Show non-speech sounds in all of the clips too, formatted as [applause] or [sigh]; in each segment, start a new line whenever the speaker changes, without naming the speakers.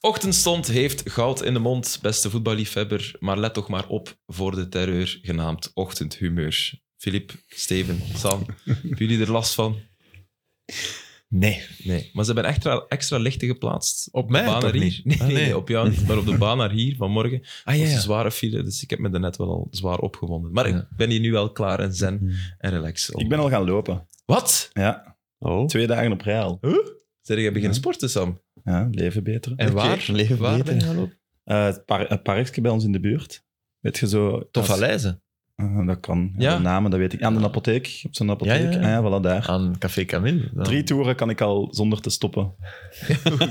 Ochtendstond heeft goud in de mond, beste voetballiefhebber. Maar let toch maar op voor de terreur genaamd ochtendhumeur. Filip, Steven, Sam, hebben jullie er last van?
Nee.
Nee, maar ze hebben extra, extra lichten geplaatst.
Op mij
baan
toch
naar hier.
niet?
Nee,
Ah, nee.
nee, op jou niet, maar op de baan naar hier vanmorgen. Het
Ah
was een zware file, dus ik heb me daarnet wel al zwaar opgewonden. Maar
Ja.
ik ben hier nu wel klaar en zen en relaxed.
Ik ben al gaan lopen.
Wat?
Ja,
Oh.
twee dagen op rij al.
Zeg je beginnen sporten, Sam?
Ja, leven beter.
En waar? Leven
Waar ben je
beter.
gaan lopen?
Eh, het, par het parkje bij ons in de buurt. Weet je zo...
Tof
als-
Aleize.
Eh, dat kan. Ja,
Ja.
De namen, dat weet ik. Aan de apotheek. Op zo'n apotheek. Ah
Ja,
Ja,
ja, ja.
voilà, daar.
Aan Café Camille. Dan-
Drie toeren kan ik al zonder te stoppen.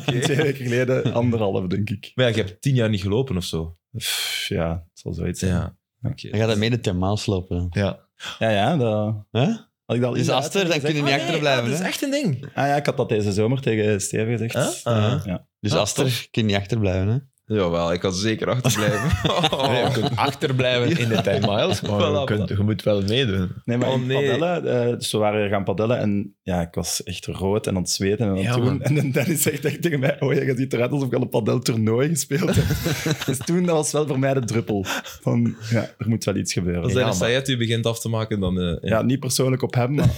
Twee weken geleden anderhalf, denk ik.
Maar ja, je hebt tien jaar niet gelopen of zo.
Pff, ja, het zal zoiets zijn.
Ja. Oké.
Dan gaat hij mede ten Maas lopen. dan.
Ja.
Ja, ja. dat...
Hè?
Had ik dat al
Dus
eerder
achter, dan kun
Ah,
je niet
nee,
achterblijven.
ah, dat is
hè?
echt een ding.
Ah ja, ik had dat deze zomer tegen Steven gezegd.
Ah, ah.
Ja.
Dus
Ah,
achter kun je niet achterblijven. Hè?
Jawel, ik kan zeker achterblijven. Oh.
Nee, je kunt
[laughs]
achterblijven in de 10 miles, maar je,
Voilà,
kunt- je moet wel meedoen.
Nee, maar
Oh,
in
nee.
padellen, eh, dus we waren gaan padellen en ja, ik was echt rood en aan het zweten en aan het
Ja,
doen.
man.
En dan Dennis zegt echt tegen mij, oh ja, je ziet eruit alsof ik al een padeltoernooi gespeeld heb.
[laughs]
dus toen, dat was wel voor mij de druppel. Van, ja, er moet wel iets gebeuren.
Als
Ja,
Dennis Sayed u begint af te maken, dan... eh, ja.
niet persoonlijk op hem,
[laughs]
maar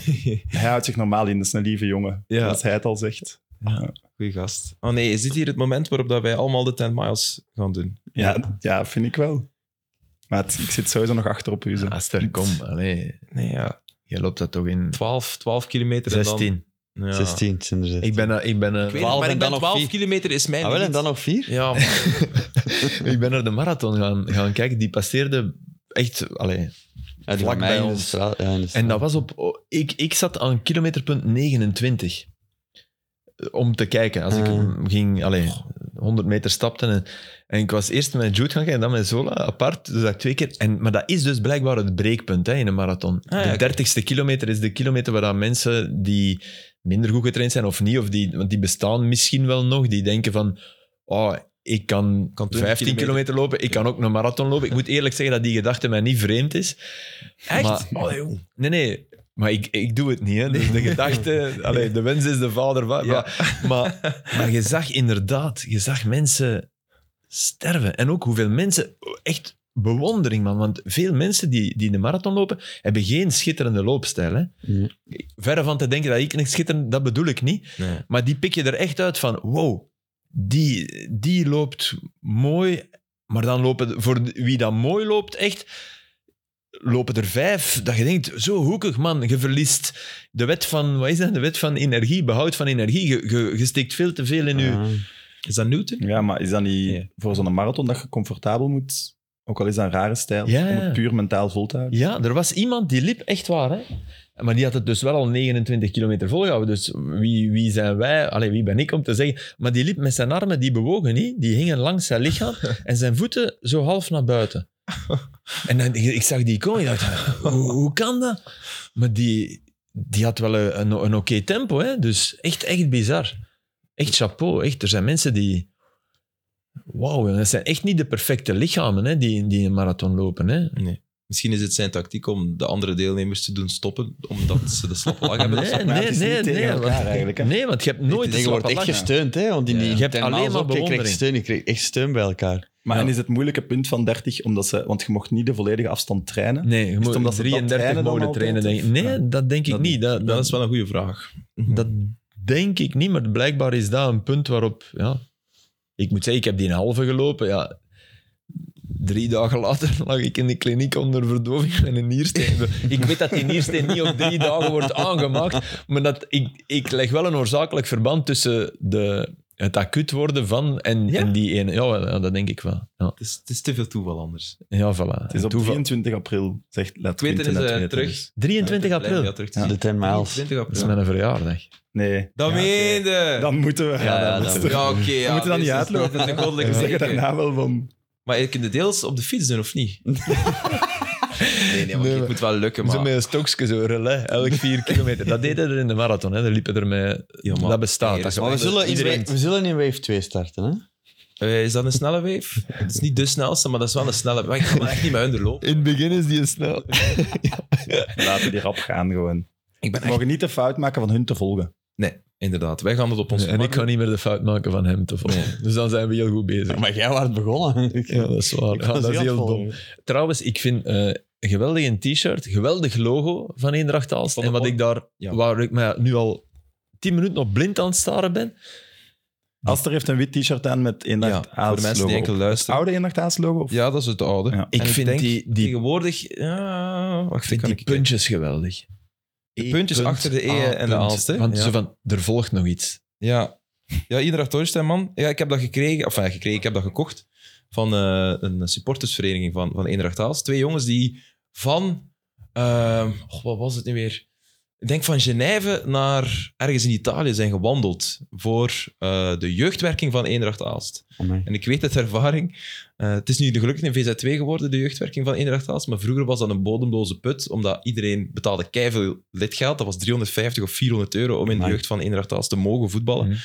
hij houdt zich normaal in. Dat is een lieve jongen,
Ja.
als hij het al zegt.
Goeie gast. Oh nee, is dit hier het moment waarop dat wij allemaal de 10 miles gaan doen?
Ja, ja vind ik wel. Maar het- ik zit sowieso nog achter op u. zo.
Aster, kom. Allee,
Nee, ja.
je loopt dat toch in
12, 12 kilometer en
16.
dan... Ja.
16, het zijn er 16.
Ik ben, er- ik, ben er-
Ik weet het,
12
maar
en
ik ben
dan nog
12
vier.
kilometer is mijn
Ah, wel, en
limiet.
dan nog vier?
Ja, maar [laughs]
ik ben naar de marathon gaan, gaan kijken. Die passeerde echt... Allee,
Ja, die
vlak
van mij
bij
in de
ons.
straat. Ja, in de straat.
En dat was op... oh, Ik, ik zat aan kilometerpunt 29. Eh, Om te kijken. Als ik
Ah.
m- ging... Allee, 100 meter stapte. En, en ik was eerst met Jude gaan kijken en dan met Zola apart. Dus dat ik twee keer... En, maar dat is dus blijkbaar het breekpunt hè, in een marathon.
ja,
de
oké.
dertigste kilometer is de kilometer waar dan mensen die minder goed getraind zijn of niet, of die, want die bestaan misschien wel nog, die denken van... Oh, ik kan,
Kan
15
20
kilometer.
kilometer
lopen, ik kan ook een marathon lopen. Ik moet eerlijk zeggen dat die gedachte mij niet vreemd is.
echt?
Maar-
oh, jong.
Nee, nee. Maar ik, ik doe het niet. Hè. Dus de gedachte... allee, de wens is de vader van...
Ja.
Maar, maar, maar je zag inderdaad... Je zag mensen sterven. En ook hoeveel mensen... Echt bewondering, man. Want veel mensen die, die de marathon lopen, hebben geen schitterende loopstijl. Hè.
Ja.
Verre van te denken dat ik een schitterend... Dat bedoel ik niet.
Nee.
Maar die pik je er echt uit van... Wow, die, die loopt mooi. Maar dan lopen... Voor wie dat mooi loopt, echt... Lopen er vijf, dat je denkt, zo hoekig man, je verliest de wet van, wat is dat? De wet van energie, behoud van energie. Je, je, je steekt veel te veel in je...
Ah.
Is dat Newton?
Ja, maar is dat niet
Ja.
voor zo'n marathon dat je comfortabel moet... Ook al is dat een rare stijl,
Ja,
om
ja.
het puur mentaal vol te houden.
Ja, er was iemand die liep echt waar, hè? Maar die had het dus wel al 29 kilometer volgehouden. Dus wie, wie zijn wij? Allee, wie ben ik om te zeggen? Maar die liep met zijn armen, die bewogen niet. Die hingen langs zijn lichaam en zijn voeten zo half naar buiten. En dan, ik, ik zag die komen, ik dacht, hoe, hoe kan dat? Maar die, die had wel een, een, een oké tempo, hè? Dus echt, echt bizar. Echt chapeau, echt. Er zijn mensen die... Wauw, jongen, dat zijn echt niet de perfecte lichamen hè, die, die een marathon lopen. Hè?
Misschien is het zijn tactiek om de andere deelnemers te doen stoppen, omdat ze de slappe lach hebben.
Nee,
maar
nee,
het is
nee,
niet tegen
nee,
elkaar
want-
eigenlijk, hè?
nee, want je hebt nooit
Nee, je wordt echt
slappe lach.
gesteund, hè? Want in die
Ja. Je hebt
ten
alleen
Maas
maar
ook, je krijgt
bewondering.
steun, je krijgt echt steun bij elkaar.
Maar
Ja.
en is het moeilijke punt van 30, omdat ze, want je mocht niet de volledige afstand trainen?
Nee, je moet
omdat ze dat
33
trainen dan
mogen trainen.
altijd,
Denk ik.
of?
Nee,
Ja.
dat denk ik
Dat
niet. Dat,
Dat
dat, Mhm.
is wel een goede vraag.
dat denk ik niet, maar blijkbaar is dat een punt waarop... Ja, ik moet zeggen, ik heb die een halve gelopen. Ja, drie dagen later [laughs] lag ik in de kliniek onder verdoving met een niersteen. [laughs] ik weet dat die niersteen niet op drie dagen wordt aangemaakt, maar dat, ik, ik leg wel een oorzakelijk verband tussen de, het acuut worden van en,
Ja?
en die ene. Ja, wel, ja, dat denk ik wel. Ja,
Het is, het is te veel toeval anders.
ja voilà.
Het is op 23 april, zegt laat
Twitter is
internet
eh,
weten,
terug.
dus.
23 april.
Ja,
Dat
terug te
Ja.
zien.
De 10 miles.
23 april.
is mijn verjaardag.
Nee.
Dat
Ja, oké.
meende!
Dan moeten we.
ja,
dat
dan
is
moeten
toch-
Ja, oké. ja,
moeten dat
dit
niet
is
uitlopen,
altijd een
we
goddelijke
[laughs] zeggen
zegen.
daarna wel van...
Maar je kunt het deels op de fiets doen, of niet? Nee, nee, maar
Nee,
het
maar-
moet wel lukken,
Zo
maar...
met een stokje, zo relais, elk vier kilometer. Dat deden er in de marathon. Hè. Daar liepen er met...
Ja, maar-
Dat bestaat. dat-
Maar we zullen, in
Iedereen-
wave, we zullen in wave 2 starten, hè?
Eh, is dat een snelle wave? Het is niet de snelste, maar dat is wel een snelle wave. Ik kan er echt niet mee onderlopen.
In het begin is die snel.
Laten die rap gaan gewoon.
Ik ben
We mogen niet de fout maken van hun te volgen.
Nee, inderdaad. Wij gaan het op ons
en ik kan niet meer de fout maken van hem te volgen. Dus dan zijn we heel goed bezig.
Maar jij was begonnen. Ik-
Ja, dat is waar.
ik
Ja,
was
dat is
aan het
heel
volgen.
dom. Trouwens, ik vind eh, een geweldig een t-shirt, geweldig logo van Eendracht Aalst.
Van
En
de
wat
on-
ik daar,
Ja.
waar ik mij nu al tien minuten op blind aan het staren ben.
Aster heeft een wit t-shirt aan met
Ja,
Eendracht
voor de mensen die enkel luisteren.
Oude Eendracht Aas logo? Of?
Ja, dat is het oude.
Ja.
En
Ik vind
denk
die- die-
tegenwoordig... Ja, wacht,
Ik vind
kan
die
ik-
puntjes geweldig.
De puntjes achter de E
A
en de
punt.
Aalst, hè?
Want
Ja.
zo van, er volgt nog iets.
Ja, ja Iedereen Torstein, man. Ja, ik heb dat gekregen, of ja, gekregen, ik heb dat gekocht van eh, een supportersvereniging van, van Eendracht Aalst. Twee jongens die van, ehm, oh, wat was het nu weer? Ik denk van Genève naar ergens in Italië zijn gewandeld voor eh, de jeugdwerking van Eendracht Aalst.
Amai.
Mm-hmm.
En ik weet uit ervaring, eh, het is nu gelukkig in VZ2 geworden, de jeugdwerking van Eendracht Aalst, maar vroeger was dat een bodemloze put, omdat iedereen betaalde keiveel lidgeld. Dat was 350 of 400 euro om in de
Amai.
jeugd van Eendracht Aalst te mogen voetballen.
Mm-hmm.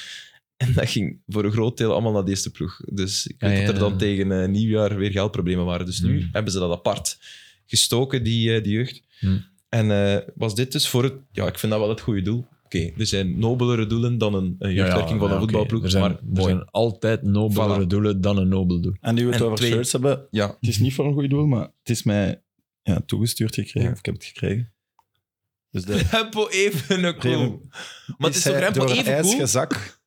En dat ging voor een groot deel allemaal naar de eerste ploeg. Dus ik weet
Ah, ja.
dat er dan tegen eh, nieuwjaar weer geldproblemen waren. Dus nu
Hmm.
hebben ze dat apart gestoken, die, eh, die jeugd.
Hmm.
En eh, was dit dus voor het... Ja, ik vind dat wel het goede doel. Oké, er zijn nobelere doelen dan een, een jeugdwerking van een
oké.
voetbalploeg.
Er zijn,
maar
er
mooi.
zijn altijd nobelere
Voilà.
doelen dan een nobel doel.
En nu we het
En
over
twee-
shirts hebben, het
Ja,
is niet voor een goed doel, maar het is mij ja, toegestuurd gekregen.
Ja.
Of ik heb het gekregen. Dus de
Rempo Evenepoel.
Rempo-
Maar het is toch
hij
Rempo
door het ijs
Evenepoel?
gezakt.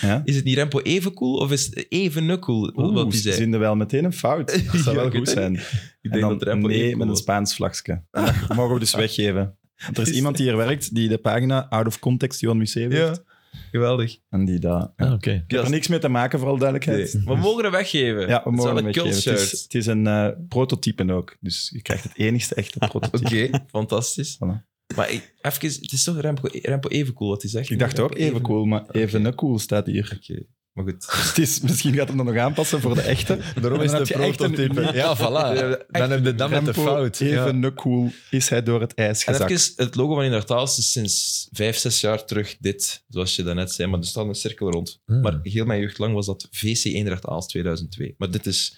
ja?
Is het niet Rempo Evenkoel of is het Evenepoel?
Oeh,
Wat die
ze
zei.
zien er wel meteen een
[laughs]
fout. Dat zou
Ja,
wel
ik
goed
weet het
zijn.
Ik
En
denk
dan
dat Rempo
nee,
Evenepoel
met een
was.
Spaans vlagje.
[laughs]
Dat mogen we dus weggeven. Want er is iemand die hier werkt, die de pagina Out of Context Johan Museum heeft.
Ja, geweldig.
En die daar...
Ah,
Ja.
oké.
Ik heb er niks mee te maken, vooral duidelijkheid.
Nee, We mogen hem weggeven.
Ja, we
Het is wel
mogen
een
hem weggeven. Het
cultshirt.
is, het is een eh, prototype ook. Dus je krijgt het enigste echte
[laughs]
prototype.
Oké,
[laughs]
fantastisch.
Voilà.
Maar ik- even, het is toch Remco, Remco even cool wat hij zegt.
Ik dacht ook even cool, maar even een cool staat hier. [laughs]
Oké, maar goed.
Dus het is, misschien gaat hem dan nog aanpassen voor de echte.
Daarom
is het een prototype.
[laughs] Ja, voilà. Dan heb je dat met de
Rempo
fout. Ja.
Even een cool is hij door het ijs
En
gezakt.
even, het logo van Indertaals is dus sinds vijf, zes jaar terug dit, zoals je daarnet zei. Maar er staat een cirkel rond.
Hmm.
Maar heel mijn jeugd lang was dat VC Eendracht Aals 2002. Maar dit is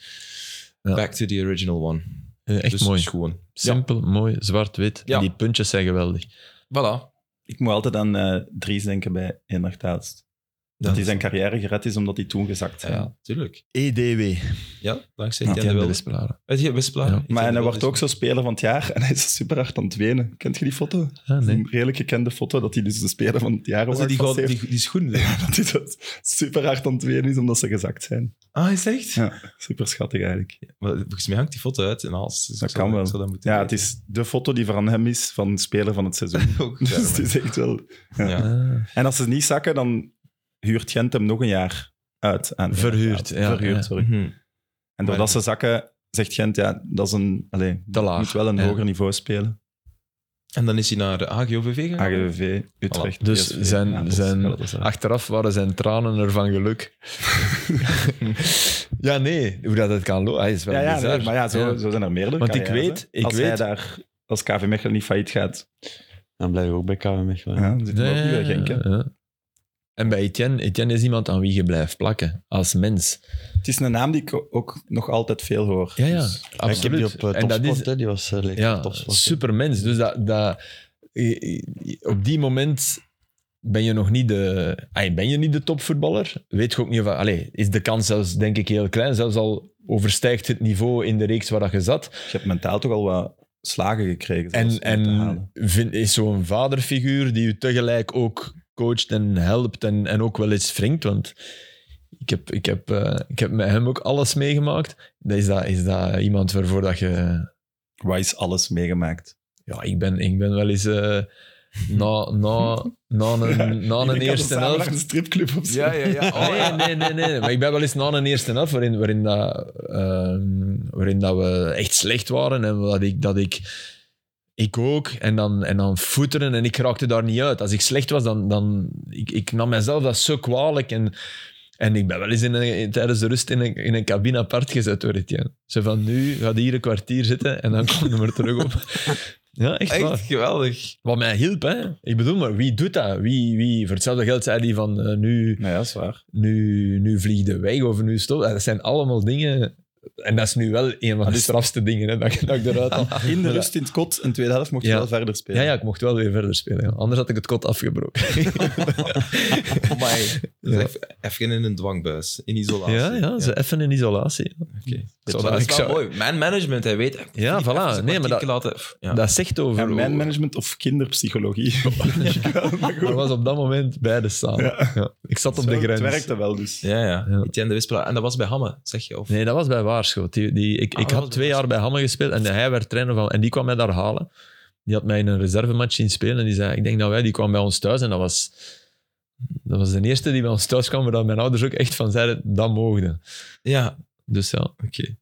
Ja.
back to the original one.
Eh, Echt
dus
mooi.
het is gewoon.
Simpel, mooi, zwart-wit.
Ja.
En die puntjes zijn geweldig.
Voilà.
Ik moet altijd aan eh Dries denken bij Eendracht Aalst. Dat hij zijn carrière gered is omdat hij toen gezakt
Ja,
zijn.
ja, tuurlijk.
EDW.
Ja, dankzij
Ja,
Etienne de Wilde.
Wilsplaren.
Etienne Wispelaar.
Ja.
Etienne
Maar en
de
hij
Wilde
wordt
is-
ook zo speler van het jaar en hij is super hard aan het wenen. Kent je die foto?
Ah,
Dat is
nee.
Een redelijk gekende foto dat hij dus de speler van het jaar
Was het
wordt.
die, goud- die, die schoenen?
[laughs] dat hij dat super hard aan het wenen is omdat ze gezakt zijn.
Ah, is het echt?
Ja, super schattig eigenlijk.
Maar volgens mij hangt die foto uit in Als. Dus
Dat
ik zou-
kan wel.
ik zou dat moeten
Ja, het
weten.
is de foto die van hem is van speler van het seizoen. [laughs]
ook.
Dus
raar,
het is echt wel...
maar- ja.
Ah.
En als ze niet zakken, dan huurt Gent hem nog een jaar uit. Aan
Verhuurd, ja,
Verhuurd,
ja.
sorry.
Mhm.
En doordat ze zakken, zegt Gent, ja, dat is een... Allee,
Te laag.
moet wel een
Ja.
hoger niveau spelen.
En dan is hij naar de AGOVV gegaan.
AGVV, Utrecht,
Dus
PSV,
zijn-
Napels,
zijn- Ah,
Galatasaray.
Achteraf waren zijn tranen er van [laughs] geluk. ja, nee. Hoe dat het kan lopen, hij is wel
Ja, ja
bizar.
nee, maar ja, zo,
Ja.
zo zijn er meerdere
Want ik
carrières,
weet-
hè.
ik
als hij
weet-
daar, als KV Mechelen niet failliet gaat,
Dan blijf ik ook bij KW Mechelen.
ja, dan zit hij ook niet bij Genk. hè.
Ja, ja. En bij Etienne, Etienne is iemand aan wie je blijft plakken, als mens.
Het is een naam die ik ook nog altijd veel hoor.
Ja, ja,
Dus
Ja, Ik heb die op
absoluut.
eh,
en dat is,
topsport, hè. die was eh, leek
ja,
op topsport.
supermens. Dus dat, dat, i- i- op die moment ben je nog niet de, ay, ben je niet de topvoetballer. Weet je ook niet van, allez, is de kans zelfs denk ik heel klein. Zelfs al overstijgt het niveau in de reeks waar dat je zat.
je hebt mentaal toch al wat slagen gekregen. zelfs
En,
om te
en
halen.
vind, is zo'n vaderfiguur die je tegelijk ook coacht en helpt en, en ook wel eens wringt. Want ik heb, ik, heb, eh, ik heb met hem ook alles meegemaakt. Dat is, dat, is dat iemand waarvoor dat je
Wat is alles meegemaakt?
Ja, ik ben, ik ben wel eens eh, na, na, na
[laughs]
een, na
Ik
Oh, een
denk dat we
eerste
samen naar een
helft.
stripclub of zo.
ja,
[laughs]
ja. Oh,
Nee,
ja.
nee, nee, nee. Maar ik ben wel eens na een eerste helft waarin, waarin, dat, ehm, waarin dat we echt slecht waren en dat ik, dat ik, ik ook, en dan, en dan voeteren en ik raakte daar niet uit. Als ik slecht was, dan, dan ik, ik nam mezelf dat zo kwalijk en, en ik ben wel eens in een- tijdens de rust in een, in een cabine apart gezet door Etienne. Ze van, nu gaat hier een kwartier zitten en dan komt hij maar terug op. [laughs] Ja, echt, waar.
Echt geweldig.
Wat mij hielp, hè. Ik bedoel, maar wie doet dat? Wie, wie, voor hetzelfde geld zei die van eh, nu, [laughs]
Nou ja, dat is waar.
nu, nu vlieg je weg of nu stop. Dat zijn allemaal dingen En dat is nu wel een
Ah, dus-
van de strafste dingen, hè, dat, ik- dat ik
[laughs]
eruit haal.
In de rust, in het kot, in de tweede helft mocht je
Ja.
wel verder spelen.
Ja, ja, ik mocht wel weer verder spelen. ja. Anders had ik het kot afgebroken.
Amai.
Ja.
Even- Even in een dwangbuis, in isolatie.
Ja, ja, ze even in isolatie.
Oké.
Ik
Dat,
zou
dat
dat-
is
ik
wel
zou-
mooi. Man management, hij weet. ik moet
Ja,
niet
voilà.
even zo'n
Nee, maar dat-
kwartiertje laten. Pff, ja.
Dat zegt over...
En management of kinderpsychologie. [laughs] maar
Er
goed.
was op dat moment beide staan.
Ja.
Ja. Ik zat op
Zo,
de
Het
grens.
werkte wel dus.
ja, ja.
Ja.
Etienne de Wispelaar. En dat was bij Hamme, zeg je? Of...
Nee, dat was bij Waarschoot. Die, die, ik
Ah,
ik
dat
had
was
twee
bij
jaar bij Hamme gespeeld en hij werd trainer van... En die kwam mij daar halen. Die had mij in een reservematch zien spelen en die zei... Ik denk dat wij... Die kwam bij ons thuis en dat was... Dat was de eerste die bij ons thuis kwam, waar dat mijn ouders ook echt van zeiden, dat mogen.
Ja,
Dus ja.
oké.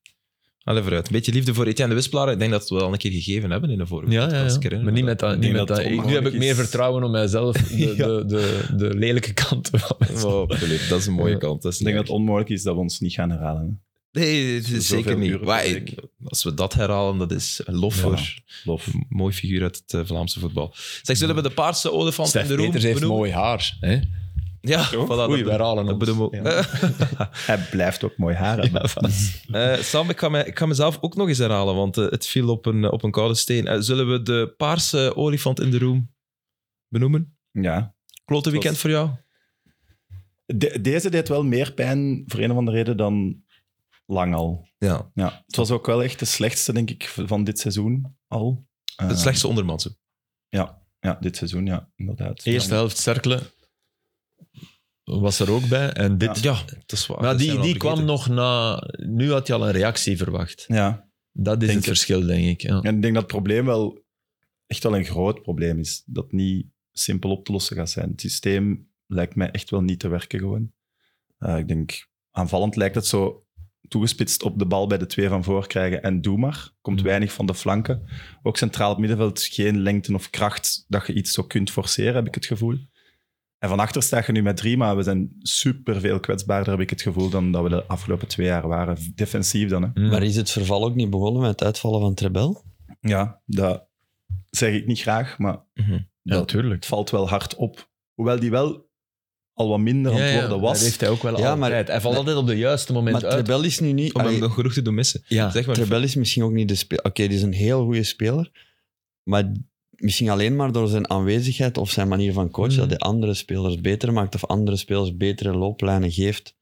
Allee, vooruit. Een beetje liefde voor Etienne de Wispelaar. Ik denk dat we al een keer gegeven hebben in de vorige
Ja, ja,
podcast. Ik
ja.
herinner
maar
me
niet met dat.
Ik
Niet
denk
met
dat
dat.
het
Ik- nu heb ik
onmogelijk
meer
is.
vertrouwen op mijzelf, de,
[laughs]
de, de, de lelijke kanten van mezelf.
Oh, Filip, dat is een mooie
Ja.
kant. Dat is
Ik denk
niet
dat het onmogelijk is dat we ons niet gaan herhalen. hè.
Nee, dat is
Zoveel
zeker niet.
uren per
Maar
week.
als we dat herhalen, dat is een lof
Ja.
voor
Lof.
een mooi figuur uit het eh, Vlaamse voetbal. Zeg, zullen we de paarse olifant
Stef
in de room
Peters heeft
benoemen?
mooi haar. Hè?
Ja, voilà, dat
Oei,
bedo-
we herhalen
dat
ons.
bedoelen we ook.
Hij blijft ook mooi haar hebben.
Eh, Sam, ik ga, mij, ik ga mezelf ook nog eens herhalen, want eh, het viel op een, op een koude steen. Eh, zullen we de paarse olifant in de room benoemen?
[laughs] ja.
Klote
was-
weekend voor jou?
De- deze deed wel meer pijn, voor een of andere reden, dan lang al.
Ja,
Ja. Het was ook wel echt de slechtste, denk ik, van dit seizoen al. Eh,
het slechtste ondermans.
Ja, dit seizoen, ja, inderdaad.
Eerste helft cirkelen [laughs] was er ook bij. En dit.
Ja, dat is waar.
maar
dat zijn
die,
we al
die kwam
vergeten.
nog na. Nu had je al een reactie verwacht.
Ja.
Dat is
Denk
het
het.
verschil, denk ik. Ja.
En ik denk dat het probleem wel echt wel een groot probleem is. Dat niet simpel op te lossen gaat zijn. Het systeem lijkt mij echt wel niet te werken gewoon. Eh, ik denk, aanvallend lijkt het zo toegespitst op de bal bij de twee van voor krijgen en doe maar. Komt
Mm.
weinig van de flanken. Ook centraal op middenveld geen lengte of kracht dat je iets zo kunt forceren, heb ik het gevoel. En van achter sta je nu met drie, maar we zijn superveel kwetsbaarder, heb ik het gevoel, dan dat we de afgelopen twee jaar waren. Defensief dan, hè.
Mm.
Maar is het verval ook niet begonnen met het uitvallen van Trebel?
Ja, dat zeg ik niet graag, maar
Mhm.
ja,
dat-
natuurlijk.
het valt wel hard op. Hoewel die wel al wat minder aan
Ja,
het
ja,
worden
Dat
was.
heeft hij ook wel
Ja, maar-
altijd. Hij valt altijd op de juiste moment
Maar
uit.
Trebel is nu niet...
Om hem
allee,
nog genoeg te doen missen.
Ja.
Zeg maar,
Trebel is misschien ook niet de speler... Oké, die is een heel goede speler, maar misschien alleen maar door zijn aanwezigheid of zijn manier van coachen
Mhm.
dat hij andere spelers beter maakt of andere spelers betere looplijnen geeft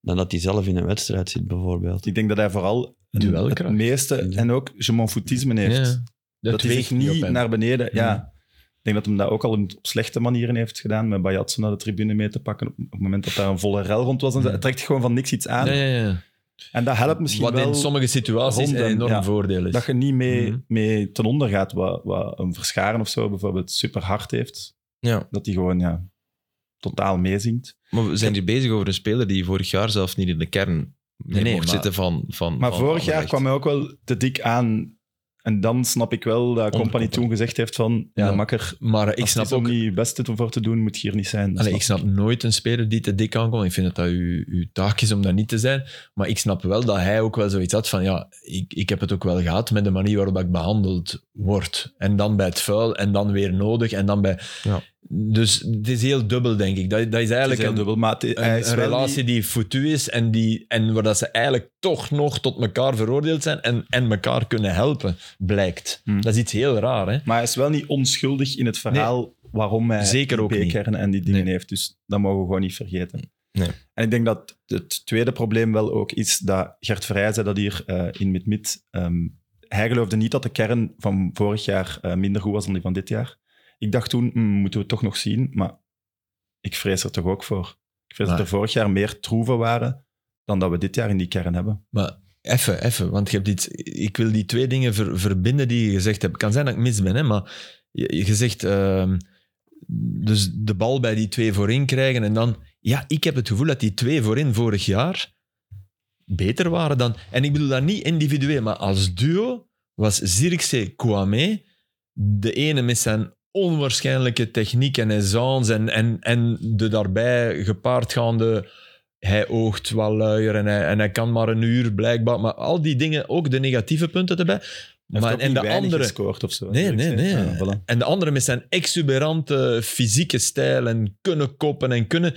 dan dat hij zelf in een wedstrijd zit, bijvoorbeeld.
Ik denk dat hij vooral een- het
Duelkracht.
meeste en ook je m'en foutisme heeft.
Ja.
Dat hij zich
weegt op
niet
hem. Mhm.
naar beneden... Ja. Ik denk dat hem dat ook al op slechte manieren heeft gedaan, met Bayatso naar de tribune mee te pakken, op het moment dat daar een volle rel rond was. En zo. Het trekt gewoon van niks iets aan.
Mhm. Ja, ja, ja.
En dat helpt misschien
Wat
wel...
in sommige situaties
ronden,
een enorm
ja.
voordeel is.
Dat je niet mee,
Mhm.
mee ten onder gaat, wat, wat een verscharen of zo bijvoorbeeld super hard heeft.
Ja.
Dat hij gewoon ja, totaal meezingt.
maar we zijn hier bezig over een speler die vorig jaar zelf niet in de kern meer
Nee, nee,
mocht
maar-
zitten van, van
Maar
van
vorig jaar
Anderlecht.
kwam hij ook wel te dik aan. En dan snap ik wel dat Company
Company.
toen gezegd heeft van...
Ja.
Ja, makker,
Maar ik
als
snap
het is om
ook...
niet je best te- voor te doen, moet je hier niet zijn. Dat
Allee,
snap
ik snap nooit een speler die te dik aankomt. Ik vind dat dat uw, uw taak is om dat niet te zijn. Maar ik snap wel dat hij ook wel zoiets had van... Ja, ik, ik heb het ook wel gehad met de manier waarop ik behandeld word. En dan bij het vuil, en dan weer nodig, en dan bij...
Ja.
Dus het is heel dubbel, denk ik. Dat, dat is
Het is
eigenlijk
heel
een,
dubbel, maar het- hij
een,
is
een
wel
relatie
niet-
die foutu is en, die, en waar dat ze eigenlijk toch nog tot elkaar veroordeeld zijn en, en elkaar kunnen helpen, blijkt.
Hmm.
Dat is iets heel raar, hè?
maar hij is wel niet onschuldig in het verhaal waarom hij
Zeker ook niet.
B-kern en die dingen
Nee.
heeft. Dus dat mogen we gewoon niet vergeten.
Nee.
En ik denk dat het tweede probleem wel ook is dat Gert Verheij zei dat hier eh, in Mid-Mid. ehm, hij geloofde niet dat de kern van vorig jaar eh, minder goed was dan die van dit jaar. Ik dacht toen, "Hmm, moeten we het toch nog zien, maar ik vrees er toch ook voor. Ik vrees
Maar-
dat er vorig jaar meer troeven waren dan dat we dit jaar in die kern hebben.
Maar even, even, want je hebt iets, ik wil die twee dingen ver- verbinden die je gezegd hebt. Het kan zijn dat ik mis ben, hè, maar je, je zegt ehm, dus de bal bij die twee voorin krijgen en dan... Ja, ik heb het gevoel dat die twee voorin vorig jaar beter waren dan... En ik bedoel dat niet individueel, maar als duo was Zirkzee Kouame de ene met zijn onwaarschijnlijke techniek en aisance en, en, en de daarbij gepaardgaande... Hij oogt wel luier en hij, en hij kan maar een uur blijkbaar. Maar al die dingen, ook de negatieve punten erbij.
Hij
Maar,
heeft ook
en,
niet
de
weinig
andere,
gescoord of zo. Dus
Nee,
Ik
nee, nee.
zei, ja, voilà.
en de andere met zijn exuberante fysieke stijl en kunnen koppen en kunnen...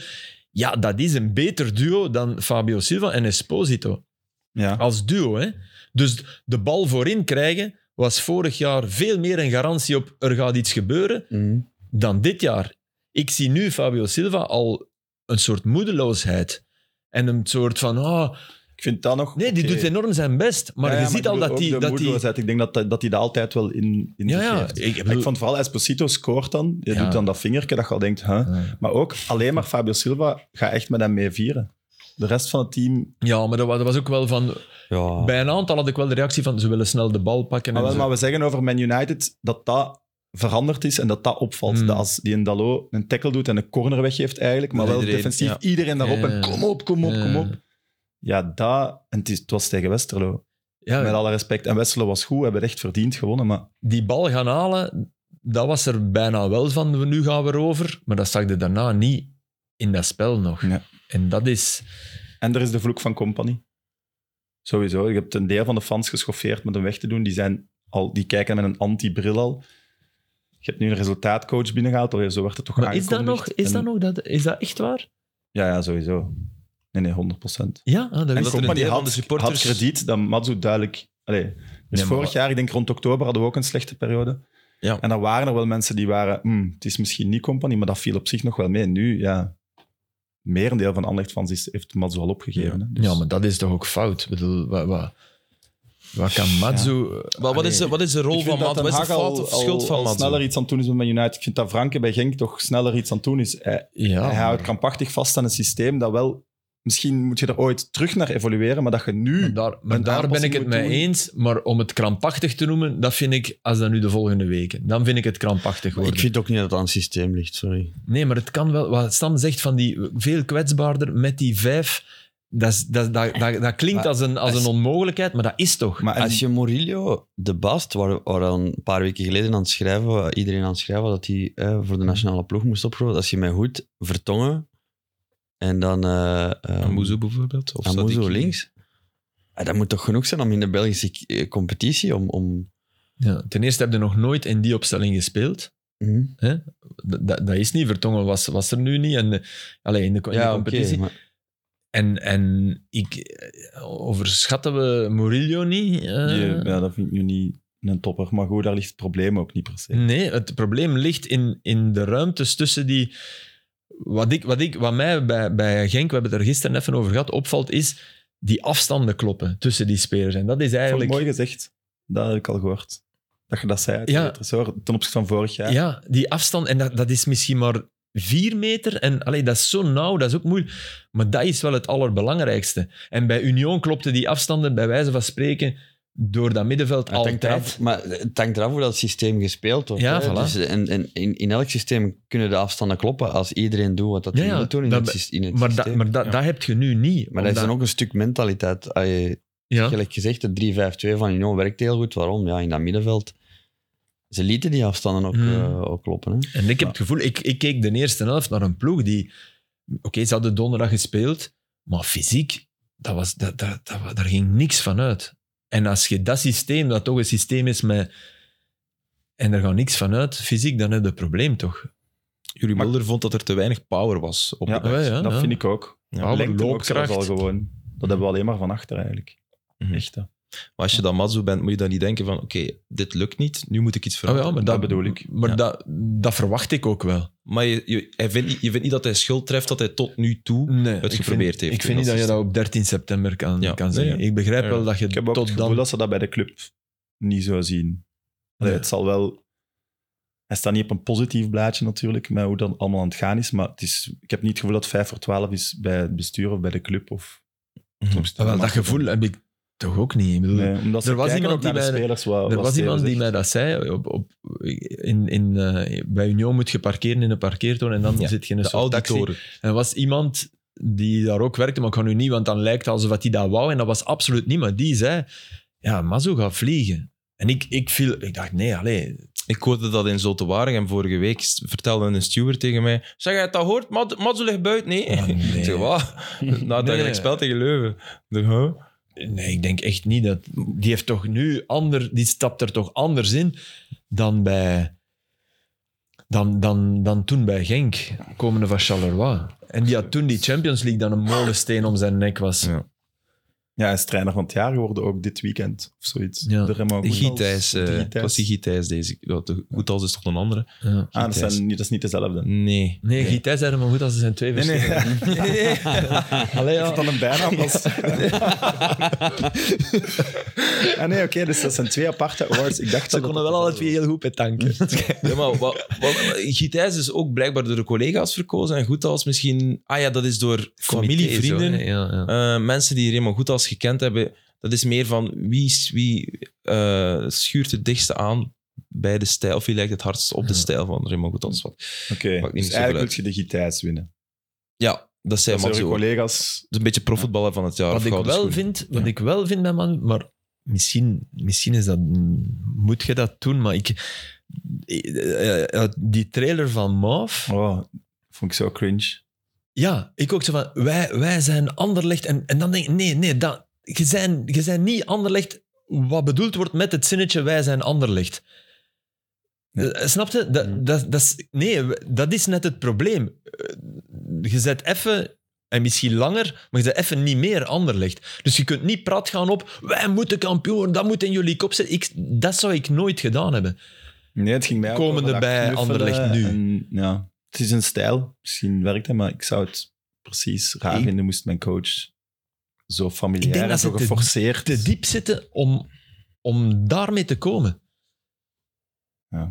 Ja, dat is een beter duo dan Fabio Silva en Esposito.
Ja.
Als duo, hè. Dus de bal voorin krijgen was vorig jaar veel meer een garantie op er gaat iets gebeuren
Mhm.
dan dit jaar. Ik zie nu Fabio Silva al een soort moedeloosheid. En een soort van, ah,
Ik vind dat nog...
nee, die
oké.
doet enorm zijn best. Maar
Ja, ja,
je ziet
ik
al
bedoel
dat
ook
die...
de
Dat die
moedeloosheid. Ik denk dat hij dat, die dat altijd wel in, in
ja,
zich
ja.
heeft.
Ik, ik
Maar
bedoel-
Ik vond vooral Esposito scoort dan. Je
Ja.
doet dan dat vingertje dat je al denkt, huh?
Ja.
Maar ook alleen maar Fabio Silva gaat echt met hem mee vieren. De rest van het team.
Ja, maar dat wa- dat was ook wel van...
Ja.
Bij een aantal had ik wel de reactie van ze willen snel de bal pakken.
Maar,
en
Ah, wel,
zo.
maar we zeggen over Man United dat dat veranderd is en dat dat opvalt.
Hmm.
Dat als die een Dalot een tackle doet en een corner weggeeft eigenlijk, maar
Dat
wel
iedereen,
defensief
ja.
iedereen daarop
Ja.
en kom op, kom op, kom
Ja.
op. Ja, dat... En het, is- het was tegen Westerlo.
Ja,
Met alle respect. En Westerlo was goed, hebben het echt verdiend gewonnen, maar...
die bal gaan halen, dat was er bijna wel van, nu gaan we erover. Maar dat zag je daarna niet in dat spel nog.
Nee.
En dat is...
En er is de vloek van Company. Sowieso. Je hebt een deel van de fans geschoffeerd met hem weg te doen. Die, zijn al, die kijken met een anti-bril al. Je hebt nu een resultaatcoach binnengehaald. Allee, zo werd het toch
Maar is dat nog,
aangekondigd.
is dat,
En-
nog dat, is dat echt waar?
Ja, ja, sowieso. Nee, nee, 100 procent.
Ja, ah, dat
En
wist
dat
ik
er een
niet.
deel van
had,
de supporters...
had krediet dat Matsu duidelijk... Allee, dus
Nee, maar-
vorig jaar, ik denk rond oktober, hadden we ook een slechte periode.
Ja.
En dan waren er wel mensen die waren... "Hmm, het is misschien niet Company, maar dat viel op zich nog wel mee. Nu, ja... Merendeel van Anderlecht-fans is- heeft Matsu al opgegeven. hè. Dus-
Ja, maar dat is toch ook fout? Ik bedoel, wat, wat, wat kan Matsu...
Maar wat, is de, wat is de rol
Ik vind
van Maat?
dat
Wat is de
Ten Hag
fout
al-
of schuld
al-
van
al
Maat?
sneller iets aan het doen is met Man United. Ik vind dat Franke bij Genk toch sneller iets aan het doen is. Hij,
Ja,
hij houdt krampachtig vast aan een systeem dat wel... Misschien moet je er ooit terug naar evolueren, maar dat je
maar
nu...
daar, maar
een
daar ben ik
aanpassing
het
moet
mee
doen.
eens. Maar om het krampachtig te noemen, dat vind ik, als dat nu de volgende weken, dan vind ik het krampachtig worden.
Ik vind ook niet dat het aan het systeem ligt, sorry.
Nee, maar het kan wel. Wat Stan zegt van die veel kwetsbaarder met die vijf. Dat, is- dat, dat, dat, dat klinkt
Maar
als een, als
als-
een onmogelijkheid, maar dat is toch.
Maar en-
Als je Murillo de Bast, waar, waar al een paar weken geleden aan het schrijven, wa- iedereen aan het schrijven was dat hij eh, voor de nationale ploeg moest opgeroepen, als je mij goed vertongen en dan eh eh,
Amuzu bijvoorbeeld? Of
Amuzu
Sadiki?
links. Eh, dat moet toch genoeg zijn om in de Belgische k- eh, competitie om... om
ja, ten eerste heb je nog nooit in die opstelling gespeeld.
Hm?
Dat, dat, dat is niet. Vertongen was, was er nu niet. En, eh, allee, in de, co- in de
Ja, oké.
competitie.
maar-
En, en ik, eh, overschatten we Murillo niet? eh?
je- ja, dat vind ik nu niet een topper. Maar goed, daar ligt het probleem ook niet per se.
Nee, het probleem ligt in, in de ruimtes tussen die. Wat, ik, wat, ik, wat mij bij, bij Genk, we hebben het er gisteren even over gehad, opvalt, is die afstanden kloppen tussen die spelers. En dat is
Dat vond ik
eigenlijk.
mooi gezegd. Dat heb ik al gehoord. Dat je dat zei uit
Ja.
het resoort, ten opzichte van vorig jaar.
ja. die afstand. En dat, dat is misschien maar vier meter. En allee, dat is zo nauw, dat is ook moeilijk. Maar dat is wel het allerbelangrijkste. En bij Union klopte die afstanden, bij wijze van spreken, door dat middenveld
Het hangt
altijd.
eraf, maar het hangt eraf hoe dat systeem gespeeld wordt.
Ja,
hè.
voilà.
Dus, en, en in, in elk systeem kunnen de afstanden kloppen als iedereen doet wat dat
Ja,
hij
ja,
wil doen in
dat
het,
be-
sys- in het
Maar, dat,
systeem.
maar dat,
Ja.
dat heb je nu niet.
Maar dat is
omdat-
dan ook een stuk mentaliteit. Als je-
Ja.
Gelijk gezegd, de 3-5-2 van Union werkt heel goed. Waarom? Ja, in dat middenveld. Ze lieten die afstanden ook,
Hmm.
eh, ook kloppen. [laughs] Hè.
En ik heb het gevoel, ik, ik keek de eerste helft naar een ploeg die... Oké, ze hadden donderdag gespeeld, maar fysiek, dat was, dat, dat, dat, wa- daar ging niks van uit. En als je dat systeem, dat toch een systeem is met... En er gaat niks van uit, fysiek, dan heb je een probleem toch.
Jullie
Maar-
Mulder vond dat er te weinig power was op
Ja,
de dag.
Ja, ja,
dat
ja.
vind ik ook.
Ja,
Alle
Lengte ook zelfs
loopkracht.
al gewoon. Dat hebben we alleen maar van achter eigenlijk.
Mhm.
Echt, hè.
Maar als je dan Matsu bent, moet je dan niet denken van oké, dit lukt niet, nu moet ik iets veranderen.
Oh ja, maar
dat bedoel ik.
Maar
Ja.
dat, dat verwacht ik ook wel.
Maar je, je, hij vindt, niet- je vindt niet dat hij schuld treft dat hij tot nu toe
Nee,
het
ik vind,
geprobeerd heeft.
ik vind niet dat je dat op 13 september kan,
Ja.
kan zeggen.
Nee,
Ik begrijp
Ja.
wel dat je
Ik heb ook het
tot
gevoel
dan...
dat ze dat bij de club niet zo zien. Allee,
Nee.
Het zal wel... Hij staat niet op een positief blaadje natuurlijk, met hoe dat allemaal aan het gaan is. Maar het is, ik heb niet het gevoel dat 5 voor 12 is bij het bestuur of bij de club. Of,
Mhm.
Ah, wel, dat gevoel heb ik toch ook niet. Ik bedoel,
Nee, omdat ze
Er was
kijken
iemand
ook naar
die
de
bij de-
spelers. Wat,
Er
wat
was
Steven
iemand die
zegt.
mij dat zei. Op, op, in, in, eh, bij Union moet je parkeren in een parkeertoon en dan
Ja,
zit je in een
De
soort taxi.
auditoren.
En er was iemand die daar ook werkte, maar ik kan nu niet, want dan lijkt het alsof hij dat wou. En dat was absoluut niet, maar die zei, ja, Mazo gaat vliegen. En ik, ik, viel, ik dacht, nee, allee.
Ik hoorde dat in Zulte Waregem vorige week. s- Vertelde een steward tegen mij. Zeg, jij dat hoort? Mat- Matsu ligt buiten. Nee.
Ah, nee.
[laughs] Ik zeg,
[laughs]
wat? Na het
Nee.
eigenlijk spel tegen Leuven. Ik dacht, huh?
nee, ik denk echt niet dat... Die heeft toch nu ander... Die stapt er toch anders in dan bij... Dan, dan, dan toen bij Genk, komende van Charleroi. En die had toen die Champions League dan een molensteen om zijn nek was.
Ja.
Ja, hij is trainer van het jaar geworden, ook dit weekend of zoiets.
Ja.
De Remo Goenals.
Gietijs,
De
uh,
Gietijs.
klassiek Gietijs deze. Ja, de Goethals is toch een andere?
Ja.
Ah, dat,
Gietijs.
zijn, niet- dat is niet dezelfde.
Nee.
Nee, Gietij zei maar goed als ze zijn twee
Nee, nee.
verschillende.
[laughs]
Allee,
Is
ja.
dat dan een bijnaam?
[laughs]
Als... ah nee, oké, dus dat zijn twee aparte awards. Ik
Ze
dacht dat dat
konden wel alle twee heel goed [laughs] petanken.
Ja, maar wat, wat, Gietijs is ook blijkbaar door de collega's verkozen. En Goethals misschien... Ah ja, dat is door familie,
Comité, zo,
vrienden.
hè. Ja, ja.
Eh, mensen die Raymond Goethals gekend hebben, dat is meer van wie, is- wie eh, schuurt het dichtste aan bij de stijl, of wie lijkt het hardst op de
Ja.
stijl van Raymond Goethals.
Oké,
Maakt niet
dus
zoveel
eigenlijk
uit.
moet je de Gitijs winnen.
Ja, dat zijn
Dat zijn je
Matzo. Dat
collega's.
is een beetje profvoetballer van het jaar.
Wat
of
ik
gouden
wel
schoen.
vind, wat ik wel vind bij man, maar misschien, misschien is dat, moet je dat doen, maar ik, eh, eh, die trailer van Mauve,
Oh, vond ik zo cringe.
ja, ik ook zo van, wij, wij zijn Anderlecht, en, en dan denk ik, nee, nee, dat, je zijn, je zijn niet Anderlecht, wat bedoeld wordt met het zinnetje, wij zijn Anderlecht. Eh, Snap je? Dat, dat, dat is, nee, we- dat is net het probleem. Eh, Je zet even, en misschien langer, maar je zet even niet meer Anderlecht. Dus je kunt niet prat gaan op, wij moeten kampioen, worden, dat moet in jullie kop zitten. Ik, dat zou ik nooit gedaan hebben.
Nee, het ging mij ook
Komende
over dat
bij
knuffelen
Anderlecht nu.
en, ja, het is een stijl. Misschien werkt het, maar ik zou het precies raar
Ik-
vinden moest mijn coach zo
Ik
familiair
denk
en
dat
zo
ze te-
geforceerd...
Te diep zitten om, om daarmee te komen.
Dat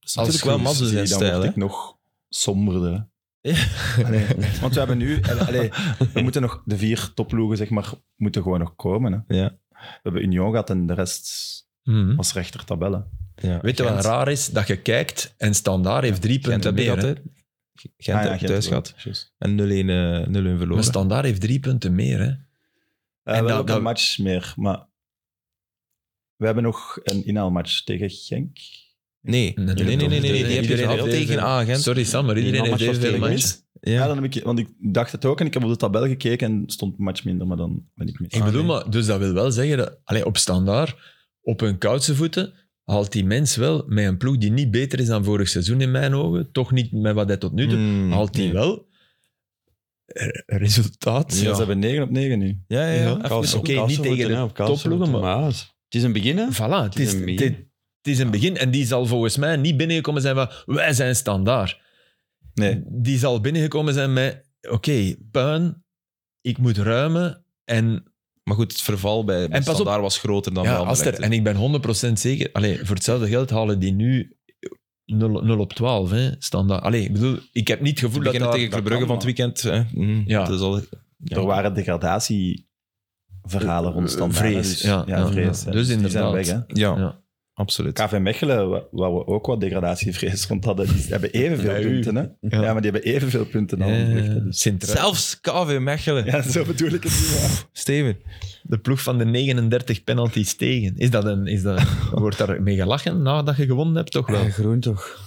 is natuurlijk wel
Als
Matzo
goed,
zijn
zie, Dan
stijl.
word
hè.
ik nog somberder.
Ja.
[laughs]
[laughs]
Allee, want we hebben nu... Allee, we moeten nog... De vier topploegen, zeg maar, moeten gewoon nog komen. Hè.
Ja.
We hebben Union gehad en de rest
Mhm.
was rechter tabellen.
Ja.
Weet je wat
Gent.
raar is? Dat je kijkt en Standaard heeft drie
Gent
punten
heb je
meer.
gehad, hè?
hè. Ah
Gent
Ah
heb je thuis gehad. En 0-1 eh, 0-1
Maar
verloren.
Standaard heeft drie punten meer. Hè. En
en Eh, wel
dat-
ook
dat-
een match meer, maar... We hebben nog een inhaalmatch tegen Genk.
Nee. Nee, nee, nee, nee, nee, die heb je
Iedereen
gehad
heeft
tegen
deze-
A, Gent.
Sorry Sam, maar iedereen
Die
heeft
was
heel veel
tegen
matchen.
Mis. Ja,
Ja.
dan heb ik, want ik dacht het ook en ik heb op de tabel gekeken en stond een match minder, maar dan ben ik mis.
Ik
Ah,
bedoel, maar, dus dat wil wel zeggen dat allee, op standaard, op hun koudse voeten, haalt die mens wel met een ploeg die niet beter is dan vorig seizoen in mijn ogen, toch niet met wat hij tot nu doet,
Mm,
haalt die
nee.
wel re- resultaat.
Ja,
Ja.
Ze hebben 9 op 9 nu.
Ja, ja,
Ja.
ja.
Kaalse-
Even-
oké,
Kaalse
niet tegen
moeten,
de
hè, op Kaalse
topploegen,
moeten, maar ja, het is een begin, hè?
Voilà, het is,
Het is een
het,
begin.
het is een begin. En die zal volgens mij niet binnengekomen zijn van wij zijn standaard.
Nee.
Die zal binnengekomen zijn met oké, puin, ik moet ruimen en
Maar goed, het verval bij, bij
pas op.
Standaard was groter dan
ja,
bij
als er,
Anderlecht, hè.
en ik ben 100% zeker. Allee, voor hetzelfde geld halen die nu 0, 0 op 12. Hè, standaard. Allee, ik bedoel, ik heb niet het
We
gevoel dat
beginnen
daar-
tegen Club Brugge van het
dat
weekend. Hè. Mm,
Ja.
dat is al, ja.
Er waren degradatieverhalen
Eh,
rond standaard.
Vrees,
dus-
ja, ja,
vrees.
ja.
hè.
Dus
die zijn
inderdaad.
weg. Hè.
Ja,
Ja.
absoluut.
KV Mechelen, wa- waar we ook wat degradatievrees rond hadden, die hebben evenveel
Bij u.
punten. Hè? Ja. maar die hebben evenveel punten dan. Anderlecht, hè.
Eh,
Dus-
Sint-Truiden.
Zelfs KV Mechelen.
Ja, zo bedoel ik het niet. ja.
Steven.
de ploeg van de 39 penalties tegen. Is dat een, is dat, wordt daar mee gelachen nadat je gewonnen hebt? Toch wel?
Ja, groen toch?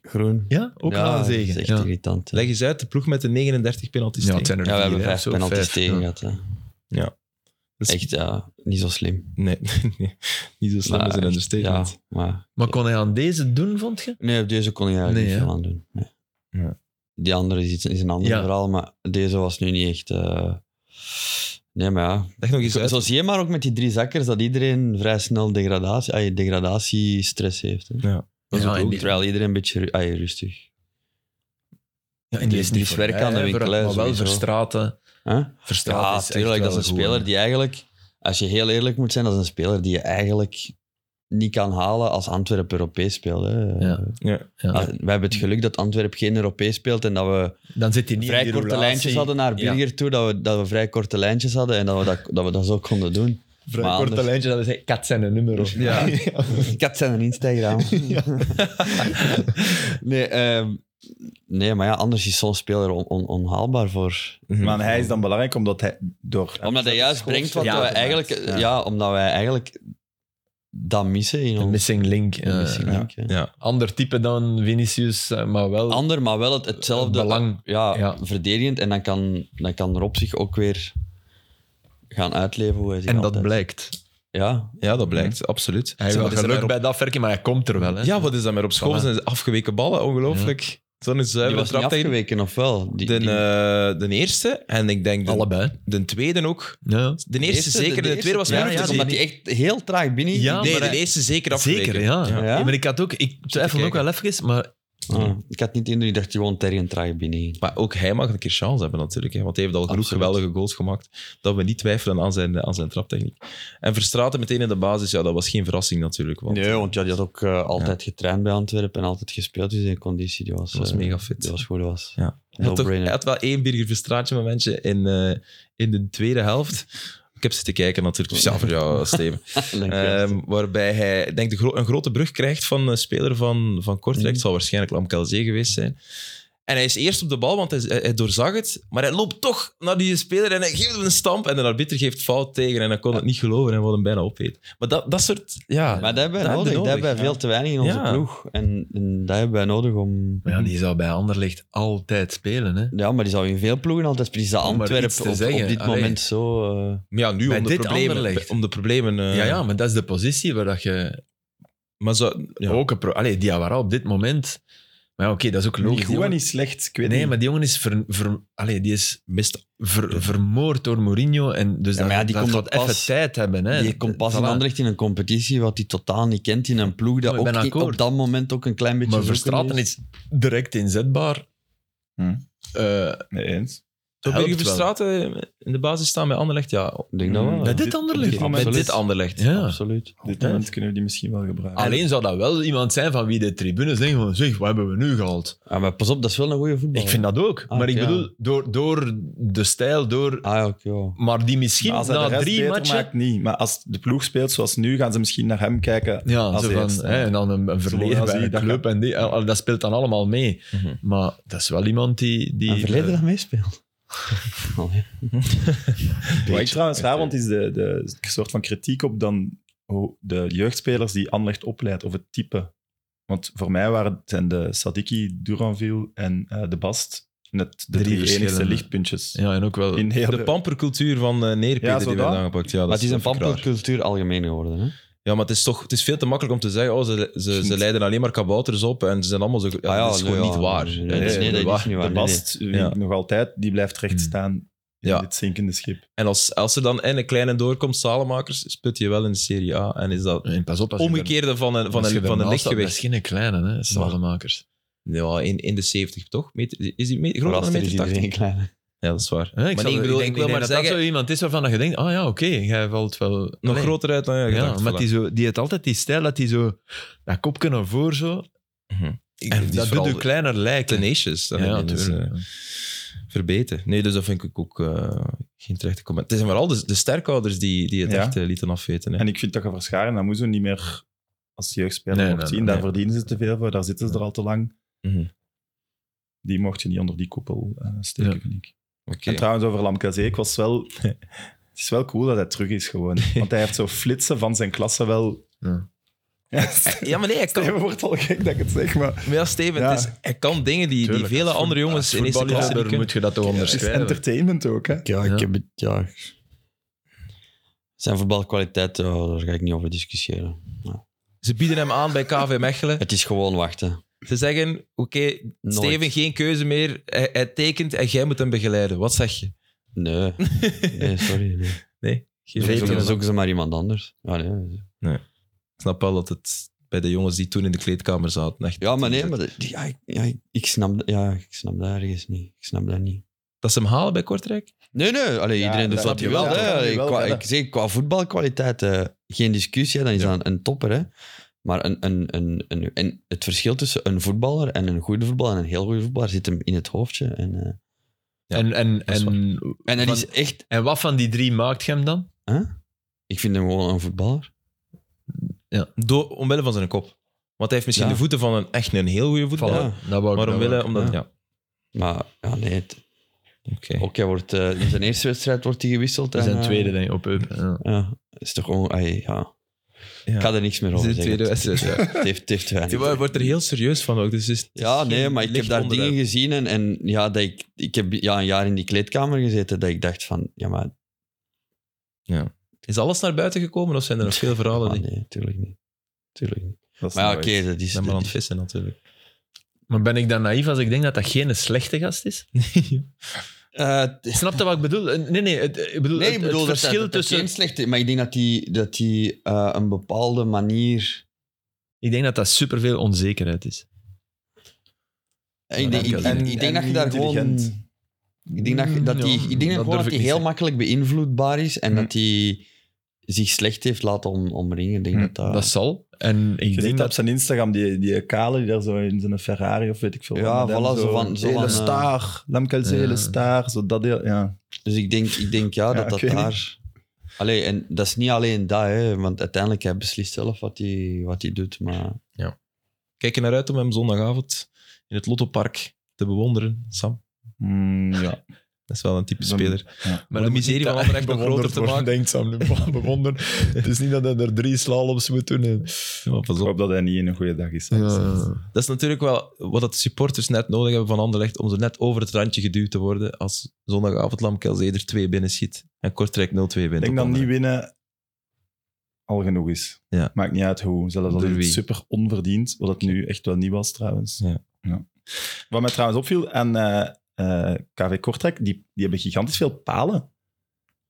Groen.
Ja, ook
Ja,
na een
dat is
zegen.
echt
Ja.
irritant. hè.
Leg eens uit, de ploeg met de 39 penalties.
Ja, het
tegen.
zijn er
Ja, we
vier,
hebben
hè,
vijf
of zo,
penalties
vijf,
tegen
ja.
gehad. hè.
Dat is-
Echt, ja, niet zo Dus- slim.
Nee, [laughs] nee, niet zo slim
Maar
als een
echt,
understatement.
Ja, maar...
Maar kon hij aan deze doen, vond je?
Nee, op deze kon je eigenlijk
Nee,
niet
hè?
veel aan doen. Nee.
Ja.
Die andere is, iets, is een ander
Ja.
verhaal, maar deze was nu niet echt... eh, Nee, maar ja.
Leg nog eens
Zo,
uit.
zo zie je maar ook met die drie zakkers dat iedereen vrij snel degradatie, ay, degradatiestress heeft. Hè.
Dat is
Zo
ook
ook,
niet-
terwijl iedereen een beetje ru- ay, rustig.
Ja,
die is niet
voorbij,
werk aan de
hè,
winkel, hè,
Maar wel
sowieso.
verstraten.
Huh?
Verstraten
Ja,
is echt
tuurlijk. Dat
wel
is een
goed,
speler
hè.
die eigenlijk, als je heel eerlijk moet zijn, dat is een speler die je eigenlijk niet kan halen als Antwerp Europees speelt. Hè.
Ja.
Ja.
Ja.
Als- wij hebben het geluk dat Antwerp geen Europees speelt en dat we
Dan zit hij niet in
vrij
die
korte
roulatie.
lijntjes hadden naar
Ja.
Birger toe, dat we, dat we vrij korte lijntjes hadden en dat we dat, dat, we dat zo konden doen.
Vrij
Maar
korte
anders-
lijntjes hadden ze kat zijn een nummer. [laughs] Of.
Ja.
Ik had
[laughs]
zijn Instagram. [laughs] nee, ehm, nee, maar ja, anders is zo'n speler on- on- onhaalbaar voor...
Maar hij is dan belangrijk omdat hij door...
Omdat hij juist brengt wat
Ja,
wij
dat
eigenlijk... eh, Ja. omdat wij eigenlijk dat missen in
Een
ons...
missing link.
een
eh,
missing link, hè.
Ja.
Ander type dan Vinicius, eh, maar wel
Ander, maar wel het, hetzelfde.
belang.
Ja,
Ja.
verdedigend. En dan kan, dan kan Rob zich ook weer gaan uitleven hoe hij zich
En dat
altijd-
blijkt.
Ja.
ja, dat blijkt, absoluut.
Hij
Zeg,
heeft
wat is
wel
dat
geluk
met
bij dat verkeer, maar hij komt er wel. Hè.
Rob- Ja, wat is dat met op school?
Voilà.
Zijn afgeweken ballen, ongelooflijk. Zo'n
Die
zuivere
was niet
trap tegen
afgeweken, of wel? Die,
de,
die-
eh, de eerste en ik denk de,
Allebei.
de tweede ook.
Ja.
De eerste, zeker, de,
eerste-
tweede was dus
ja,
mij
ja,
nog te
omdat die echt heel traag binnen.
Ja,
Nee,
maar
de
hij-
eerste zeker afgeweken.
Zeker, ja.
Ja.
Ja.
Maar ik had ook, ik twijfel ook
kijken.
wel even, maar
Ah, ik had niet de indruk dat hij gewoon tergen traag binnen.
Maar ook hij mag een keer chance hebben natuurlijk. Hè, want hij heeft al genoeg
Absoluut.
geweldige goals gemaakt. Dat we niet twijfelen aan zijn, aan zijn traptechniek. En Verstraten meteen in de basis, ja, dat was geen verrassing natuurlijk. Want
Nee, want ja, die had ook eh, altijd getraind bij Antwerpen en altijd gespeeld. Dus in conditie, die was,
dat was
eh,
mega fit.
Die was goed, die was.
Ja. Hij had, toch,
No-brainer.
hij had wel één Birger Verstraatje momentje in, eh, in de tweede helft. Ik heb zitten kijken natuurlijk. Speciaal voor jou, Steven.
Ehm,
Ehm, waarbij hij ik denk de gro- een grote brug krijgt van een speler van, van
Mhm.
Kortrijk. Het zal waarschijnlijk Lamkelzee geweest zijn. En hij is eerst op de bal, want hij, hij doorzag het. Maar hij loopt toch naar die speler en hij geeft hem een stamp. En de arbiter geeft fout tegen. En hij kon het niet geloven en wil hem bijna opeten. Maar dat, dat soort... Ja,
maar dat hebben wij
dat heb je
nodig. Dat
nodig,
hebben wij
ja.
veel te weinig in onze
Ja.
ploeg. En, en dat hebben wij nodig om...
Maar ja, die zou bij Anderlecht altijd spelen. Hè.
Ja, maar die zou in veel ploegen altijd spelen. Die is dat
Om maar
Antwerpen
iets
op,
te zeggen,
op dit
allee.
moment zo... eh,
Maar ja, nu
Bij
om de,
dit
problemen,
Anderlecht.
om de problemen... eh,
Ja, ja, maar dat is de positie waar dat je
Maar zou, ja.
ook een... Pro- Allee, Diawara op dit moment... Maar ja, oké, dat is ook logisch.
Niet
Die
goed en
jongen-
niet slecht, ik weet
Nee,
niet.
maar die jongen is, ver, ver- allee, die is
mist
ver- vermoord door Mourinho. En dus
Ja,
dat,
maar ja, die
dat
komt
gaat
pas-
even tijd hebben. Hè.
die komt pas
Voilà.
in Anderlecht in een competitie wat hij totaal niet kent. In een ploeg dat
Maar ik ben
ook i-
akkoord.
op dat moment ook een klein beetje...
Maar
zoeken
Verstraten
is.
is direct inzetbaar.
Hm.
Eh,
Nee, eens.
Zou
Helpt
Birger
wel.
Verstraten eh, in de basis staan bij Anderlecht? Ja,
Ik denk dat wel.
bij
Dat-
Mm. dit Anderlecht.
dit moment-
met
Absoluut.
dit Anderlecht.
Ja.
Absoluut.
Op dit moment kunnen we die misschien wel gebruiken.
Alleen zou dat wel iemand zijn van wie de tribunes denken van zeg, wat hebben we nu gehaald?
Ja, Ah, maar pas op, dat is wel een goede voetbal.
Ik vind dat ook.
Ah,
maar ik
ja.
bedoel, door, door de stijl, door...
Ah, ja, oké. ja.
Maar die misschien
Maar als hij de
na
rest
drie
beter
matchen...
maakt, niet. Maar als de ploeg speelt zoals nu, gaan ze misschien naar hem kijken.
Ja,
als
zo
eerste.
van, hè, en dan een, een verleden
Zoals
bij
hij
een
dat
club. En die, al- al- dat speelt dan allemaal mee.
Mhm.
Maar dat is wel iemand die... die
Een
eh,
verleden dat meespeelt. Allee.
Wat ik trouwens raar vond, is de, de soort van kritiek op dan hoe de jeugdspelers die Anderlecht opleidt, of het type. Want voor mij waren het en de Sadiki, Duranville en eh, de Bast net de
Drie
drie, enigste
verschillende.
lichtpuntjes.
ja, en ook wel...
In heel
De pampercultuur van eh Neerpeder
Ja, zo
die werd
dat.
aangepakt. Ja, dat
Maar het is een
vind ik raar.
pampelcultuur algemeen geworden. Hè?
Ja, maar het is toch het is veel te makkelijk om te zeggen, oh, ze, ze, ze leiden alleen maar kabouters op en ze zijn allemaal zo... Ja,
Ah ja,
dat is
nee,
gewoon
ja.
niet waar.
Nee,
Dat is
nee,
niet
dat is
waar.
niet waar.
de
nee,
Bast, wie
Ja.
ik nog altijd, die blijft
Mm.
recht staan in
Ja.
dit zinkende schip.
En als, als er dan in een kleine doorkomt, Salemakers, sput je wel in de Serie A. En is dat
eh, en pas op, als je daar-
omgekeerde van een, van
als je
een, van een
daarnaast staat, Dat is
lichtgewicht.
geen kleine, hè, salamakers.
Ja, in, in de 70 toch? Meter, is die meter, groter dan
Raster
een
is
meter
iedereen
80?
klein.
Ja, dat is waar.
Hè,
maar
zou-
nee, ik bedoel,
denk-
ik wil
denk
maar
dat
zeggen,
dat zo iemand is waarvan je denkt, ah ja, oké, jij valt wel...
nog
Allee.
groter uit dan jij
Ja,
gedacht.
maar
voilà.
die, zo, die heeft altijd die stijl dat hij zo dat kopje naar voren zo.
Mhm.
Ik-
En die is
dat doet
vooral
je kleiner lijken.
tenacious. Dan
Ja,
in- in- dus,
natuurlijk.
eh, verbeten. Nee, dus dat vind ik ook eh, geen terechte comment. Het zijn vooral de, de sterkouders die, die het
Ja.
echt eh, lieten afweten. Hè.
En ik vind dat je verscharen, dat moeten ze niet meer als jeugdspeler
Nee,
mocht
nee,
zien.
nee,
Daar
nee.
verdienen ze te veel voor, daar zitten ze er al te lang.
Mhm.
Die mocht je niet onder die koepel eh, steken,
Ja.
vind ik.
Oké.
En trouwens, over Lamkazé, ik was wel... [laughs] Het is wel cool dat hij terug is gewoon.
[laughs]
Want hij heeft zo flitsen van zijn klasse wel...
Ja.
Ja, [laughs]
Ja, maar nee, hij kan,
Steven wordt al gek dat ik het zeg, maar...
maar ja, Steven,
Ja.
het is, hij kan dingen die, die
Tuurlijk,
vele
als voet-
andere jongens
als
in eerste klasse niet
voetballiefhebber
kunnen.
moet je dat toch
Het is
onderschrijven.
entertainment ook, hè.
Ja,
Ja.
ik heb het... Ja. Zijn voetbalkwaliteit, ja, daar ga ik niet over discussiëren.
Ze bieden hem aan bij KV Mechelen.
Het is gewoon wachten.
Ze zeggen, oké,
Nooit.
Steven, geen keuze meer. Hij, hij tekent en jij moet hem begeleiden. Wat zeg je?
Nee. Nee, sorry. Nee.
Geen
Weet
idee.
je
Zoeken-
wel.
Zoeken ze maar iemand anders. Ja, nee.
Ik snap wel dat het bij de jongens die toen in de kleedkamer zaten... Echt
ja maar nee, maar dat- ja, ik, ja, ik- ik snap, dat- ja, ik snap dat ergens niet. Ik snap dat niet.
Dat ze hem halen bij Kortrijk?
Nee, nee, allee,
Ja,
iedereen doet
dat
wat hij
snap
wil.
je wel, dat
hè.
kan
Allee,
je wel
qua,
verder.
ik zeg, qua voetbalkwaliteit, eh, geen discussie, hè, dan is dat een topper. Hè. Maar een, een, een, een, en het verschil tussen een voetballer en een goede voetballer en een heel goede voetballer zit hem in het hoofdje. En, eh,
Ja,
en, en,
dat is
en,
en dat
Van-
is echt...
en wat van die drie maakt je hem dan?
Ik vind hem gewoon een voetballer.
Door, omwille van zijn kop. Want hij heeft misschien
Ja.
de voeten van een, echt een heel goede voetballer.
Ja.
Dat wou ik
Maar
nou
omwille...
ook.
Omdat, ja.
Maar ja, nee, het-
Oké.
ook hij wordt, eh, in zijn eerste wedstrijd wordt hij gewisseld.
Dat is
en,
een
eh,
tweede, denk ik, op Eupen. Ja.
Ja, is toch gewoon... ai, ja.
Ja.
Ik ga er niks meer
Het
over
is de
zeggen.
tweede wedstrijd, ja.
Het heeft, het heeft weinig.
Hij wordt er heel serieus van ook. Dus het is, het is
Ja, nee,
geen
maar ik heb
licht
daar
onderwerp.
dingen gezien en, en ja, dat ik, ik heb ja, een jaar in die kleedkamer gezeten dat ik dacht van, ja, maar...
Is alles naar buiten gekomen of zijn er nog veel verhalen?
ah,
die...
nee, tuurlijk niet. Tuurlijk niet.
Dat is
Maar ja,
mooi.
oké, dat is...
Ik ben maar aan
dat
het vissen natuurlijk.
Maar ben ik dan naïef als ik denk dat dat geen slechte gast is? [laughs] Eh, Snap je wat ik bedoel? Eh, Nee, nee, het, ik bedoel,
nee,
het,
ik
het
bedoel, dat
verschil
dat, dat
tussen...
geen slechte... Maar ik denk dat die, dat die eh, een bepaalde manier...
Ik denk dat dat superveel onzekerheid is.
Ik denk, ik,
En-
ik
en
denk dat je daar gewoon...
intelligent.
Ik denk dat, je- dat die,
Ja,
ik denk
dat
dat gewoon
durf
dat
ik
die
niet
heel
te-
makkelijk beïnvloedbaar is en
Hm.
dat die zich slecht heeft laten om, omringen. Ik denk
Hm.
dat dat...
Dat zal. En ik
Je
denk
ziet op
dat...
zijn Instagram die, die kale die daar zo in zijn Ferrari of weet ik veel wat,
Ja,
met hem
voilà, zo van- zo
Hele
van, eh,
star, Lemkelze, hele
Ja.
star, zo dat deel. Ja.
Dus ik denk, ik denk ja, dat
ik
dat
weet niet.
daar... Allee, en dat is niet alleen dat, hè, want uiteindelijk hij beslist zelf wat hij, wat hij doet.
Ah,
Maar
Kijk er naar uit om hem zondagavond in het Lottopark te bewonderen, Sam.
Mm, ja.
Dat is wel een type
Dan-
speler.
Maar
de miserie
dat moet niet
van
dat
Anderlecht nog
[laughs]
groter
bewonderd
te
worden,
maken.
Denkt Sam nu, bewonderen. Het is niet dat hij er drie slaloms moet doen. en-
Ja, maar pas
Ik
op.
hoop dat hij niet in een goede dag is.
Ja.
Dat is natuurlijk wel wat dat de supporters net nodig hebben van Anderlecht, om ze net over het randje geduwd te worden als zondagavond Lamkelzee er 2 binnen schiet en Kortrijk 0-2 wint.
Ik denk
op
dat niet
Anderlecht.
winnen al genoeg is.
Ja.
Maakt niet uit hoe. Zelfs al
Door
is het
wie.
super onverdiend, wat het nu echt wel niet was trouwens.
Ja.
Wat mij trouwens opviel aan eh, eh, KV Kortrijk, die, die hebben gigantisch veel palen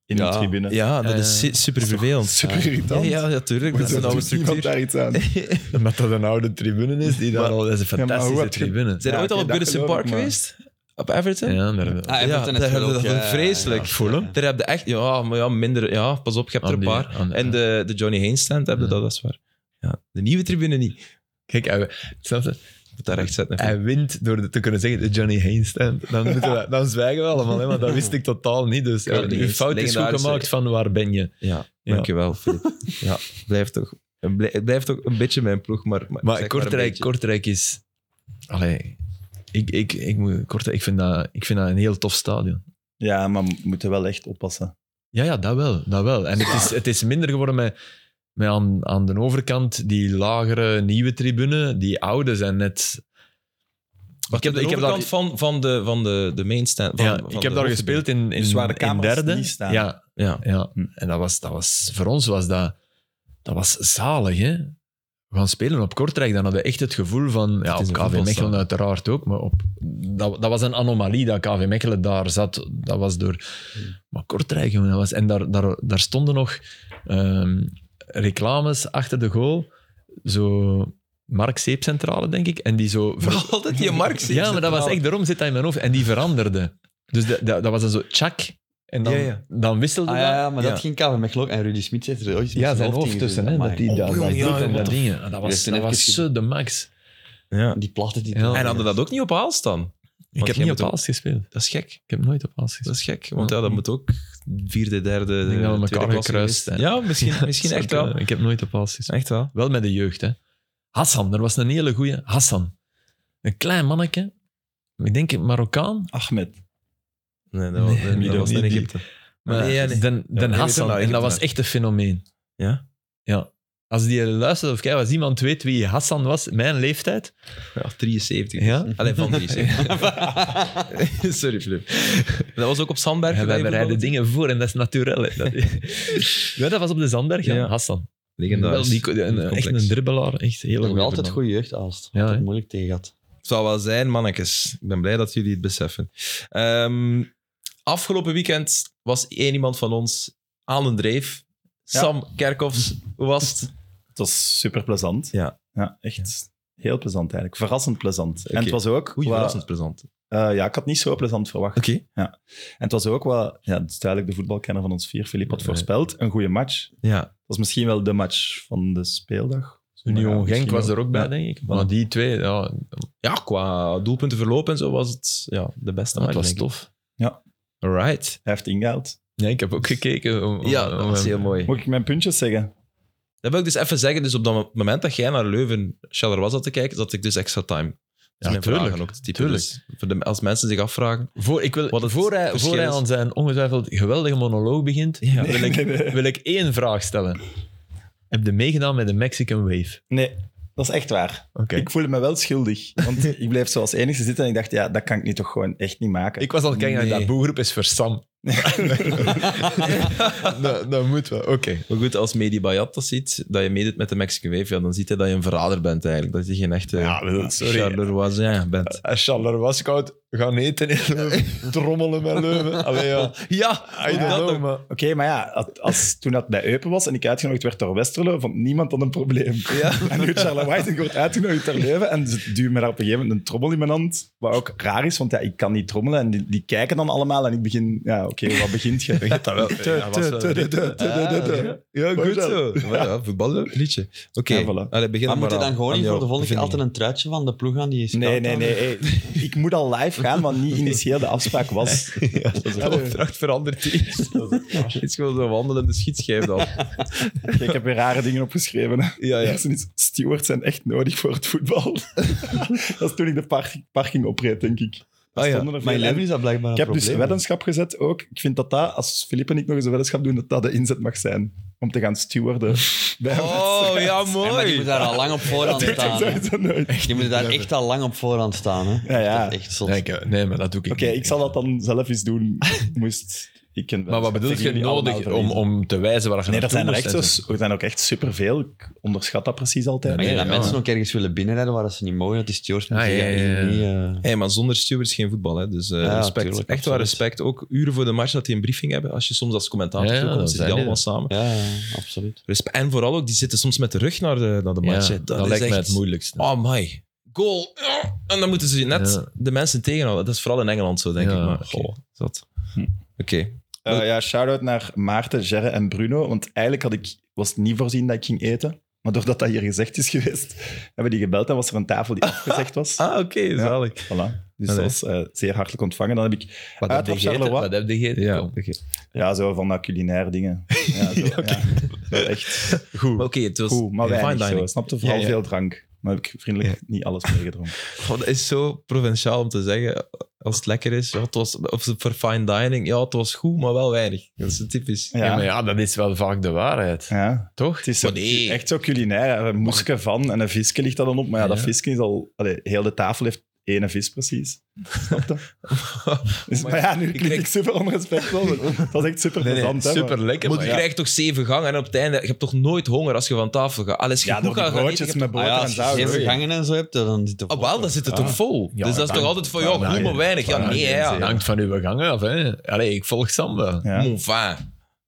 in
Ja.
de tribune.
Ja, dat
Eh,
is super vervelend.
Super irritant.
Ja, ja, natuurlijk.
Maar
Dat is nou een
doet
oude
niemand
structuur.
daar iets
[laughs]
aan.
Omdat dat een oude tribune is. Die daar
Maar-
al, dat is een
maar hoe
fantastische
heb je-
tribune.
Zijn
Ja,
we ooit al
oké,
op
dat
Goodison
geloof ik,
Park
maar-
geweest? Op Everton?
Ja, daar,
Ah, Everton
daar
heeft wel
hebben we
ook,
dat
ja,
vreselijk.
ja.
Fulham?
Daar heb je echt... eh, Ja, maar ja, minder... Ja, pas op, je hebt er een paar. En de, de Johnny Haynes stand heb je
Ja.
dat, dat is waar. Ja, de nieuwe tribune niet.
Kijk, hij, snap je?
Ik moet daar recht zetten.
hij wint door te kunnen zeggen de Johnny Haynes stand. Dan, moeten we, dan zwijgen we allemaal, hè, want dat wist ik totaal niet. Dus ja,
Johnny
uw
Haynes,
fout is goed
legendarische-
gemaakt van waar ben je.
Ja,
Ja.
dankjewel, Filip. Ja, blijft toch... Het blij- het blijft toch een beetje mijn ploeg, maar... Maar, zeg
Maar
een
Kortrijk,
beetje.
Kortrijk is... Allee, ik, ik, ik, moet- Kortrijk, ik, vind dat, ik vind dat een heel tof stadion.
Ja, maar we moeten wel echt oppassen.
Ja, ja, dat wel. Dat wel. En het is, het is minder geworden met, met aan, aan de overkant die lagere nieuwe tribune. Die oude zijn net...
Ik heb, ik heb daar van, van, de, van de, de main stand. Van,
ja,
van
ik
de
heb daar
hoofdtribune.
gespeeld in, in,
Dus waar de
in
camera's
derde.
niet staan.
Ja, [laughs]
Ja.
ja.
Hm.
en dat was, dat was, voor ons was dat, dat was zalig. Hè? We gaan spelen op Kortrijk, dan hadden we echt het gevoel van... Ja,
Het
op
is een
KV Mechelen
voetbalstadion.
uiteraard ook, maar op, dat, dat was een anomalie dat KV Mechelen daar zat. Dat was door...
Hm.
Maar Kortrijk, jongen, dat was... En daar, daar, daar stonden nog ehm, reclames achter de goal. Zo... Mark Zeepcentrale, denk ik. En die zo... ver-
Maar altijd die Mark
ja, maar dat was echt, daarom zit dat in mijn hoofd. En die veranderde. Dus dat, dat, dat was een zo tjak. En dan,
Ja, ja.
dan wisselde
Ah,
dat.
ja, ja, maar
Ja.
dat ging KV Mechelen ook. En Rudy Smit heeft er ooit met
Ja, zijn hoofd
in
tussen.
gezeten.
Hè, dat
Amai.
die dat,
Oh, jongen,
dat
ja,
doet en
wat
dat
de-
dingen. Ah, Dat was,
heeft een
dat
even
was zo de max.
Ja.
Die platte die
Ja.
En hadden dat
[laughs]
ook niet op Haals dan?
Ik
jij
heb niet
moet
op
ook-
Aals gespeeld.
Dat is gek.
Ik heb nooit op
Dat
Aals gespeeld.
is gek. Want ja, dat
[laughs]
moet ook vierde, derde,
denk dat we
tweede
elkaar
klasse geweest.
gekruist zijn.
Ja, misschien,
[laughs]
misschien
Zou
echt
kunnen.
wel.
Ik heb nooit op Aals gespeeld.
Echt wel.
Wel met de jeugd, hè. Hassan, er was een hele goeie. Hassan. Een klein manneke. Ik denk een Marokkaan.
Ahmed.
Nee, dat was,
Nee,
dat
niet
was
die-
in Egypte.
Maar
Nee, ja, nee.
Den, Den
nee, weet
Hassan.
je wel,
en dat
Egypte,
was
maar-
echt een fenomeen.
Ja?
Ja. Als die luistert of kijkt, als iemand weet wie Hassan was, mijn leeftijd.
Ja, 73.
Ja.
Alleen van
[laughs]
73. Sorry, Flip. Dat was ook op Sandberg.
Ja,
dat
wij
je
bereiden
voetbalde?
dingen voor en dat is naturel. hè. Dat, [laughs] ja, dat was op de Zandberg, ja.
Ja.
Hassan. Wel,
Legendarisch.
die, een- een, echt
Complex.
een dribbelaar. Echt een hele
Nog
goeie
altijd
voetballer.
goede jeugd, Aalst.
Ja,
Ja,
hè.
moeilijk tegen gehad.
Het zal wel zijn, mannetjes. Ik ben blij dat jullie het beseffen. Ehm, afgelopen weekend was één iemand van ons aan een dreef. Sam Kerkhoffs, hoe was het?
Het was super plezant.
Ja.
ja echt heel plezant eigenlijk. Verrassend plezant.
Oké.
En het was ook...
Oei,
wat-
verrassend plezant.
eh, ja, ik had niet zo plezant verwacht.
Oké.
En het was ook wat... Ja, het is duidelijk de voetbalkenner van ons vier, Filip, had
Nee.
voorspeld. Een goede match. Dat
Ja.
was misschien wel de match van de speeldag.
Union
Ja,
Genk
misschien
was
wel.
er ook bij,
Ja.
denk ik. Maar die twee, ja,
ja, qua doelpunten verlopen en zo was het ja, de beste
dat
match.
was
denk ik.
tof.
Alright.
Hij heeft ingehaald.
Ja, ik heb ook gekeken. om- om-
Ja, dat
om
was
hem-
heel mooi.
Moet ik mijn puntjes zeggen?
Dat wil ik dus even zeggen. Dus op dat moment dat jij naar Leuven, Shader was dat te kijken, zat ik dus extra time.
Ja,
Dat zijn
tuurlijk.
mijn vragen ook te typen.
Tuurlijk.
Dus voor de, als mensen zich afvragen...
Voor, ik wil,
Wat het
voor, hij,
verschil
voor hij
is.
aan zijn ongetwijfeld geweldige monoloog begint,
Ja.
wil, [laughs] ik, wil ik één vraag stellen. Heb je meegedaan met de Mexican Wave?
Nee, dat is echt waar.
Oké.
Ik voelde me wel schuldig.
[laughs]
Want ik bleef zoals enigste zitten en ik dacht, ja, dat kan ik nu toch gewoon echt niet maken.
Ik was al kijken naar
Nee. [laughs]
dat boegroep is voor Sam. [laughs] dat, dat moet wel. Oké.
Maar goed, als Medi Bayat dat ziet, dat je meedoet met de Mexican Wave, ja, dan ziet hij dat je een verrader bent eigenlijk. Dat je geen echte
Ja, maar dat- sorry.
charleroi bent.
Als Charles Waskoud gaan eten in Leuven, trommelen met Leuven. Allee, ja.
Ja,
I don't
dat
know,
ook.
maar-
Oké, maar ja, als, als- toen dat bij Eupen was en ik uitgenodigd werd door Westerlo, vond niemand dat een probleem. [laughs] En nu Charlotte White, ik word uitgenodigd door Leuven en ze duwen me daar op een gegeven moment een trommel in mijn hand, wat ook raar is, want ja, ik kan niet trommelen en die, die kijken dan allemaal en ik begin, ja oké, wat begint je?
Je hebt dat eh, wel. [laughs]
[laughs]
Ja, was wel- Ja, goed zo.
Ja, ja voetballen, liedje. Oké,
Ja, voilà.
Allee, begin
Maar
maar
moet je
aan-
dan gewoon
aan
niet voor
jouw
de volgende keer
bevindingen.
altijd een truitje van de ploeg aan die
[laughs]
je
Nee,
scout
nee,
aan?
nee. hey. Ik moet al live gaan, want niet initieel de afspraak
[laughs]
was.
De [laughs] opdracht verandert iets. Het is gewoon zo'n wandelende schietschijf dan.
Ik heb weer rare dingen opgeschreven. hè.
Ja, ja.
Eerst iets, stewards zijn echt nodig voor het voetbal. [laughs] dat is toen ik de park- parking opreed, denk ik.
Ah, ja.
Stonden er
Maar in
veel-
Leuven is dat blijkbaar een
Ik heb dus
probleem.
een weddenschap gezet ook. Ik vind dat dat, als Filip en ik nog eens een weddenschap doen, dat dat de inzet mag zijn. Om te gaan
[laughs]
stewarden bij een
Oh,
wedstrijd.
ja,
Ja, maar die moet
mooi.
daar al lang op
[laughs]
voorhand
Dat
staan. hè.
doen ze nooit.
Die moet daar echt al lang op voorhand staan. Hè.
Ja, ja.
Dat is Echt zot.
Nee, ik- eh, nee, maar dat doe ik
Oké,
niet.
ik zal dat dan zelf eens
[laughs]
doen. Moest ik een
Maar wat bedoel
weddenschap
je
tegen jullie
nodig
allemaal
om,
verliezen.
om te wijzen waar je
Nee, er
naartoe
zijn er,
moest
echt
en
zo, er zijn ook echt superveel. Ik onderschat dat precies altijd.
Maar
Nee,
je dat
ja.
mensen ook ergens willen binnenrijden waar dat ze niet mogen, dat is Stewards.
Ah, ja, ja, ja.
eh,
Hé, maar zonder stewards geen voetbal, hè. Dus eh,
Ja,
respect.
tuurlijk,
Echt waar
absoluut.
respect. Ook uren voor de match dat die een briefing hebben. Als je soms als commentator
Ja,
ja,
dat
komt, zitten
zijn
die allemaal
die.
samen.
Ja, ja, absoluut.
Respe- En vooral ook, die zitten soms met de rug naar de, naar de
Ja,
match. hè.
dat,
dat is
lijkt
echt...
mij het moeilijkste.
Oh my. Goal. En dan moeten ze net
Ja.
de mensen tegenhouden. Dat is vooral in Engeland zo, denk
Ja,
ik. Maar,
oké.
goh, zat.
Hm.
Oké.
Eh, ja, shout-out naar Maarten, Gerre en Bruno. Want eigenlijk had ik, was het niet voorzien dat ik ging eten. Maar doordat dat hier gezegd is geweest, [laughs] hebben die gebeld en was er een
[laughs]
tafel die afgezegd was.
Ah, oké, zalig.
Voilà. Dus
Allee.
dat was eh, zeer hartelijk ontvangen. Dan heb ik
Wat heb
Uit
je
op
gegeten?
Charleroi.
Wat heb je gegeten?
Ja,
Tom?
oké.
ja, zo van dat culinaire dingen. Ja, zo, ja. Echt
Maar oké, het was
goed, maar
fine
weinig
dining.
zo. Snapte vooral
Ja, ja.
veel drank. Maar heb ik vriendelijk niet alles meegedronken.
Want dat is zo provinciaal om te zeggen, als het lekker is, ja, het was, of voor fine dining, ja, het was goed, maar wel weinig. Dat is zo typisch.
Ja, maar
ja.
ja, dat is wel vaak de waarheid.
ja.
Toch?
Het is zo-
Maar nee.
echt zo culinair. Een moeske van en een visje ligt dat dan op. Maar ja, dat
Ja.
visje is al... Allee, heel de tafel heeft één vis precies. Snap je? Dus, maar ja, nu klink
krijg-
ik super onrespectvol. Dat was echt super plezant. hè, maar-
super lekker.
Maar je
ja.
krijgt toch zeven gangen en op het einde, je hebt toch nooit honger als je van tafel gaat. Alles
Ja, door die broodjes met
Ah,
boter
ja,
en
als je
saus.
zeven gangen en zo hebt, dan zit
Oh,
het
Ah, wel, dan zit het toch vol.
Ja,
dus dat is
dan-
toch altijd van,
dan-
ja, goed,
dan-
maar weinig. Ja,
dan-
nee, hè, ja.
Het hangt van uw gangen af. Hè. Allee, ik volg Sam wel.
Ja.
Mon fin.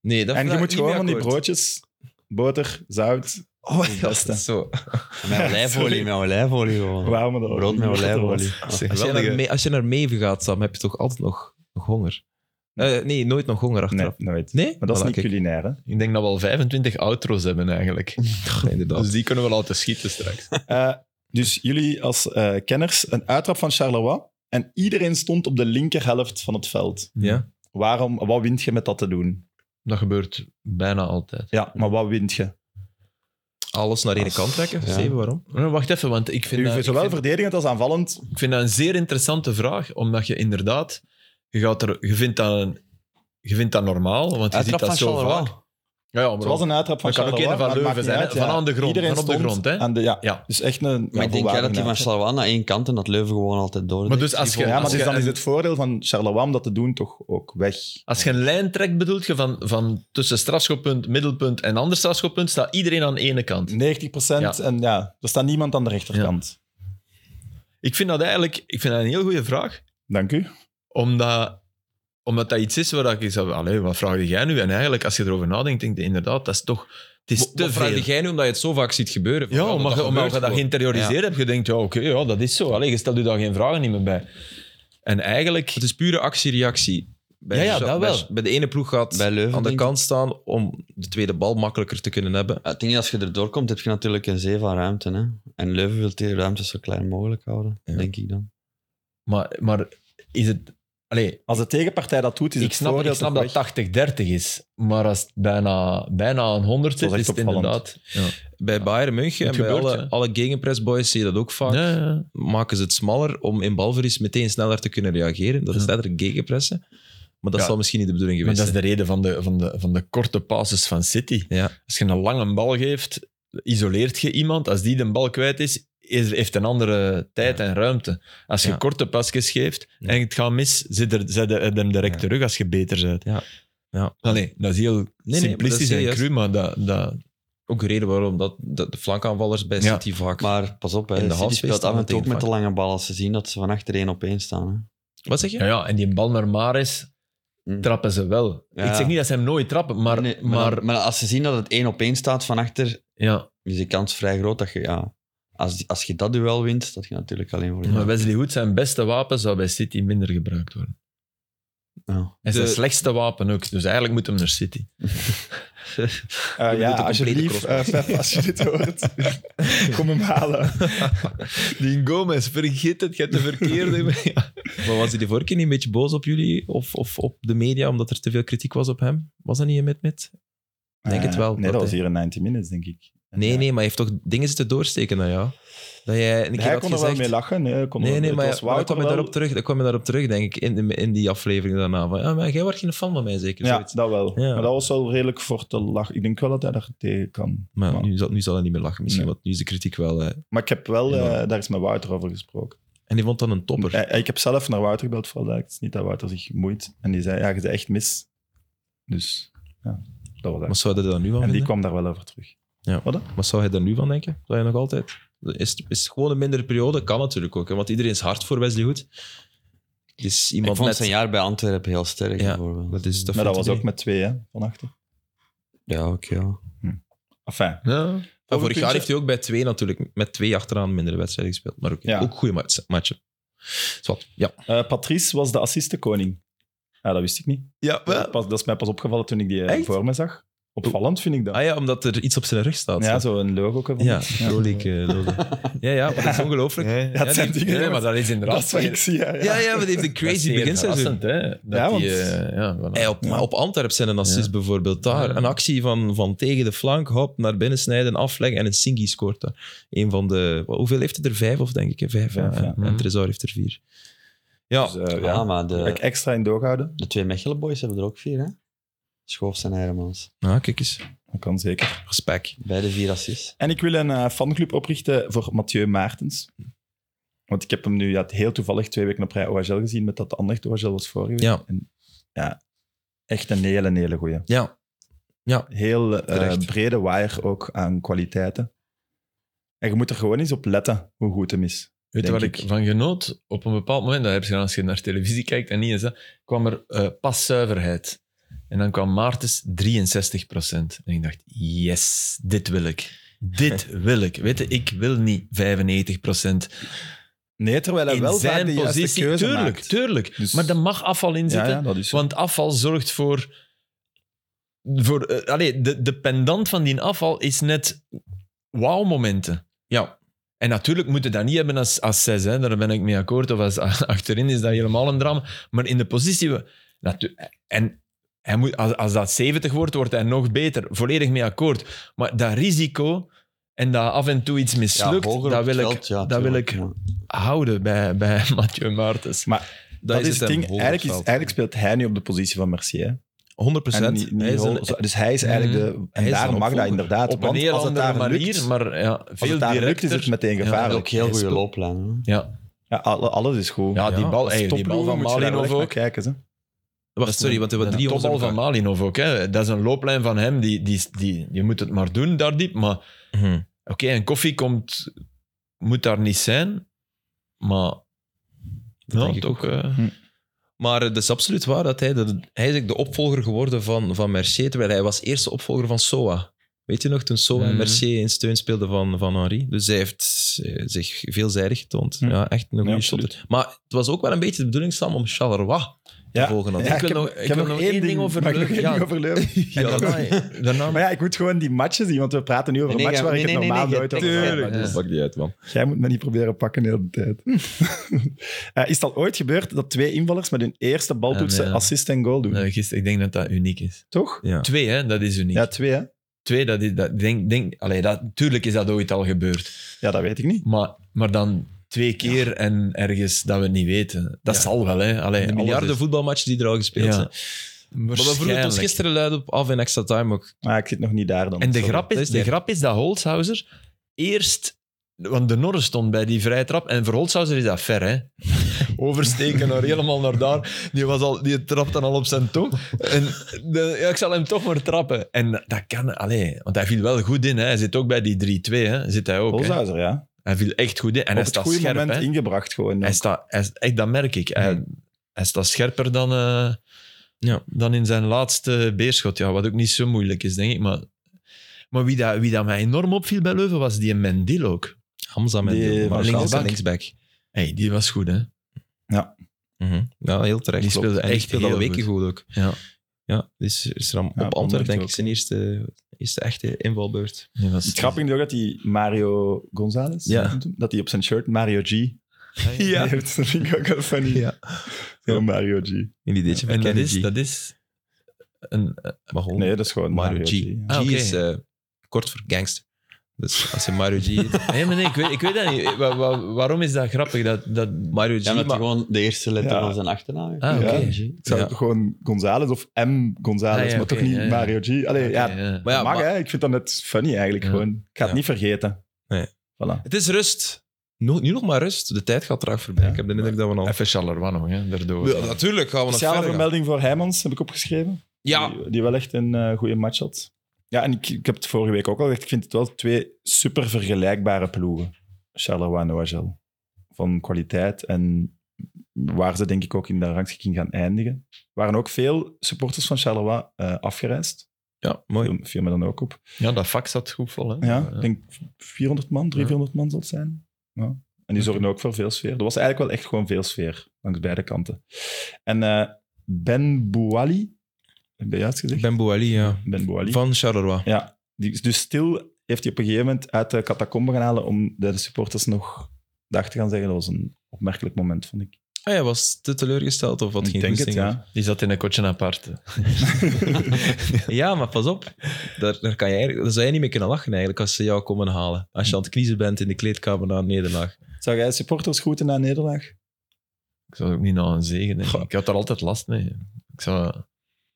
Nee, dat
En
vind
je
ik
moet
niet
gewoon
mee
van die
akkoord.
broodjes, boter, zout.
[laughs] Oh ja, dat
beste.
is zo.
Met olijfolie, met olijfolie gewoon.
Waarom we dat
Brood met
niet
olijfolie.
Als je, naar, Me- als je naar Meven gaat, Sam, heb je toch altijd nog, nog honger? Eh, nee, nooit nog honger
Nee,
achteraf.
nooit.
Nee?
Maar dat is
Voilà,
niet
kijk.
culinair,
[laughs]
hè.
Ik denk dat we al 25 outro's hebben eigenlijk.
Inderdaad.
Dus die kunnen we laten schieten straks.
Eh, dus jullie als eh, kenners, een uittrap van Charleroi. En iedereen stond op de linkerhelft van het veld.
Ja.
Waarom, wat wint je met dat te doen?
Dat gebeurt bijna altijd.
Ja, maar wat wint je?
Alles naar één kant trekken.
Ja.
Zeven, waarom?
Maar Eh, Wacht even, want ik vind,
Nu,
dat, ik,
zowel
vind,
verdedigend als aanvallend.
ik vind dat een zeer interessante vraag, omdat je inderdaad, je, gaat er, je, vindt, dat een- je vindt dat normaal, want je
Uittrap
ziet
van
dat zo
Charleroi.
vaak. Ja, ja,
Het
maar
was een uittrap van
Dat kan ook
Charleroi.
een van
maar het
Leuven
maakt
zijn,
niet
hè. Van aan de grond,
Iedereen
van op de
stond
grond, hè.
aan de- ja.
Ja.
Dus echt een...
Maar ik denk jij dat die van
volwaardige
Charleroi naar één kant en dat Leuven gewoon altijd door.
Maar dus als je,
Ja, maar
als,
dus
je
dan is
een,
het voordeel van Charleroi om dat te doen toch ook weg.
als je een lijn trekt, bedoelt je van, van tussen strafschoppunt, middelpunt en ander strafschoppunt, staat iedereen aan de ene kant.
90
Ja.
en ja, er staat niemand aan de rechterkant.
Ik vind dat eigenlijk ik vind dat een heel goede vraag,
Dank u.
omdat, omdat dat iets is waar dat ik zou... Allee, wat vraag jij nu? En eigenlijk, als je erover nadenkt, denk je inderdaad, dat is toch... Het is te
Wat
veel.
vraag jij nu, omdat je het zo vaak ziet gebeuren? Van,
Ja, omdat je, omdat je
gebeurt
dat
gewoon.
geïnterioriseerd hebt, je denkt, ja, oké, ja, dat is zo. Allee, je stelt je daar geen vragen niet meer bij. En eigenlijk...
Het is pure actie-reactie. Bij
Ja, ja,
de-
dat
bij-
wel.
Bij de ene ploeg gaat
Bij Leuven,
aan de
denk
kant staan om de tweede bal makkelijker te kunnen hebben.
Het ding is, als je erdoor komt, heb je natuurlijk een zee van ruimte. Hè? En Leuven wil die ruimte zo klein mogelijk houden,
Ja.
denk ik dan.
Maar, maar is het... Allee,
Als de tegenpartij dat doet, is
ik
het
snap,
voordeel
ik snap
toch
dat
weg.
80-30 is, maar als het bijna, bijna een 100
Dat
zit,
is
is
echt
het
opvallend.
inderdaad... Ja.
Bij Bayern München
Het
en bij
gebeurt,
alle,
hè.
alle gegenpressboys zie je dat ook vaak.
Ja, ja.
Maken ze het smaller om in balverlies meteen sneller te kunnen reageren. Dat is
Ja.
letterlijk gegenpressen. Maar dat
Ja.
zal misschien niet de bedoeling
Maar
geweest
dat is
zijn.
de reden van de, van, de, van de korte passes van City.
Ja.
Als je een lange bal geeft, isoleert je iemand. Als die de bal kwijt is, is- heeft een andere tijd
Ja.
en ruimte. Als je
Ja.
korte pasjes geeft
Ja.
en het gaat mis, zit er, zet je hem direct
Ja.
terug als je beter bent.
Ja. Ja.
Allee, Ah, dat is heel
nee,
simplistisch
maar dat is
en
juist.
cru, maar dat, dat,
Ook de reden waarom dat, dat de flankaanvallers bij
Ja.
City vaak...
Maar pas op, hè.
In de
de City
halfspace
speelt
staan
af en toe ook
meteen
met de lange bal als ze zien dat ze van achter één op één staan. Hè.
Wat zeg je?
ja, ja, en die bal naar Maris
Mm.
trappen ze wel.
Ja.
Ik zeg niet dat ze hem nooit trappen, maar,
Nee,
maar,
dan- maar als ze zien dat het één op één staat van achter,
ja.
is de kans vrij groot dat je... Ja, als, als je dat duel wint, staat je natuurlijk alleen voor de...
Maar Wesley Hood, zijn beste wapen zou bij City minder gebruikt worden.
Ja.
En zijn
De-
slechtste wapen ook. Dus eigenlijk moet hem naar City.
Eh,
Je
ja,
moet een
alsjeblieft,
complete
eh, Pep, als je dit hoort,
[laughs]
kom hem halen.
[laughs] Die Gomez, vergeet het, je hebt de
[laughs]
verkeerde.
Maar was hij de vorige keer niet een beetje boos op jullie of, of op de media omdat er te veel kritiek was op hem? Was dat niet in Mid-Mid? Denk het wel,
Eh, Nee,
dat
dat was
hij-
hier een 90 minutes, denk ik.
Nee,
Ja.
nee, maar hij heeft toch dingen zitten doorsteken naar jou? Dat jij een keer
Hij
had
kon er
gezegd...
wel mee lachen. Nee, hij kon
Nee,
er-
nee,
het
maar
was
ja, maar daar
Wouter
kwam je
wel-
daarop terug, daar kwam je daarop terug, denk ik, in, de- in die aflevering daarna. Van, ja, maar jij wordt geen fan van mij, zeker?
Ja,
zoiets.
dat wel.
Ja.
Maar dat was wel redelijk voor te lachen. Ik denk wel dat hij daar tegen kan.
Maar
Maar-
Nu, zal, nu zal hij niet meer lachen, misschien,
Nee.
want nu is de kritiek wel... eh,
Maar ik heb wel,
Ja.
eh, daar is met Wouter over gesproken.
en die vond dan een topper.
Eh, ik heb zelf naar Wouter gebeld voor dat. Het is niet dat Wouter zich moeit. En die zei, ja, je bent echt mis. Dus, ja, dat was
Wat
dat.
zou hij daar nu van
En die
vinden?
kwam daar wel over terug.
Wat zou hij daar nu van denken? Zou je nog altijd... Is, het- is het gewoon een mindere periode? Kan natuurlijk ook, hè, want iedereen is hard voor Wesley Hood. Het is
Ik
iemand
vond
net...
zijn jaar bij Antwerpen heel sterk,
Ja.
bijvoorbeeld.
Dat is, dat
Maar dat
vindt hij
was ook
niet.
met twee, hè, van achter.
Ja, oké. ja.
Enfin,
Ja.
Maar vorig jaar heeft hij ook bij twee natuurlijk met twee achteraan mindere wedstrijden gespeeld. Maar ook,
Ja.
ook goede match, matchen. Zwat, ja.
Eh, Patrice was de assistenkoning. Ja, dat wist ik niet.
Ja,
Pas, dat is mij pas opgevallen toen ik die eh,
Echt?
voor me zag. Opvallend vind ik dat.
Ah ja, omdat er iets op zijn rug staat.
ja,
Ja,
zo'n logo van.
ja, Pro League, eh, logo. ja, ja, maar dat is ongelooflijk. Ja,
Ja, het zijn
die-
dingen.
Nee, maar dat is inderdaad...
dat is wat ik zie. Ja, ja.
ja, maar die heeft een
dat is
crazy
zeer
beginseizoen.
verrassend, hè. Dat
Ja, want-
die, eh, ja, voilà.
Hey, op, maar op Antwerp zijn een assist
Ja.
bijvoorbeeld daar.
Ja.
Een actie van, van tegen de flank, hop, naar binnen snijden, afleggen en een Singi scoort daar. Een van de... Hoeveel heeft hij er? Vijf of denk ik? Hè? Vijf, ja.
Vijf, ja.
En- En Trezor heeft er vier. Ja,
Dus, eh,
Ja,
ja.
maar de,
Ga ik extra in doorhouden?
de twee Mechelen-boys hebben er ook vier, hè? Schoofs en Hermans.
ah, kijk eens.
Dat kan zeker.
Respect.
Beide vier assists.
En ik wil een eh, fanclub oprichten voor Mathieu Maartens. Want ik heb hem nu ja, heel toevallig twee weken op rij OHL gezien, met dat de andere OHL was vorige week.
Ja.
En, ja, echt een hele, hele goeie.
Ja.
Heel eh,
Terecht.
brede waaier ook aan kwaliteiten. En je moet er gewoon eens op letten hoe goed hem is.
Weet je
denk
wat ik
ik.
van genoot? Op een bepaald moment, dat heb je gedaan als je naar televisie kijkt en niet eens dat, kwam er eh, paszuiverheid. En dan kwam Maartens 63 En ik dacht, yes, dit wil ik.
[laughs]
Dit wil ik. Weet je, ik wil niet 95
Nee, terwijl hij
in
wel vaak
zijn
de juiste
positie.
keuze
tuurlijk,
maakt.
tuurlijk.
Dus-
Maar er mag afval in
Ja,
zitten.
ja, dat is zo.
Want afval zorgt voor. voor eh, allee, de, de pendant van die afval is net wauw-momenten.
Ja.
En natuurlijk moet je dat niet hebben als, als zes, hè. daar ben ik mee akkoord. Of als [laughs] achterin is dat helemaal een drama. Maar in de positie. we- natu- En hij moet, als, als dat 70 wordt, wordt hij nog beter. Volledig mee akkoord. Maar dat risico en dat af en toe iets mislukt,
hoger
dat
op het
wil ik
veld, ja,
dat wil
tuurlijk,
ik-
ja.
houden bij, bij [laughs] Mathieu Maartens.
maar dat,
is
is,
het
het
hem,
ding.
hol op
Eigenlijk, is,
veld.
eigenlijk speelt hij nu op de positie van Mercier.
100
En niet- niet
Hij is
hol-
een-
zo- dus hij is eigenlijk de... En
hij is
daar
een
mag dat
opvolger.
inderdaad.
op een
want
heel
als het
andere
daar
manier,
lukt,
maar ja,
Als
veel
het daar lukt,
directer.
is het meteen
En
gevaarlijk.
ook heel
Hij
goede
speelt-
looplijnen. hè.
ja.
Ja, alle- alles is goed.
Ja, die
Ja,
bal,
als
hey, die bal
Topploegen
van
moet je daar wel
Malinov
echt naar
ook.
kijken, ze.
Wacht, sorry, want er
De
waren drie onder
topbal van
elkaar.
Malinov ook. Hè. Dat is een looplijn van hem. Die, die, die, je moet het maar doen daar diep. Maar oké,
Mhm.
een koffie komt, moet daar niet zijn. Maar ja,
denk ik
toch, eh,
Maar het is absoluut waar dat hij, de, hij is eigenlijk de opvolger geworden van, van Mercier, terwijl hij was eerste opvolger van Soa. Weet je nog, toen Soa en
Mhm.
Mercier in steun speelden van, van Henri. Dus hij heeft eh, zich veelzijdig getoond.
Mhm.
Ja, echt een goede
absoluut.
shotter. Maar het was ook wel een beetje de bedoeling, Sam, om Charleroi te
Ja.
volgen.
Ja,
natuurlijk.
ik wil nog- ik wil nog één ding over
Mag ik nog
Leuven?
één
Ja.
ding over Leuven?
en daarna,
[laughs]
daarna
Maar ja, ik moet gewoon die matchen zien, want we praten nu over
Nee,
een match
nee,
waar
nee,
ik het
nee,
normaal
nee,
nooit
nee,
over
tuurlijk.
heb.
Ja.
Dus maakt niet uit, man.
Jij moet me niet proberen pakken de hele tijd. Eh, is het al ooit gebeurd dat twee invallers met hun eerste baltoetsen
Ah, nee.
assist en goal doen?
Nee, gisteren, ik denk dat dat uniek is.
Toch?
Ja.
Twee, hè, dat is uniek.
Ja, twee hè?
Twee, dat is, dat, denk, denk, allee, dat, tuurlijk is dat ooit al gebeurd.
Ja, dat weet ik niet.
Maar, maar dan twee keer en ergens dat we het niet weten. Dat
Ja.
zal wel, hè. Allee,
De
alles
miljarden
is-
voetbalmatches die er al gespeeld
Ja.
zijn. Maar we vroegen het ons
Waarschijnlijk.
gisteren luid op af in extra time ook.
Maar ik zit nog niet daar dan.
En de
Sorry.
grap,
dat
is,
is
de
dertig.
grap is dat Holshouser eerst Want de Norre stond bij die vrije trap. En voor Holzhauser is dat ver, hè. [laughs] Oversteken naar helemaal naar daar. Die, was al, die trapte al op zijn tong. En de- ja, ik zal hem toch maar trappen. En dat kan... Allee, want hij viel wel goed in, hè. Hij zit ook bij die 3-2, hè. Zit hij ook, hè.
Holzhauser, ja.
Hij viel echt goed in. En
Op
hij
het
staat
goede
scherp,
moment
hè.
ingebracht gewoon.
Hij staat... Hij, echt, dat merk ik. Hij, hij staat scherper dan, eh,
Ja.
dan in zijn laatste beerschot. Ja, wat ook niet zo moeilijk is, denk ik. Maar, maar wie, dat, wie dat mij enorm opviel bij Leuven, was die Mendil ook.
Hamza met
Die
Dil,
van
maar linksback.
linksback.
linksback.
Hey, die was goed, hè?
Mhm. Ja, heel terecht.
Die
klopt.
speelde
En die
echt
speelde al
heel
weken goed, ook.
Ja,
Ja, dus is er dan
Ja,
op Antwerpen
Anderlecht
denk ik
ook.
zijn eerste, eerste echte invalbeurt.
die was...
Het [laughs] grappige is ook dat die Mario Gonzalez,
Ja.
dat hij op zijn shirt Mario G
Ja.
[laughs] heeft. Dat vind ik ook wel funny.
Ja.
Zo Mario G.
In die ditje
En dat is, dat is een,
maar
Oh.
gewoon,
Nee, dat is gewoon
Mario,
Mario,
G.
G.
G
Ah, oké.
is eh, kort voor gangster. Dus als je Mario G
[laughs]
heet,
Nee, maar nee, ik weet, ik weet dat niet. Eh, Wa- wa- waarom is dat grappig? Dat, dat...
Mario G,
Ja, omdat
maar-
hij gewoon de eerste letter
Ja.
van zijn achternaam heeft.
Ah, oké.
Ja.
G.
Ik zou
Ja.
toch gewoon Gonzalez of M. Gonzalez,
Ah, ja,
maar toch
oké,
niet
ja, ja.
Mario G. Allee, ja,
Oké, ja.
maar ja,
mag
maar-
hè. Ik vind dat net funny eigenlijk
Ja.
gewoon. Ik ga het
Ja.
niet vergeten.
Nee.
Voilà.
het is rust. Nu, nu nog maar rust. De tijd gaat traag voorbij.
Ja.
ik heb de indruk dat we al...
Even Charleroi nog, hè, daardoor.
Ja, natuurlijk gaan we nog
Speciale
verder gaan.
vermelding voor Heijmans heb ik opgeschreven.
Ja,
Die, die wel echt een eh, goede match had. Ja, en ik, ik heb het vorige week ook al gezegd. Ik vind het wel twee super vergelijkbare ploegen. Charleroi en OHL. Van kwaliteit en waar ze denk ik ook in de rangschikking gaan eindigen. Er waren ook veel supporters van Charleroi eh, afgereisd.
ja, mooi.
Viel, viel me dan ook op.
Ja, dat vak zat goed vol. Hè?
Ja, ik denk 400 man, 300 man zal het zijn. Ja. En die zorgen ook voor veel sfeer. Er was eigenlijk wel echt gewoon veel sfeer langs beide kanten. En eh, Ben Bouali, heb je dat juist gezegd?
Ben Bouali, ja.
Ben Bouali.
Van Charleroi.
Ja, die is dus stil heeft hij op een gegeven moment uit de catacombe gaan halen om de supporters nog dag te gaan zeggen. Dat was een opmerkelijk moment, vond ik.
Ah, ja, was te teleurgesteld of wat
ik
geen
denk het,
goesting had?
ja.
Die zat in een kotje apart. hè.
[laughs] Ja, maar pas op. Daar, daar, kan je eigenlijk, daar zou je niet mee kunnen lachen eigenlijk als ze jou komen halen. Als je aan het kniezen bent in de kleedkamer na een nederlaag.
Zou jij supporters groeten na een nederlaag?
Ik zou ook niet naar een zegen. denk ik. Ik had er altijd last mee. Ik zou...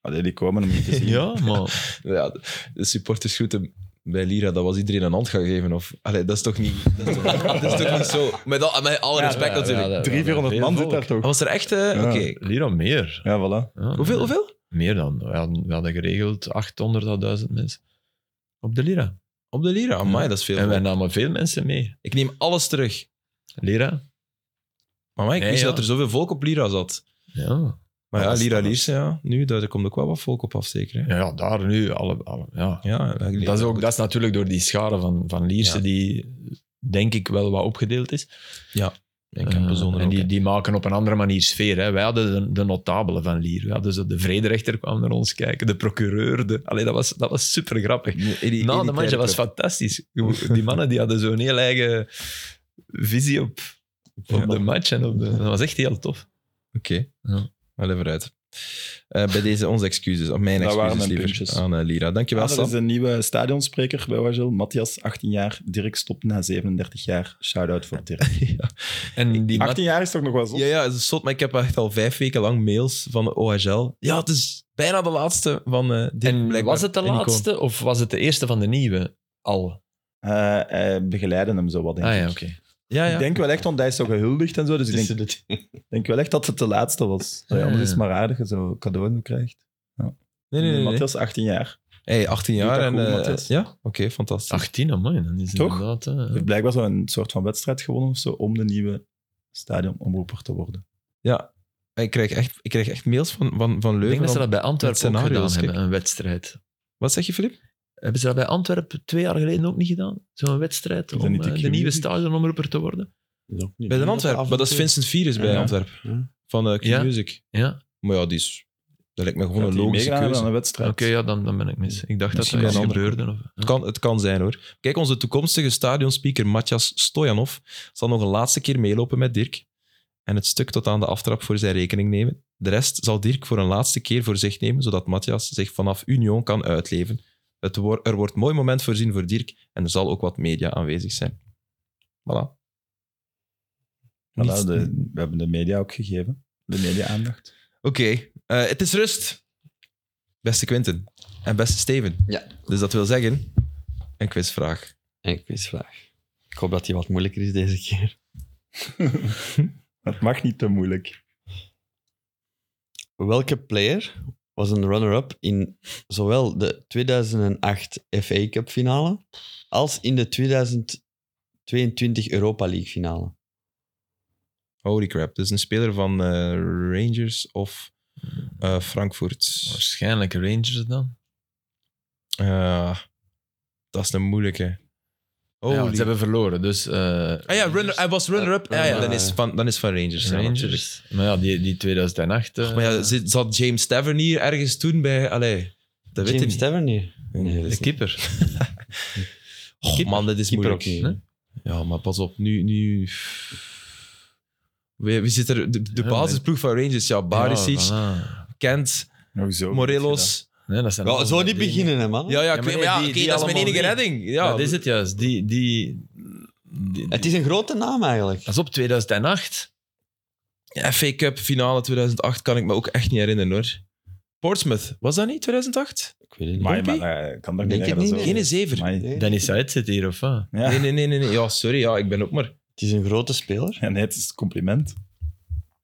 Allee, die komen om [laughs] niet te zien.
Ja, [laughs] maar
Ja, de- de supportersgroeten bij Lira, dat was iedereen een hand gaan geven. Of, allee, dat is toch niet, dat is toch, dat is toch niet zo? Met, al, met alle
Ja,
respect
ja,
natuurlijk.
ja, ja.
300, 400 man zit daar toch?
Was er echt... eh,
Ja.
Oké.
Lira meer.
Ja, voilà.
Ja,
Hoeveel, hoeveel?
Meer dan. We hadden, we hadden geregeld 800 à 1000 mensen op de Lira.
Op de Lira? Amai, dat is veel.
En wij namen veel mensen mee.
Ik neem alles terug.
Lira?
Maar amai, ik
Nee,
wist
ja.
dat er zoveel volk op Lira zat.
Ja.
Maar ja,
Alles,
Lira
alles.
Lierse, ja. Nu, daar komt ook wel wat volk op af, zeker. Hè?
Ja, ja, daar nu. Alle, alle, ja.
Ja, ja,
Dat is, ook, dat is natuurlijk door die schade van, van Lierse,
Ja.
die denk ik wel wat opgedeeld is.
Ik heb
Eh,
bijzonder
en
ook,
die,
hè.
die maken op een andere manier sfeer. Hè. Wij hadden de, de notabelen van Lier. We hadden zo de vrederechter kwam naar ons kijken, de procureur. De, allee, dat, was, dat was super grappig.
Edi-
Na de
Nou,
match,
elitaire
dat was
club.
fantastisch. Die mannen die hadden zo'n heel eigen visie op, op
Ja.
de match. En op de, dat was echt heel tof.
Oké.
Ja.
Wel even uit. Eh, bij deze onze excuses, of mijn
Dat waren
excuses
mijn
liever,
puntjes.
aan eh, Lira. Dankjewel,
Ah, dat
Sam.
is een nieuwe stadionspreker bij Wajel. Matthias, 18 jaar. Dirk stopt na 37 jaar. Shout-out voor
[laughs]
Dirk.
En die
18 jaar is toch nog wel zot?
Ja, ja, het is zot, maar ik heb echt al vijf weken lang mails van de OHL. Ja, het is bijna de laatste van eh dit
en
blijkbaar.
was het de
En icoon.
laatste of was het de eerste van de nieuwe al?
Eh, hij begeleiden hem zo wat, denk
Ah ja,
ik.
oké.
Ja, ja.
Ik denk wel echt, want hij is zo gehuldigd en zo. Dus ik denk, denk wel echt dat het de laatste was.
Ja,
Ja, anders is het
ja.
maar aardig dat je zo cadeau krijgt.
Ah, nee, nee, nee, nee.
Matthias, 18 jaar.
Hey, 18
Doet
jaar
dat
en...
goed,
eh,
Matthias.
ja, oké, fantastisch.
18, amai, dan is het
Toch?
inderdaad... eh,
Hij heeft blijkbaar zo'n soort van wedstrijd gewonnen of zo om de nieuwe stadionomroeper te worden.
Ja. Ik krijg, echt, ik krijg echt mails van, van, van Leuven.
ik denk dat ze
om-
dat bij Antwerpen ook
scenario's,
gedaan
kijk.
hebben, een wedstrijd.
Wat zeg je, Filip?
Hebben ze dat bij Antwerpen twee jaar geleden ook niet gedaan? Zo'n wedstrijd
dat
om
niet de
eh, de
Q
nieuwe
Music?
stadionomroeper te worden?
Bij de Antwerpen. Maar dat is Vincent Virus bij
Ja.
Antwerpen.
Ja.
Van eh, Q
Ja.
Music.
Ja,
Maar ja, die is... Dat lijkt me gewoon
Dat
een
hij
logische
meegedaan heeft
keuze.
aan een
oké,
wedstrijd.
ja, dan, dan ben ik mis. Ik dacht
Misschien
dat
bij
dat
een
iets
andere
gebeurde. Of,
Het kan, het kan zijn hoor. Kijk, onze toekomstige stadionspeaker Matjas Stojanov zal nog een laatste keer meelopen met Dirk en het stuk tot aan de aftrap voor zijn rekening nemen. De rest zal Dirk voor een laatste keer voor zich nemen, zodat Matjas zich vanaf Union kan uitleven. Het wor- er wordt mooi moment voorzien voor Dirk en er zal ook wat media aanwezig zijn. Voilà.
Voilà,
Niets- Oké,
de- we hebben de media ook gegeven. De media-aandacht. [laughs]
eh, het is rust. Beste Quinten en beste Steven.
Ja.
Dus dat wil zeggen, een quizvraag.
En quizvraag. Ik hoop dat die wat moeilijker is deze keer.
Het mag niet te moeilijk.
Welke player was een runner-up in zowel de 2008 FA Cup finale als in de 2022 Europa League finale?
Holy crap. Dat is een speler van eh, Rangers of
Hmm.
eh, Frankfurt.
Waarschijnlijk Rangers dan.
Eh, dat is een moeilijke. Holy.
Ja, want ze hebben verloren, dus... eh,
Ah ja, runner, hij was runner-up. Ah ja, ja, dan is van, dan is van Rangers. ja, natuurlijk.
Rangers. Maar ja, die, die 2008... eh,
maar ja, zit- zat James Tavernier ergens toen bij... Allee, dat weet ik
James
niet.
Tavernier. Nee, dat
de
is niet.
keeper.
Och, man, dat is
Keeper
moeilijk.
ook niet,
Ja, maar pas op. Nu... nu... Wie, wie zit er? De, de
Ja,
basisploeg van Rangers. Ja, Barisic,
Ja, voilà.
Kent,
zo.
Morelos.
Nee, dat zijn
Ja,
allemaal
zo niet
dingen.
beginnen, hè, man.
Ja, ja, ik
maar
weet-
nee,
maar ja,
die-
oké,
die
dat is mijn
allemaal
enige
niet.
redding.
Ja,
Ja,
dat is het juist. Die, die, die,
Het is een grote naam eigenlijk.
Pas op, 2008.
FA Cup finale 2008 kan ik me ook echt niet herinneren, hoor. Portsmouth, was dat niet 2008?
Ik weet het niet.
Maar,
Pompey?
maar, eh, kan dat
Denk
niet
het
meer,
niet,
dat is
Geen
ook-
zever.
Amai.
Nee.
Dan is hij zit hier, of wat?
Ja.
Nee, nee, nee, nee, nee. Ja, sorry. Ja, ik ben ook maar... Ah,
Het is een grote speler.
[laughs] Ja, nee, het is een compliment.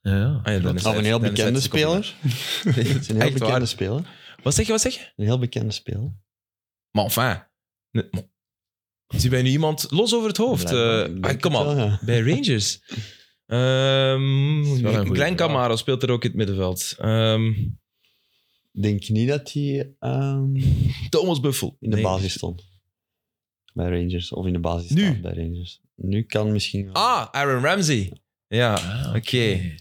Ja, ja.
Ah ja, dan is
Of
hij-
een heel
dan is hij
bekende
het compliment.
speler. [laughs] Het is een heel
Echt waar.
bekende speler.
Wat zeg je, wat zeg je?
Een heel bekende speler.
Maar enfin. Nee, maar- Zie bij nu iemand los over het hoofd?
Blijkbaar.
Eh,
Ik
ah,
denk
Kom
het
op,
wel, ja.
bij Rangers.
wel een
Ehm
goeie
Glenn
vraag.
Camaro speelt er ook in het middenveld. Ehm,
Ik denk niet dat hij ehm,
Thomas Buffel.
in de
Nee.
basis stond. Bij Rangers. Of in de basis
Nu?
staat bij Rangers. Nu kan misschien... wel.
Ah, Aaron Ramsey. Ja, oké.
Ah,
Oké,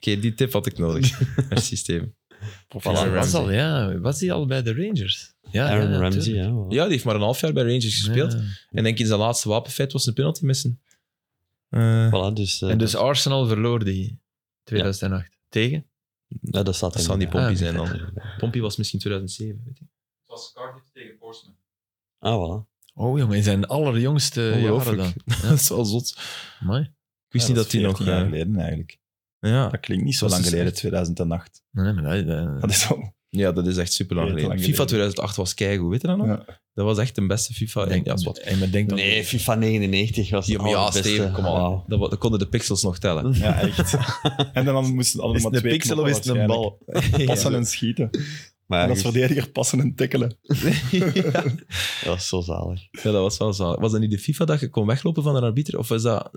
die tip had ik nodig. Merci, Steven.
Aaron
was,
Ramsey.
al, ja, was hij al bij de Rangers? Ja,
Aaron
ja,
Ramsey,
tuurlijk.
ja. wel.
Ja, die heeft maar een half jaar bij Rangers gespeeld.
Ja.
En denk in zijn laatste wapenfeit was een penalty missen. Eh,
Voilà, dus, eh,
En dus Arsenal verloor die 2008. Tegen?
ja, dat staat
dat
er
zal niet
niet.
Pompey
Ah,
zijn dan. Pompey was misschien 2007, weet ik.
Het was Cardiff tegen Portsmouth.
Ah, voilà.
Oh jongen, in zijn allerjongste jaren dan.
Ongelooflijk. [laughs] dat is wel zot.
Amai.
Ik wist niet dat hij nog...
jaar
eh,
geleden eigenlijk.
ja.
Dat klinkt niet zo
Dat
lang
is
geleden,
echt-
2008.
Nee, maar dat, dat-
Dat is al...
Ja, dat is echt super lang
Heel
geleden.
lang
FIFA
geleden.
2008 was keigoed, weet je dat nog?
Ja.
Dat was echt de beste FIFA.
denk,
ja, is wat.
en men denkt dan-
Nee, FIFA 99 was
Ja, maar ja, Steven, kom
al.
op. Dat, wa- dat konden de pixels nog tellen.
ja, echt. [laughs] En dan moesten allemaal
Is het een
twee
pixel of
knoppen
is het een
waarschijnlijk.
bal?
Passen en schieten.
Maar
En
ja,
als verdediger passen en tikkelen.
dat is zo zalig.
Ja, dat was wel zo. Was dat niet de FIFA dat je kon weglopen van een arbiter? Of was dat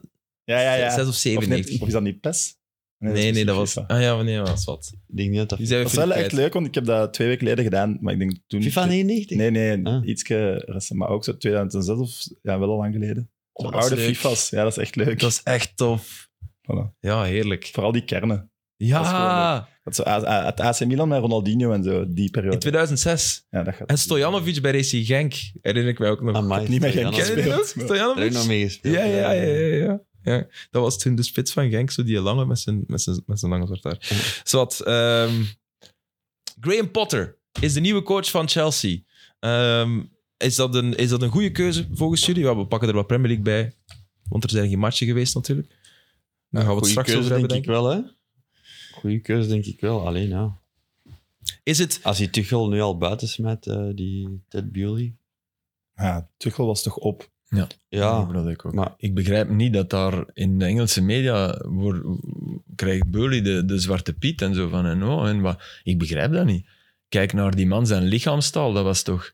Ja, ja, ja.
6 of
Of, net,
97?
of is dat niet PES?
nee, nee, dat was...
FIFA.
Ah ja, nee, dat was wat.
Ik denk niet dat dat...
Die zijn we
Dat is wel
even
echt
kwijt.
leuk, want ik heb dat twee weken geleden gedaan. Maar ik denk toen...
FIFA 99?
Nee, nee,
Ah.
ietske recent. Maar ook zo 2006 of... Ja, wel al lang geleden.
Oh,
Zo
dat is
oude
leuk.
FIFA's. Ja, dat is echt leuk.
Dat is echt tof.
Voilà.
Ja, heerlijk.
Vooral die kernen. is gewoon
Ja,
Dat zo, A- A- het AC Milan met Ronaldinho en zo, die
in
periode.
2006.
Ja, dat gaat
En Stojanovic bij Racing Genk, herinner ik mij
Ah,
ook nog.
Amai,
niet meer
Stojanovic.
Ken je die nog?
gespeeld, maar-
Daar heb ik nog
Stojanovic?
mee gespeeld.
Ja, ja, ja, ja, ja. ja. Dat was toen de spits van Genk, zo die lange met zijn, met zijn, met zijn lange zwart haar. Zowat, ehm, Graham Potter is de nieuwe coach van Chelsea. Ehm, is, dat een, is dat een goede keuze volgens jullie? Ja, we pakken er wat Premier League bij, want er zijn geen matchen geweest natuurlijk. Daar gaan we het
Goeie
straks over
keuze,
hebben,
denk
denk
ik
ik.
wel, hè. Goeie keuze, denk ik wel. Alleen, ja.
Is het...
Als hij Tuchel nu al buiten smijt, eh, die Ted Bewley.
Ja, Ah, Tuchel was toch op.
Ja,
dat ik ook.
maar-
ik begrijp niet dat daar in de Engelse media wordt, krijgt Burley de, de zwarte piet en zo van en oh, en wat. Ik begrijp dat niet. Kijk naar die man zijn lichaamstaal, dat was toch...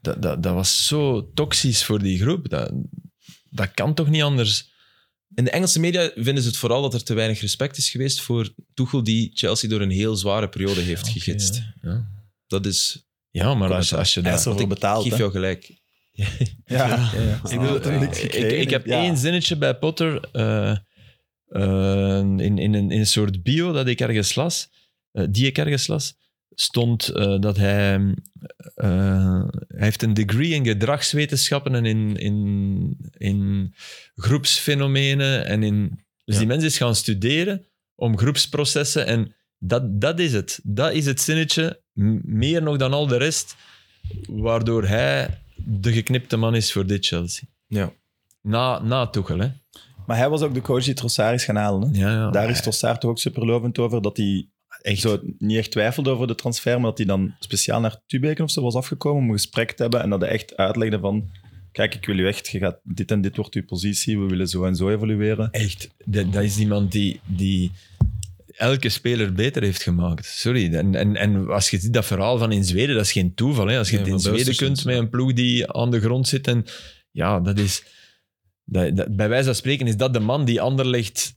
Dat, dat, dat was zo toxisch voor die groep. Dat, dat kan toch niet anders?
In de Engelse media vinden ze het vooral dat er te weinig respect is geweest voor Tuchel, die Chelsea door een heel zware periode heeft
Oké,
gegidst.
ja, ja.
Dat is...
Ja, maar als, als je
Hij
dat...
is ervoor betaald.
Ik geef
hè.
jou gelijk.
Ja.
Ik
Ik,
wil-
Ah,
dat hij niks
ik,
gekregen
ik heb
heeft. Ja.
één zinnetje bij Potter eh, eh, in, in, een, in een soort bio dat ik ergens las, eh, die ik ergens las, stond eh, dat hij, eh, hij heeft een degree in gedragswetenschappen en in, in, in groepsfenomenen. En in, dus
Ja.
die mensen is gaan studeren om groepsprocessen en dat, dat is het. Dat is het zinnetje, m- meer nog dan al de rest, waardoor hij de geknipte man is voor dit Chelsea.
Ja.
Na, na Tuchel, hè?
Maar hij was ook de coach die Trossard is gaan halen. Hè?
Ja, ja.
Ah,
Daar is Trossard toch ook superlovend over, dat hij
echt
zo niet echt twijfelde over de transfer, maar dat hij dan speciaal naar Tubeken of zo was afgekomen om een gesprek te hebben en dat hij echt uitlegde van... kijk, ik wil u echt, je gaat, dit en dit wordt uw positie, we willen zo en zo evolueren.
Echt, dat, dat is iemand die, die elke speler beter heeft gemaakt. Sorry. En, en, en als je ziet dat verhaal van in Zweden, dat is geen toeval. Hè? Als je
Nee,
het in
van
Zweden
Buisters
kunt
niet.
met een ploeg die aan de grond zit. En, ja, dat is. Dat, dat- bij wijze van spreken is dat de man die Anderlecht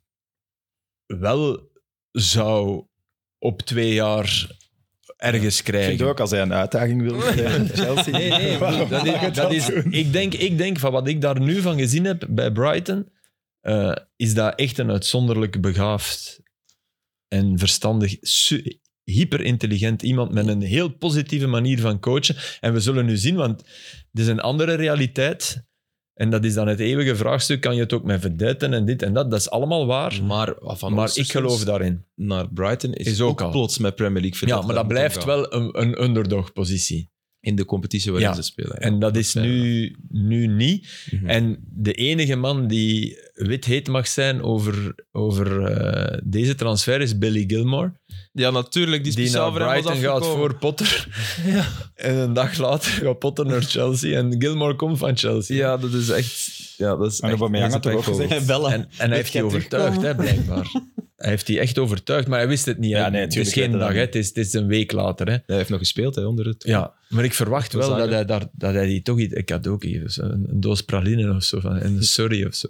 wel zou op twee jaar ergens
Ik
krijgen.
vind ook, als hij een uitdaging
[laughs]
wil tegen Chelsea,
Nee, nee,
[laughs] waarom
dat
zou hij
is, dat is,
doen?
ik, denk, ik denk van wat ik daar nu van gezien heb bij Brighton, eh, is dat echt een uitzonderlijk begaafd en verstandig, su- hyperintelligent iemand met een heel positieve manier van coachen. En we zullen nu zien, want het is een andere realiteit. En dat is dan het eeuwige vraagstuk, kan je het ook met verdetten en dit en dat. Dat is allemaal waar,
Maar, van
maar ik
Oosters
geloof daarin.
Naar Brighton is,
Is ook
ook,
al.
plots met Premier League
Ja,
verdacht.
maar dat
moet
blijft
omgaan.
wel een, een underdog-positie.
In de competitie waarin
Ja,
ze spelen.
En dat is nu, nu niet.
Mhm.
En de enige man die wit heet mag zijn over, over eh, deze transfer is Billy Gilmore.
ja, natuurlijk. Die,
Die
speciaal
naar
voor hem was
Brighton gaat
afgekomen.
voor
[laughs]
Potter. En een dag later gaat Potter naar Chelsea. En Gilmore komt van Chelsea.
Ja, dat is echt... Ja, dat is
En
echt
Aubameyang had
dat is
toch ook
een
gezegd,
twijfel.
Bellen.
En, en hij heeft
jij
die overtuigd, hè, blijkbaar. hij heeft die echt overtuigd, maar hij wist het niet. hè.
Ja, nee,
het is
tuurlijk
geen
weet hij
dag,
dat
hè. Het, is, het is een week later. Hè.
Hij heeft nog gespeeld, hè, onder het...
Ja, maar ik verwacht
Dat is
wel dat hij,
eigenlijk-
daar, dat hij die toch iets... Ik had ook even zo, dus, eh, een, een doos pralinen of zo. Van, [laughs] en een sorry of zo.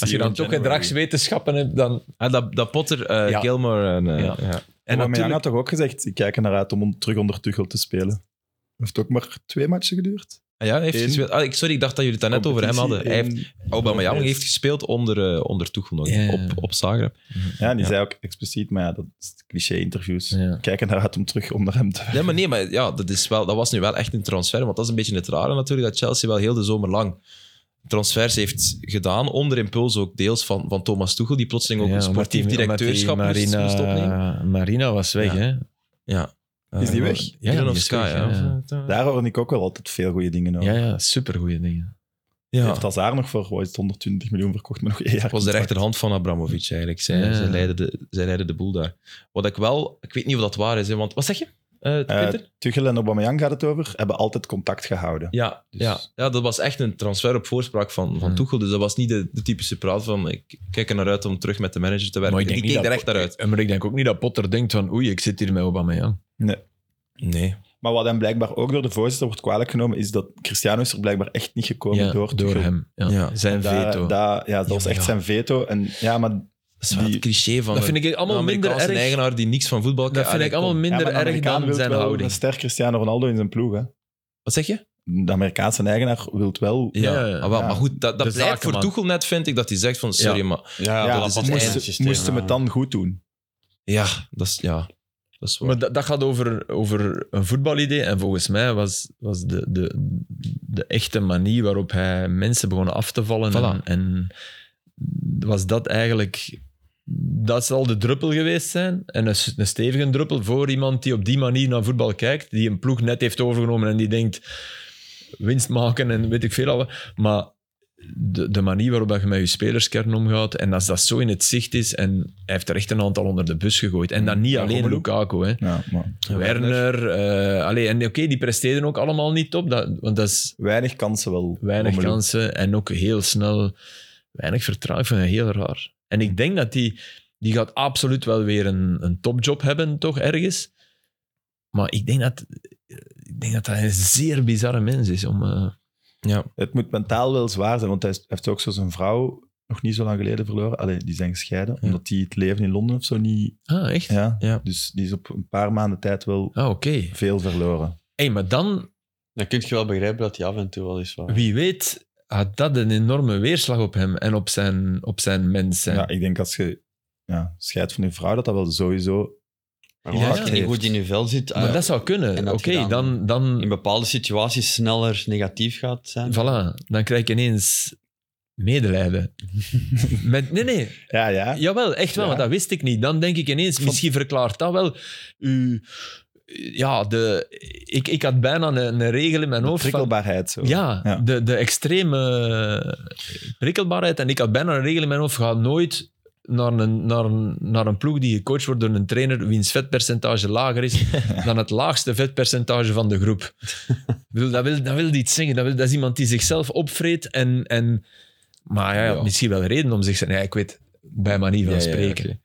Als je dan toch gedragswetenschappen hebt, dan...
Ah, dat, dat Potter, eh
Ja.
Gilmore en... eh,
Ja.
ja.
En
En natuurlijk-
had toch ook gezegd, ik kijk er naar uit om on- terug onder Tuchel te spelen. Heeft ook maar twee matchen geduurd.
Ah ja, hij heeft
In-
gespeeld. Ah, ik, sorry, ik dacht dat jullie het daar net over hem hadden. Hij heeft,
Competitie in-
Aubameyang heeft gespeeld onder, eh onder Tuchel nog,
eh, Ja.
op, op Zagreb.
Ja, en die
Ja.
zei ook expliciet, maar ja, dat is cliché-interviews.
Ja.
Kijk er naar uit om terug onder hem te...
Nee, maar nee, maar ja, dat, is wel, dat was nu wel echt een transfer. Want dat is een beetje het rare natuurlijk, dat Chelsea wel heel de zomer lang transfers heeft gedaan. Onder impuls ook deels van, van Thomas Tuchel, die plotseling ook een
omdat
sportief
die-
directeurschap
omdat die
moest, moest opnemen.
Marina, Marina was weg,
Ja.
hè?
Ja.
Is die
Eh,
weg?
Ja, die is
Sky,
weg,
ja.
ja.
Daar hoorde ik ook wel altijd veel goede dingen over.
Ja, ja, supergoeie dingen.
Ja.
Heeft Hazard nog voor wat is het, 120 miljoen verkocht, maar nog één jaar
Het was de
contract.
rechterhand van Abramovic eigenlijk. Zij,
Ja.
zij, leidde de, zij leidde de boel daar. Wat ik wel... Ik weet niet of dat waar is, hè, want... Wat zeg je? Eh,
Eh,
Peter?
Tuchel en Aubameyang gaat het over, hebben altijd contact gehouden.
Ja,
Dus-
ja. ja, dat was echt een transfer op voorspraak van, van
Ja.
Tuchel. Dus dat was niet de, de typische praat van ik kijk er naar uit om terug met de manager te werken. Die keek er echt naar uit.
Eh, Maar ik denk ook niet dat Potter denkt van oei, ik zit hier met Aubameyang.
Nee.
Maar wat hem blijkbaar ook door de voorzitter wordt kwalijk genomen, is dat Cristiano is er blijkbaar echt niet gekomen
Ja,
door
door,
Tuchel.
hem. Ja.
Ja.
Zijn
Daar-
veto.
daar- ja, dat
Ja,
was
maar
echt
ja.
zijn veto. En ja, maar
Dat is wel
Die-
het cliché van
dat vind ik allemaal minder erg.
een eigenaar die niks van voetbal kan.
Dat vind
Ah,
ik
nee,
allemaal
kom.
ja,
minder
maar de
erg
Amerikaan
dan
wil
zijn
wel
houding.
Een ster Cristiano Ronaldo in zijn ploeg. Hè.
Wat zeg je?
De Amerikaanse eigenaar wil wel.
Ja,
Ja, ja.
Ah, wel,
Ja.
maar goed, dat,
De
dat blijft voor
zakenman.
Tuchel net, vind ik, dat hij zegt van sorry,
Ja.
maar
Ja,
Ja,
dat is het
moesten-
einde systeem,
moesten we
ja.
het dan goed doen.
Ah,
ja, dat is, ja, dat is waar.
Maar dat, dat gaat over, over een voetbalidee. En volgens mij was, was de, de, de echte manier waarop hij mensen begonnen af te vallen.
Voilà.
En, en was dat eigenlijk. Dat zal de druppel geweest zijn. En een, s- een stevige druppel voor iemand die op die manier naar voetbal kijkt. Die een ploeg net heeft overgenomen en die denkt winst maken en weet ik veel. al wat. Maar de, de manier waarop dat je met je spelerskern omgaat. En als dat zo in het zicht is. En hij heeft er echt een aantal onder de bus gegooid. En dat niet
Mm. Ja,
alleen
Romelu.
Lukaku. Hè.
Ja, maar
Werner. eh allee, en oké, die presteerden ook allemaal niet top. Dat, want dat is
weinig kansen wel.
weinig
Romelu.
kansen en ook heel snel weinig vertrouwen. Ik vind dat heel raar. En ik denk dat die, die gaat absoluut wel weer een, een topjob hebben, toch ergens. Maar ik denk dat, ik denk dat hij een zeer bizarre mens is. Om, eh,
Het moet mentaal wel zwaar zijn, want hij is- heeft ook zo zijn vrouw nog niet zo lang geleden verloren. Allee, die zijn gescheiden, omdat die het leven in Londen of zo niet...
Ah, echt?
Ja,
Ja.
Dus die is op een paar maanden tijd wel
Ah, oké.
veel verloren.
Hey, maar dan,
Dan kun je wel begrijpen dat hij af en toe wel eens wat...
wie weet, had dat een enorme weerslag op hem en op zijn, op zijn mens. zijn.
Ja, ik denk als je ja, scheidt van je vrouw, dat dat wel sowieso...
Maar
Ja,
als
ja.
je niet goed in je vel zit,
maar
eh,
dat zou
En
kunnen. Oké,
dat gedaan.
dan, dan,
in bepaalde situaties sneller negatief gaat zijn.
Voilà, dan krijg ik ineens medelijden. Met, nee, nee,
Ja, ja.
jawel, echt wel,
Ja.
want dat wist ik niet. Dan denk ik ineens, misschien verklaart dat wel uw... Ja, de, ik, ik had bijna een, een regel in mijn
De
hoofd van...
prikkelbaarheid. Zo.
Ja,
Ja.
De, de extreme prikkelbaarheid. En ik had bijna een regel in mijn hoofd, ga nooit naar een, naar, een, naar een ploeg die gecoacht wordt door een trainer wiens vetpercentage
[laughs]
lager is dan het laagste vetpercentage van de groep. Ik bedoel, dat, wil, dat wil iets zeggen. Dat, wil, dat is iemand die zichzelf opvreet en... en maar hij had
Ja.
misschien wel reden om zich... te- Nee, ik weet bij manier van
Ja, ja, ja,
spreken.
oké.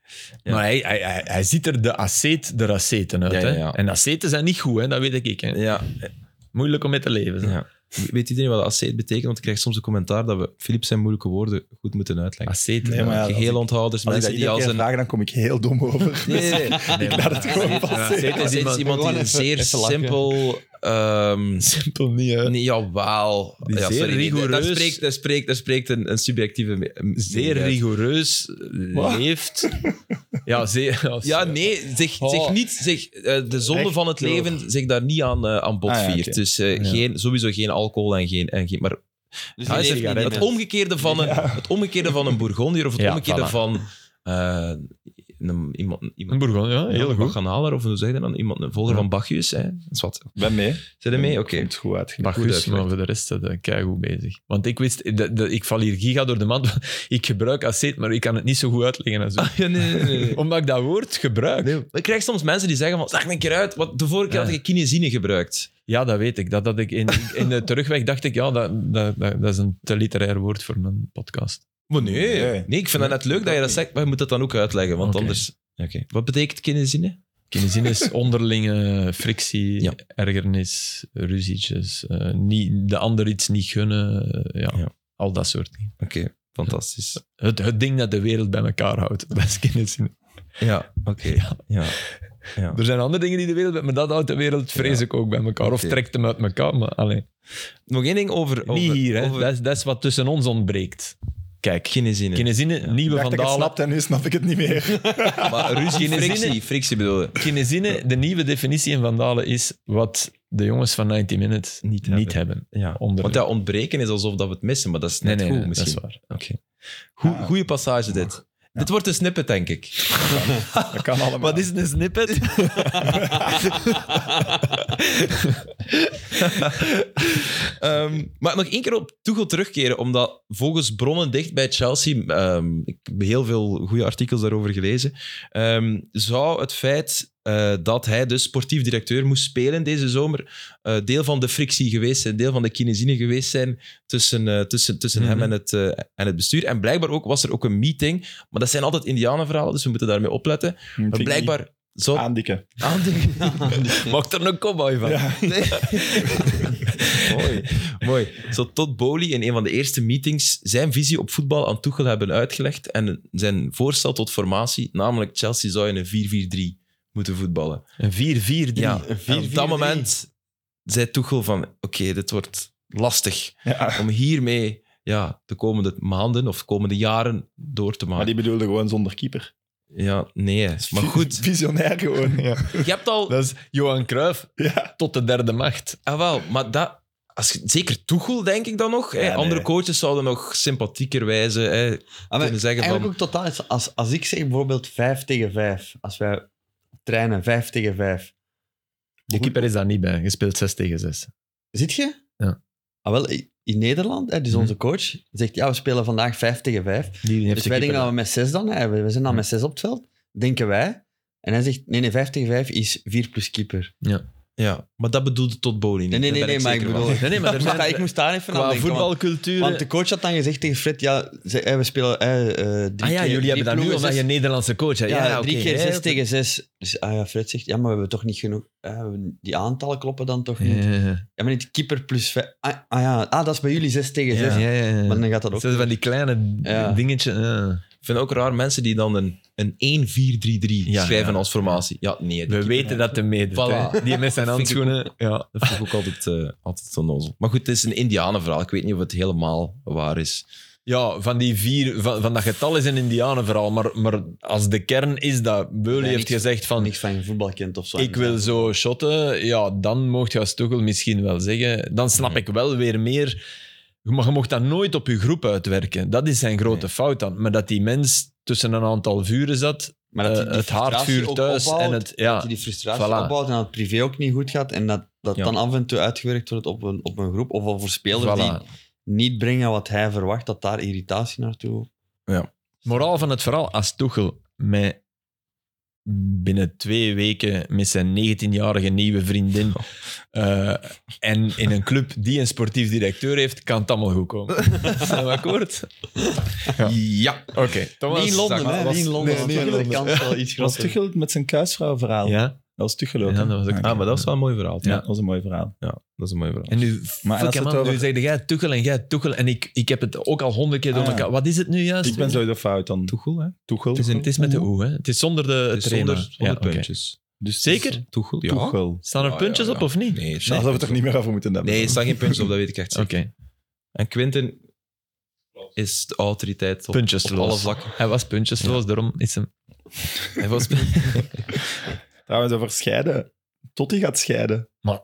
Ja.
Maar hij, hij, hij, hij ziet er de aceet, de aceten uit.
Ja, ja,
hè.
ja.
En aceten zijn niet goed, hè? dat weet ik. Hè?
Ja,
Moeilijk om mee te leven. zeg.
ja. Weet iedereen wat aceet betekent? Want ik krijg soms een commentaar dat we Filip zijn moeilijke woorden goed moeten uitleggen.
Aceten.
Nee, maar ja, als
Geheel
ik-
onthouders,
Als ik
mensen die
dat iedere
als
keer
een...
vraag, dan kom ik heel dom over.
Nee, nee, nee.
Nee,
[laughs] Ik laat het gewoon
maar
passen.
aceten
Het
is
iemand
iemand...
die
Gewoon
een
even-
zeer
even lachen.
simpel... ehm
Simpel niet, hè?
nee, jawel.
Die
ja,
zeer
sorry, nee, dat- Dat
rigoureus-
spreekt, dat spreekt, dat spreekt een, een subjectieve... me- mening
Zeer
uit.
rigoureus
Wat? [laughs]
leeft. eh, Ja, zeer... Ja,
Ja, nee, zeg, zeg
Oh.
niet... Zeg, eh, de zonde
Recht
van het
door.
leven, zeg daar niet aan, eh, aan bod
Ah, ja,
viert.
oké.
Dus eh,
Ja.
geen, sowieso geen alcohol en geen... En geen maar
Dus
Ja,
die
is
negen
het, het
mensen.
omgekeerde van een, het omgekeerde van een Bourgondier of het
Ja,
omgekeerde
voilà.
van eh, een, iemand,
Een
iemand
Bourgogne, ja, heel goed.
Bachanaler, of hoe zeg je dat dan? Iemand, een volger
Ja.
van Bacchius. Hè? Dat is wat.
Ben mee.
Zit er mee? Oké.
Komt goed uit.
Maar
Goed
goed,
uitgelegd.
maar voor de rest eh, kei goed bezig. Want ik wist, dat- dat- ik val hier giga door de mand. [laughs] Ik gebruik aceet, maar ik kan het niet zo goed uitleggen. Als u.
Ja, nee, Ah, nee,
[laughs]
nee, nee.
Omdat ik dat woord gebruik.
Ik krijg soms mensen die zeggen van, zeg een keer uit, want de vorige keer had ik kinesine gebruikt.
Ja, dat weet ik. Dat, dat ik in, in de terugweg dacht ik, ja, dat, dat, dat, dat is een te literair woord voor mijn podcast.
Maar nee, nee.
Nee.
ik vind dat net leuk dat je dat zegt, maar je moet dat dan ook uitleggen, want
Oké.
anders... Oké. Wat betekent kinesine?
Kinezin is onderlinge frictie,
Ja.
ergernis, ruzietjes, eh, niet, de ander iets niet gunnen, eh, ja,
Ja.
al dat soort dingen.
Oké, fantastisch.
Het, het ding dat de wereld bij elkaar houdt, [laughs] dat is kinezin.
Ja, oké. Ja. Ja.
Er zijn andere dingen die de wereld, maar dat houdt de wereld vrees
Ja.
ik ook bij elkaar. Of
Oké.
trekt hem uit elkaar, maar alleen.
Nog één ding over... over
Niet hier, hè.
over
Dat, is, dat is wat tussen ons ontbreekt. Kijk,
Kinesine.
kinezine,
Ik
nieuwe van
dacht dat ik het
Dalen.
snapte en nu snap ik het niet meer.
Maar
Ah,
ruzie,
Kinesine-
frictie, frictie bedoel je?
Kinezine, de nieuwe definitie in Van Dalen is wat de jongens van 90 Minutes
Niet
niet
hebben.
hebben.
Ja.
Onder-
Want dat ontbreken is alsof dat we het missen, maar dat is
Nee,
net
nee,
goed
nee, dat
misschien.
is waar.
Goe- Goeie passage dit. Dit wordt een snippet, denk ik.
Dat kan allemaal.
Wat is een snippet?
[laughs] Ehm, maar nog één keer op Tuchel terugkeren, omdat volgens bronnen dicht bij Chelsea, ehm, ik heb heel veel goede artikels daarover gelezen, ehm, zou het feit eh, dat hij dus sportief directeur moest spelen deze zomer eh, deel van de frictie geweest zijn, deel van de kinesine geweest zijn tussen, eh, tussen, tussen
Mhm.
hem en het, eh, en het bestuur. En blijkbaar ook, was er ook een meeting, maar dat zijn altijd indianenverhalen, dus we moeten daarmee opletten. Maar blijkbaar... Zo,
Aandikken.
Aandikken.
Mag er een cowboy van?
Ja.
[laughs] Mooi. Mooi. Zo tot Boli in een van de eerste meetings zijn visie op voetbal aan Tuchel hebben uitgelegd en zijn voorstel tot formatie, namelijk Chelsea zou in een 4-4-3 moeten voetballen.
Een 4-4-3.
Ja. En op dat moment zei Tuchel van, oké, dit wordt lastig
Ja.
om hiermee ja, de komende maanden of de komende jaren door te
Maar
maken.
die bedoelde gewoon zonder keeper.
Ja, nee. Maar goed,
[laughs] Visionair gewoon. Ja.
je hebt al...
Dat is Johan Cruijff
Ja.
tot de derde macht.
Ah, wel, maar dat... Als, je- zeker Tuchel, denk ik dan nog. hè.
Ja, nee.
Andere coaches zouden nog sympathieker wijzen. Hè.
Ah, maar
kunnen zeggen
eigenlijk
van-
ook totaal is, als, als ik zeg bijvoorbeeld 5 tegen 5, als wij trainen 5 tegen 5,
De keeper is daar niet bij. Je speelt 6 tegen 6.
zit je?
Ja.
Ah, wel, i- in Nederland, hè, dus
Hm.
onze coach zegt, ja, we spelen vandaag 5 tegen 5.
Die heeft
Dus
de
wij denken
keeper.
dat we met 6 dan, hè, we we zijn dan
Hm.
met 6 op het veld, denken wij. En hij zegt, nee, nee, 5 tegen 5 is 4 plus keeper.
Ja, maar dat bedoelde tot Boli niet.
Nee, nee,
Daar
nee,
ben
nee maar ik
zeker
bedoel...
van.
Nee, nee, maar er
[laughs] Maar
zijn...
ik moest daar even aan
Qua Ah
denken. want-
voetbalcultuur...
Want de coach had dan gezegd tegen Fred, ja, ze- hè, we spelen... hè, eh, drie
ah ja,
keer-
jullie
drie
hebben dat nu
ploegen,
omdat je
zes-
een Nederlandse coach hebt.
Ja,
Ja,
drie
oké,
keer
hè,
zes
dat-
tegen zes. Dus ah ja, Fred zegt, ja, maar we hebben toch niet genoeg... eh, die aantallen kloppen dan toch niet?
Ja, ja,
Ja, maar niet keeper plus vijf. Ah, ah ja, ah, dat is bij jullie 6 tegen 6.
ja, ja.
Maar dan gaat dat
Dat
ook.
zijn van die kleine
Ja.
dingetje. ja.
Ik vind het ook raar mensen die dan een, een 1-4-3-3
Ja,
schrijven
ja.
als formatie. Ja, nee. die
We
keeper-
weten dat de mede.
Voilà.
hè. Die met zijn
Vind ik
handschoenen. Ja.
Dat vind ik ook altijd, eh altijd een nozel. Maar goed, het is een indianenverhaal. Ik weet niet of het helemaal waar is.
ja, van die vier, van, van dat getal is een Indianen vooral. Maar, maar als de kern is dat Beulie
Nee,
heeft
niks-
gezegd van
Niks van je voetbal kent of zo.
ik wil zo shotten, ja, dan mocht je als Tuchel misschien wel zeggen. Dan snap ik wel weer meer. Maar je mocht dat nooit op je groep uitwerken. Dat is zijn grote fout dan. Maar dat die mens tussen een aantal vuren zat,
Maar dat die
eh,
die
het
frustratie
haardvuur
ook
thuis en
ophoudt,
het...
Dat
Ja,
je die frustratie
Voilà.
opbouwt en dat het privé ook niet goed gaat. En dat, dat
Ja.
dan af en toe uitgewerkt wordt op een, op een groep. Of al voor spelers
voilà.
die niet brengen wat hij verwacht, dat daar irritatie naartoe.
Ja.
moraal van het verhaal, als Tuchel met binnen twee weken met zijn 19-jarige nieuwe vriendin
Oh.
eh, en in een club die een sportief directeur heeft, kan het allemaal goed
[laughs]
komen. Zijn we akkoord?
Ja.
Oké, Thomas.
Niet in Londen,
Zak-
hè?
was-
Niet in Londen.
nee,
want
niet in
de
Londen.
kans wel iets
was
groter.
Tuchel met zijn kuisvrouw verhaal.
Ja,
Dat was Tuchel ook.
Ja,
hè?
dat was ook-
Ah, oké.
Ah, maar dat is wel een mooi verhaal.
Ja, dat was een mooi verhaal.
Ja, dat is een mooi verhaal.
en nu,
Maar
fuck,
als
hè,
het
man,
over-
nu zeg jij Tuchel en jij Tuchel en ik, ik heb het ook al honderd keer door
Ah, ja.
elkaar. Wat is het nu juist?
Ik ben sowieso fout dan
Toegel, hè?
Tuchel.
het, is een- het is met de O, hè? Het is zonder de
Het is
trema.
zonder,
Ja,
zonder
oké.
puntjes.
Dus
Zeker?
Toegel? Ja.
Tuchel.
Staan er
Ja,
puntjes
ja, ja.
op of niet?
Nee,
Charles had het er niet meer over moeten hebben.
Nee, er staan geen puntjes op, dat weet ik echt
Oké,
[laughs]
zeker. En Quinten is de autoriteit op,
puntjes
op alle
los.
vlakken.
Hij was puntjesloos, daarom is hem...
Hij
[laughs]
was
Trouwens, over scheiden. Totti gaat scheiden.
Maar-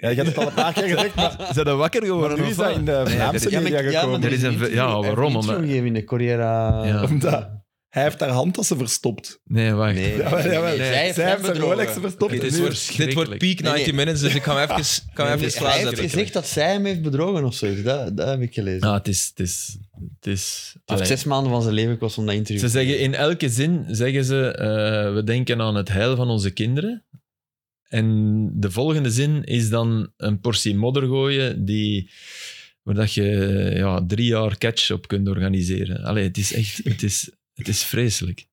Ja, je had het al een paar keer gezegd, maar
Zijn dat wakker
Maar nu is dat in de Vlaamse
Ja, maar-
media
ja,
gekomen.
maar
Er is een-
interview-
ja,
hij heeft
waarom?
een
Omdat-
interview gegeven in de Corriera.
Ja.
Omdat hij heeft haar handtassen verstopt.
Nee, wacht.
Nee,
Ja, maar- ja, maar-
nee, nee,
Zij heeft
hem
zijn
bedrogen.
Rolex verstopt.
dit,
En nu-
wordt, dit wordt peak 90
Nee, nee.
minutes, dus ik ga hem even, kan hem
Nee,
even
hij heeft
slaan.
gezegd dat zij hem heeft bedrogen of zo. Dat, dat heb ik gelezen.
Ah, het is... Het is, het is
het heeft
allee.
zes maanden van zijn leven kost om dat interview
Ze zeggen in elke zin, zeggen ze, eh, we denken aan het heil van onze kinderen. En de volgende zin is dan een portie modder gooien die, waar dat je ja, drie jaar catch op kunt organiseren. Allee, het is echt het is, het is vreselijk.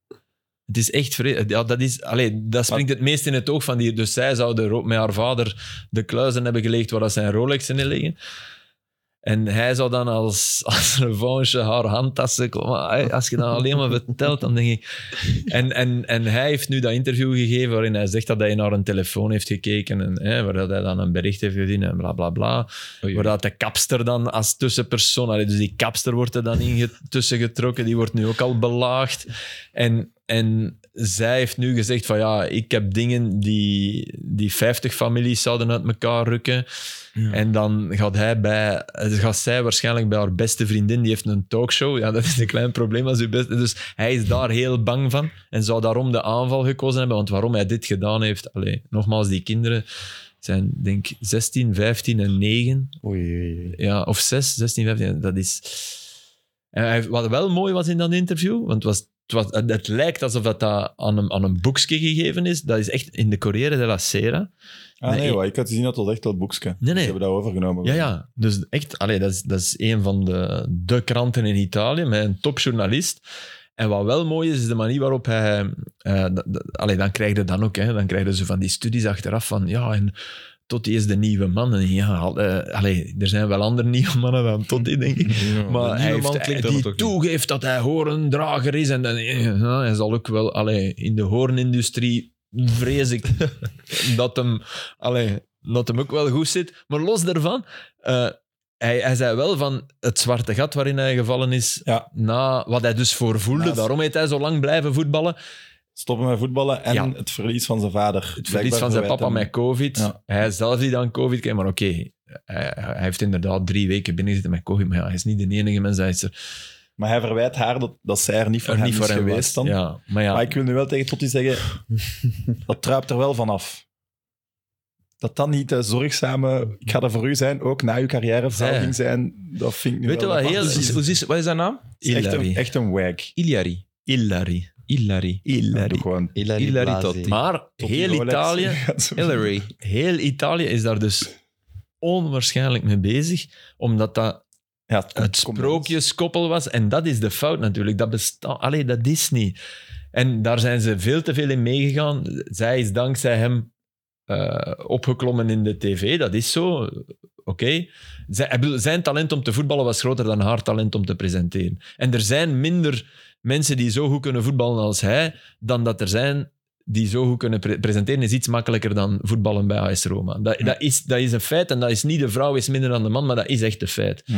Het is echt vreselijk. Ja, dat, is, allee, dat springt het meest in het oog van die. Dus zij zou de ro- met haar vader de kluizen hebben gelegd waar dat zijn Rolex in liggen. En hij zou dan als, [laughs] als revanche haar handtassen... Maar Als je dat alleen maar vertelt, dan denk ik... En, en, en hij heeft nu dat interview gegeven waarin hij zegt dat hij naar een telefoon heeft gekeken en hè, waar dat hij dan een bericht heeft gezien en bla, bla, bla. Waar dat de kapster dan als tussenpersoon... allee, dus die kapster wordt er dan in tussengetrokken. Die wordt nu ook al belaagd. En, en zij heeft nu gezegd van ja, ik heb dingen die, die 50 families zouden uit elkaar rukken. En dan gaat, hij bij, eh, gaat zij waarschijnlijk bij haar beste vriendin, die heeft een talkshow. Ja, dat is een klein probleem als uw beste. Dus hij is daar heel bang van en zou daarom de aanval gekozen hebben. Want waarom hij dit gedaan heeft, allee, nogmaals, die kinderen zijn denk ik 16, 15 en 9.
Oei, oei, oei.
Ja, of 6, 16, 15. Dat is. En hij- wat wel mooi was in dat interview, want het, was, het, was, het, het lijkt alsof dat, dat aan, een, aan een boekje gegeven is. Dat is echt in de Corriere della Sera.
Ah, nee,
Nee,
hoor, ik had gezien dat het echt dat boekje.
nee.
Ze hebben dat overgenomen.
Ja, ja. Dus echt, allee, dat, is, dat is een van de, de kranten in Italië met een topjournalist. En wat wel mooi is, is de manier waarop hij... eh, dat- dat- allee, dan krijg je dan ook, hè, dan krijgen ze van die studies achteraf van... Ja, en Totti is de nieuwe man. En ja, al- eh, allee, er zijn wel andere [laughs] nieuwe mannen dan Totti, denk ik. Maar hij heeft, hij- die toegeeft dat hij horendrager is. En dan, eh, ja, hij zal ook wel allee, in de hoornindustrie vrees
[laughs]
ik dat, hem, allee, dat hem ook wel goed zit. Maar los daarvan, eh, hij, hij zei wel van het zwarte gat waarin hij gevallen is,
Ja.
na wat hij dus voor voelde.
Naast-
Daarom heeft hij zo lang blijven voetballen.
Stoppen met voetballen en
Ja.
het verlies van zijn vader.
Het verlies van zijn papa met COVID.
Ja.
Hij zelf die dan COVID kreeg, maar oké. Hij, hij heeft inderdaad drie weken binnen zitten met COVID, maar ja, hij is niet de enige mens. Hij is er,
Maar hij verwijt haar dat, dat zij er niet voor
er
hem
niet voor
is
hem was.
geweest dan.
Ja, maar ja.
Maar ik wil nu wel tegen Totti
[laughs]
zeggen, dat truipt er wel vanaf. Dat dan niet de zorgzame, ik ga er voor u zijn, ook na uw carrière verhouding zijn, dat vind ik nu
Weet je
wel
wat
[laughs] apart.
heel-
Dus
Hoe is, wat is zijn naam?
het is echt een,
Hilary.
echt een wag.
Ilari.
Hillary.
Ilari.
Ja, doe
Hillary.
gewoon.
Hilary
Hilary
Blasi.
Totti.
Maar
Totti
heel
Rolex. [laughs]
Italië,
Hillary.
heel Italië is daar dus onwaarschijnlijk mee bezig, omdat dat
Ja, het, komt-
het
komt
sprookjeskoppel was. En dat is de fout natuurlijk. Dat bestaat... Allee, dat is niet. En daar zijn ze veel te veel in meegegaan. Zij is dankzij hem eh, opgeklommen in de tv. Dat is zo. Oké. Zij- ik bedoel, Zijn talent om te voetballen was groter dan haar talent om te presenteren. En er zijn minder mensen die zo goed kunnen voetballen als hij, dan dat er zijn die zo goed kunnen pre- presenteren, is iets makkelijker dan voetballen bij AS Roma. Dat, dat, is, dat is een feit en dat is niet de vrouw is minder dan de man, maar dat is echt een feit.
Hm.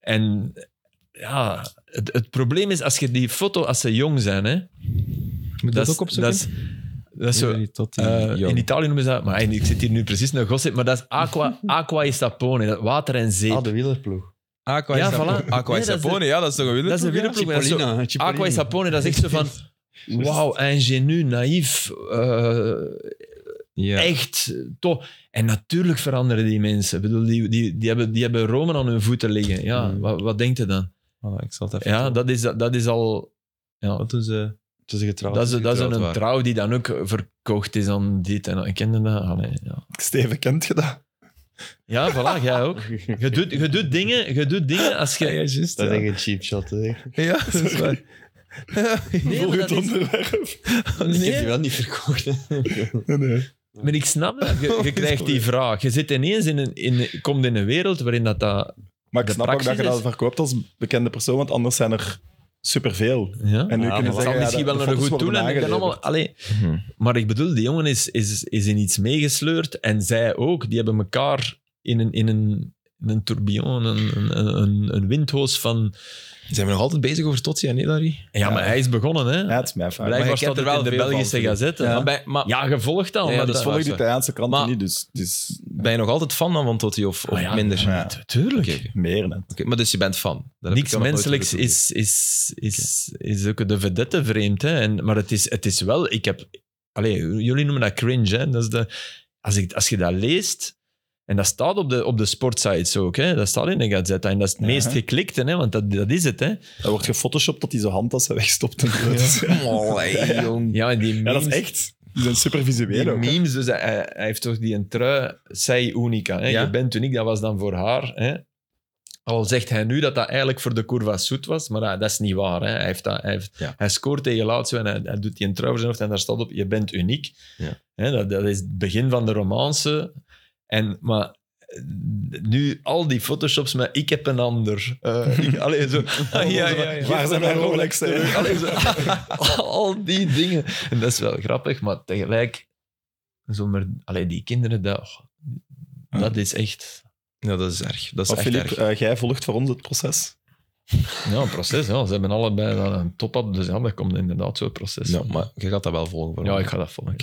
En ja, het, het probleem is als je die foto, als ze jong zijn, hè,
Moet dat,
is-
ook opzoeken?
Dat is, dat is zo,
Hilary Totti.
eh,
jong.
in Italië noemen ze dat, maar ik zit hier nu precies naar gossip, maar dat is aqua, aqua e sapone, dat water en zeep.
Ah, de wielerploeg.
Aqua
Ja,
is Sapone.
voilà.
Aqua
Nee,
is
dat is
Sapone, ja, dat is toch een
dat is een
wielerploeg, ja?
wielerploeg. maar dat is zo-
Cipollina, Cipollina.
Aqua e sapone, dat is echt zo van, wauw, ingenu, naïef, eh,
Ja.
echt tof. En natuurlijk veranderen die mensen. Ik bedoel, die, die, die, hebben, die hebben Rome aan hun voeten liggen. Ja,
Mm.
wat, wat denkt je dan?
Voilà, ik zal het even
Ja, dat is, dat is al... Ja,
Wat doen ze?
Toen ze getrouwd
dat is, dat is
getrouwd
een
waren.
trouw die dan ook verkocht is aan dit en dat. Ik kende dat. Allee, ja.
Steven, kent je dat?
ja, voilà, jij ook. Je doet, je doet, dingen, je doet dingen als je...
Dat is echt een cheap
[laughs]
shot. Hè. Ik
Ja, dat is waar.
Nee, maar, dat is-
onderwerp.
nee,
heb die wel niet verkocht. Hè.
Nee.
maar ik snap dat.
Oh,
Je, je krijgt die vraag. Je zit ineens in een, in, komt in een wereld waarin dat... dat
Maar ik
De
snap ook dat je
praxis
dat
is-
verkoopt als bekende persoon, want anders zijn er superveel.
ja?
En nu
Ja,
kunnen
Het zal
maar
zeggen,
misschien
ja, de-
wel
de
een
foto's
goed doen. En
worden
die kan allemaal,
aangeleverd.
allee,
Mhm.
maar ik bedoel, die jongen is, is, is in iets meegesleurd en zij ook. Die hebben elkaar in een, in een, in een tourbillon, een, een, een, een windhoos van...
Zijn we nog altijd bezig over Totsi en Hilary?
Ja, maar hij is begonnen, hè?
Ja, het is mijn vraag.
Maar je
Blijkbaar
kent er
staat het
wel
in de
veel van,
Belgische
natuurlijk.
gazette.
Ja.
Ja,
bij, maar
ja gevolgd dan.
Ja,
maar
dat is
dat-
wel-
Volg die Italiaanse kranten
Maar-
niet, dus, dus
ben je nog altijd fan dan van Totti of, of
Ah, ja,
minder?
ja.
tu- Tuurlijk.
Oké, oké.
meer net.
Oké, Maar dus je bent fan. Dat heb ik
Niks
jou nog nooit
menselijks
horen
is, is, is, is ook de vedette vreemd. Hè? En, maar het is, het is wel... Ik heb, allee, jullie noemen dat cringe. Hè? Dat is de, als, ik, als je dat leest... En dat staat op de, op de sportsites ook. Hè? Dat staat in de gazette. En dat is het
Ja.
meest geklikte, hè? want dat, dat is het. Hè?
Dat wordt gefotoshopt dat hij zijn handtassen [laughs] wegstopt. En zo. Dus [laughs] ja.
doen. Allee, jong.
Ja, en die
Ja, dat is
Oh, memes-
echt. Die zijn super
Die
visueel ook. hè.
memes, dus hij, hij- hij heeft toch die een trui, zij unica. Hè?
Ja.
Je bent uniek, dat was dan voor haar. Hè? Al zegt hij nu dat dat eigenlijk voor de Curva Soet was, maar dat, dat is niet waar. Hè? Hij, heeft dat, hij, heeft,
Ja.
hij scoort tegen Lazio en hij, hij doet die een trui voor zijn hoofd en daar staat op, je bent uniek.
Ja.
Hè? Dat, dat is het begin van de romance. En, maar eh, nu al die photoshops met ik heb een ander. Eh,
[laughs]
ik- allee, zo,
ja, ja, ja.
Waar zijn mijn Rolex? hè?
Allee, zo, [laughs] al die dingen. En dat is wel grappig, maar tegelijk... Zo maar, allee, die kinderen, dat, oh, dat is echt...
Ja, dat is erg. Dat is
Maar
echt
Filip,
erg.
eh, jij volgt voor ons het proces.
Ja, een proces. Ja. Ze hebben allebei dan een top-up, dus ja, dat komt inderdaad zo'n proces.
Ja, maar je gaat dat wel volgen. voor
Ja,
ons.
ik ga dat volgen.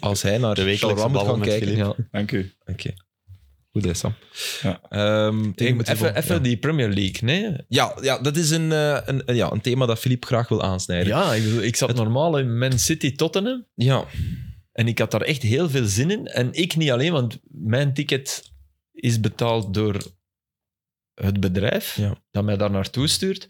Als hij naar
De wekelijkse
Charleroi moet
babbel
gaan
met
kijken.
Filip.
Ja.
Dank u.
Oké. Goed, hè, Sam.
Ja.
Ehm, ik moet
Even,
hiervoor-
even
ja.
die Premier League, nee?
Ja, ja, dat is een, eh, een, een- ja, een thema dat Filip graag wil aansnijden.
Ja, ik, bedoel, ik zat normaal in Man City Tottenham
Ja.
en ik had daar echt heel veel zin in. En ik niet alleen, want mijn ticket is betaald door het bedrijf
Ja.
dat mij daar naartoe stuurt.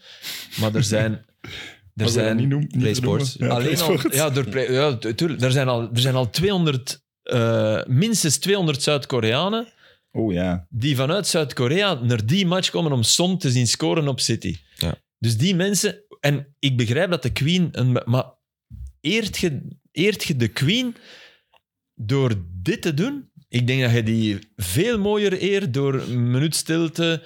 Maar er
[laughs]
zijn... Er
Als je dat
zijn
niet noemt, niet
Play
vernoemen.
Sports.
Ja,
Alleen
Play
al,
Sports.
ja, door, pre- ja, tu- tuurlijk. er zijn al, er zijn al 200, eh, minstens 200 Zuid-Koreanen
Oh ja.
die vanuit Zuid-Korea naar die match komen om Son te zien scoren op City.
Ja.
Dus die mensen... En ik begrijp dat de Queen... Een, maar eert je, eert je de Queen door dit te doen? Ik denk dat je die veel mooier eert door een minuut stilte...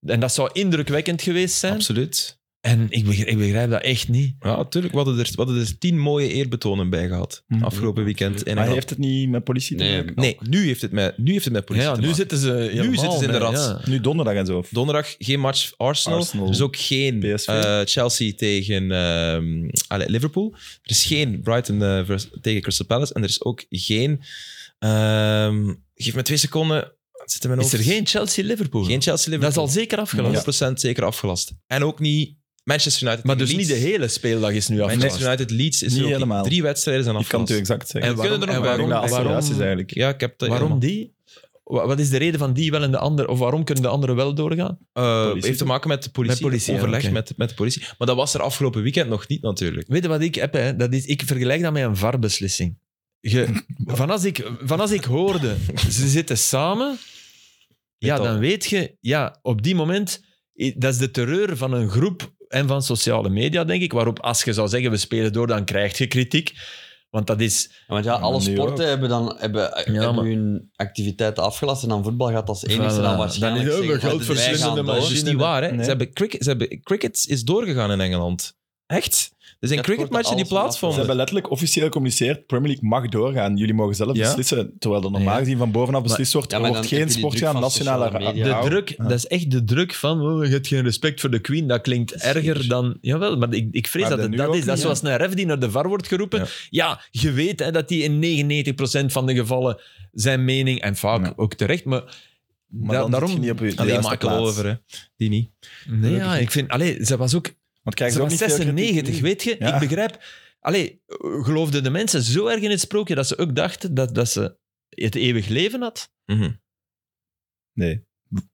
En dat zou indrukwekkend geweest zijn.
Absoluut.
En ik begrijp, ik begrijp dat echt niet.
Ja, natuurlijk. We hadden, er, we hadden er tien mooie eerbetonen bij gehad.
Mhm.
Afgelopen weekend. En
Maar hij heeft het niet met politie te
Nee,
maken?
Nee, nu heeft het met, nu heeft het met politie
Ja,
te
nu
maken.
zitten ze helemaal,
zitten ze in de
hè,
rat.
ja.
Nu donderdag en zo.
Donderdag geen match Arsenal.
Arsenal.
Dus ook geen
PSV.
eh, Chelsea tegen ehm, allee, Liverpool. Er is geen Brighton eh, vers- tegen Crystal Palace. En er is ook geen... ehm, geef me twee seconden. Het zit in mijn
Is er
hoofd.
geen Chelsea-Liverpool?
Geen Chelsea-Liverpool.
dat is al zeker afgelast.
100% zeker afgelast. En ook niet Manchester United.
Maar dus
tegen
niet de
Leeds.
hele speeldag is nu afgelast.
Manchester United Leeds is
Niet
er ook
helemaal.
Drie wedstrijden zijn
Ik kan het
afgelast.
u exact zeggen.
En waarom-
kunnen er nog
en
wel
waarom-
in de
Ik denk dat
waarom-
acceleraties eigenlijk.
ja, ik heb dat
Waarom
helemaal.
die? Wa- Wat is de reden van die wel en de andere? Of waarom kunnen de anderen wel doorgaan?
Eh,
Politie?
heeft te maken met de politie.
Met politie, ja,
overleg
oké.
met, met de politie. Maar dat was er afgelopen weekend nog niet, natuurlijk.
Weet je wat ik heb? Hè? Dat is, ik vergelijk dat met een
[laughs]
VAR-beslissing. Je- Van, als ik, van als ik hoorde, ze zitten samen, ja,
dat-
dan weet je, ja, op die moment, i- dat is de terreur van een groep en van sociale media, denk ik, waarop als je zou zeggen, we spelen door, dan krijg je kritiek. Want dat is...
Want ja, alle
maar nu
sporten hebben, dan, hebben, hebben
maar-
hun activiteiten afgelast en dan voetbal gaat als enige
Voilà.
dan waarschijnlijk
Dan is-
zeggen,
geld
van, wij gaan
verslindende
Dat
door.
is
machine.
dus niet waar, hè.
Nee.
Ze hebben cricket, ze hebben, cricket is doorgegaan in Engeland. Echt? Er zijn
Ja,
cricketmatchen die
alles vanaf.
Ze
plaatsvonden.
hebben letterlijk officieel gecommuniceerd, Premier League mag doorgaan, jullie mogen zelf
Ja.
beslissen. Terwijl er normaal gezien van bovenaf beslist wordt,
Ja,
er
maar
wordt
dan heb
geen
je die
sport
druk
gaan,
van
nationale
sociale media.
De
Ja.
druk, dat is echt de druk van, oh, je hebt geen respect voor de queen, dat klinkt erger dan... Jawel, maar ik, ik vrees dat
Maar dat
het
nu
dat is.
ook
Dat is
niet,
zoals een ref die naar de VAR wordt geroepen.
Ja.
Ja, je weet hè, dat die in 99% van de gevallen zijn mening, en vaak
Ja.
ook terecht, maar...
Maar
da-
dan zit
daarom...
je niet op je de
Alleen
juiste
Michael
plaats.
Oliver, hè. Die niet.
Nee, ja, ik vind... Allee, ze was ook...
Want krijgen
Ze
ze ook
was
niet veel kritiek
96,
[laughs] nu?
weet je?
Ja.
Ik begrijp... Allee, geloofden de mensen zo erg in het sprookje dat ze ook dachten dat, dat ze het eeuwig leven had?
Mhm.
Nee.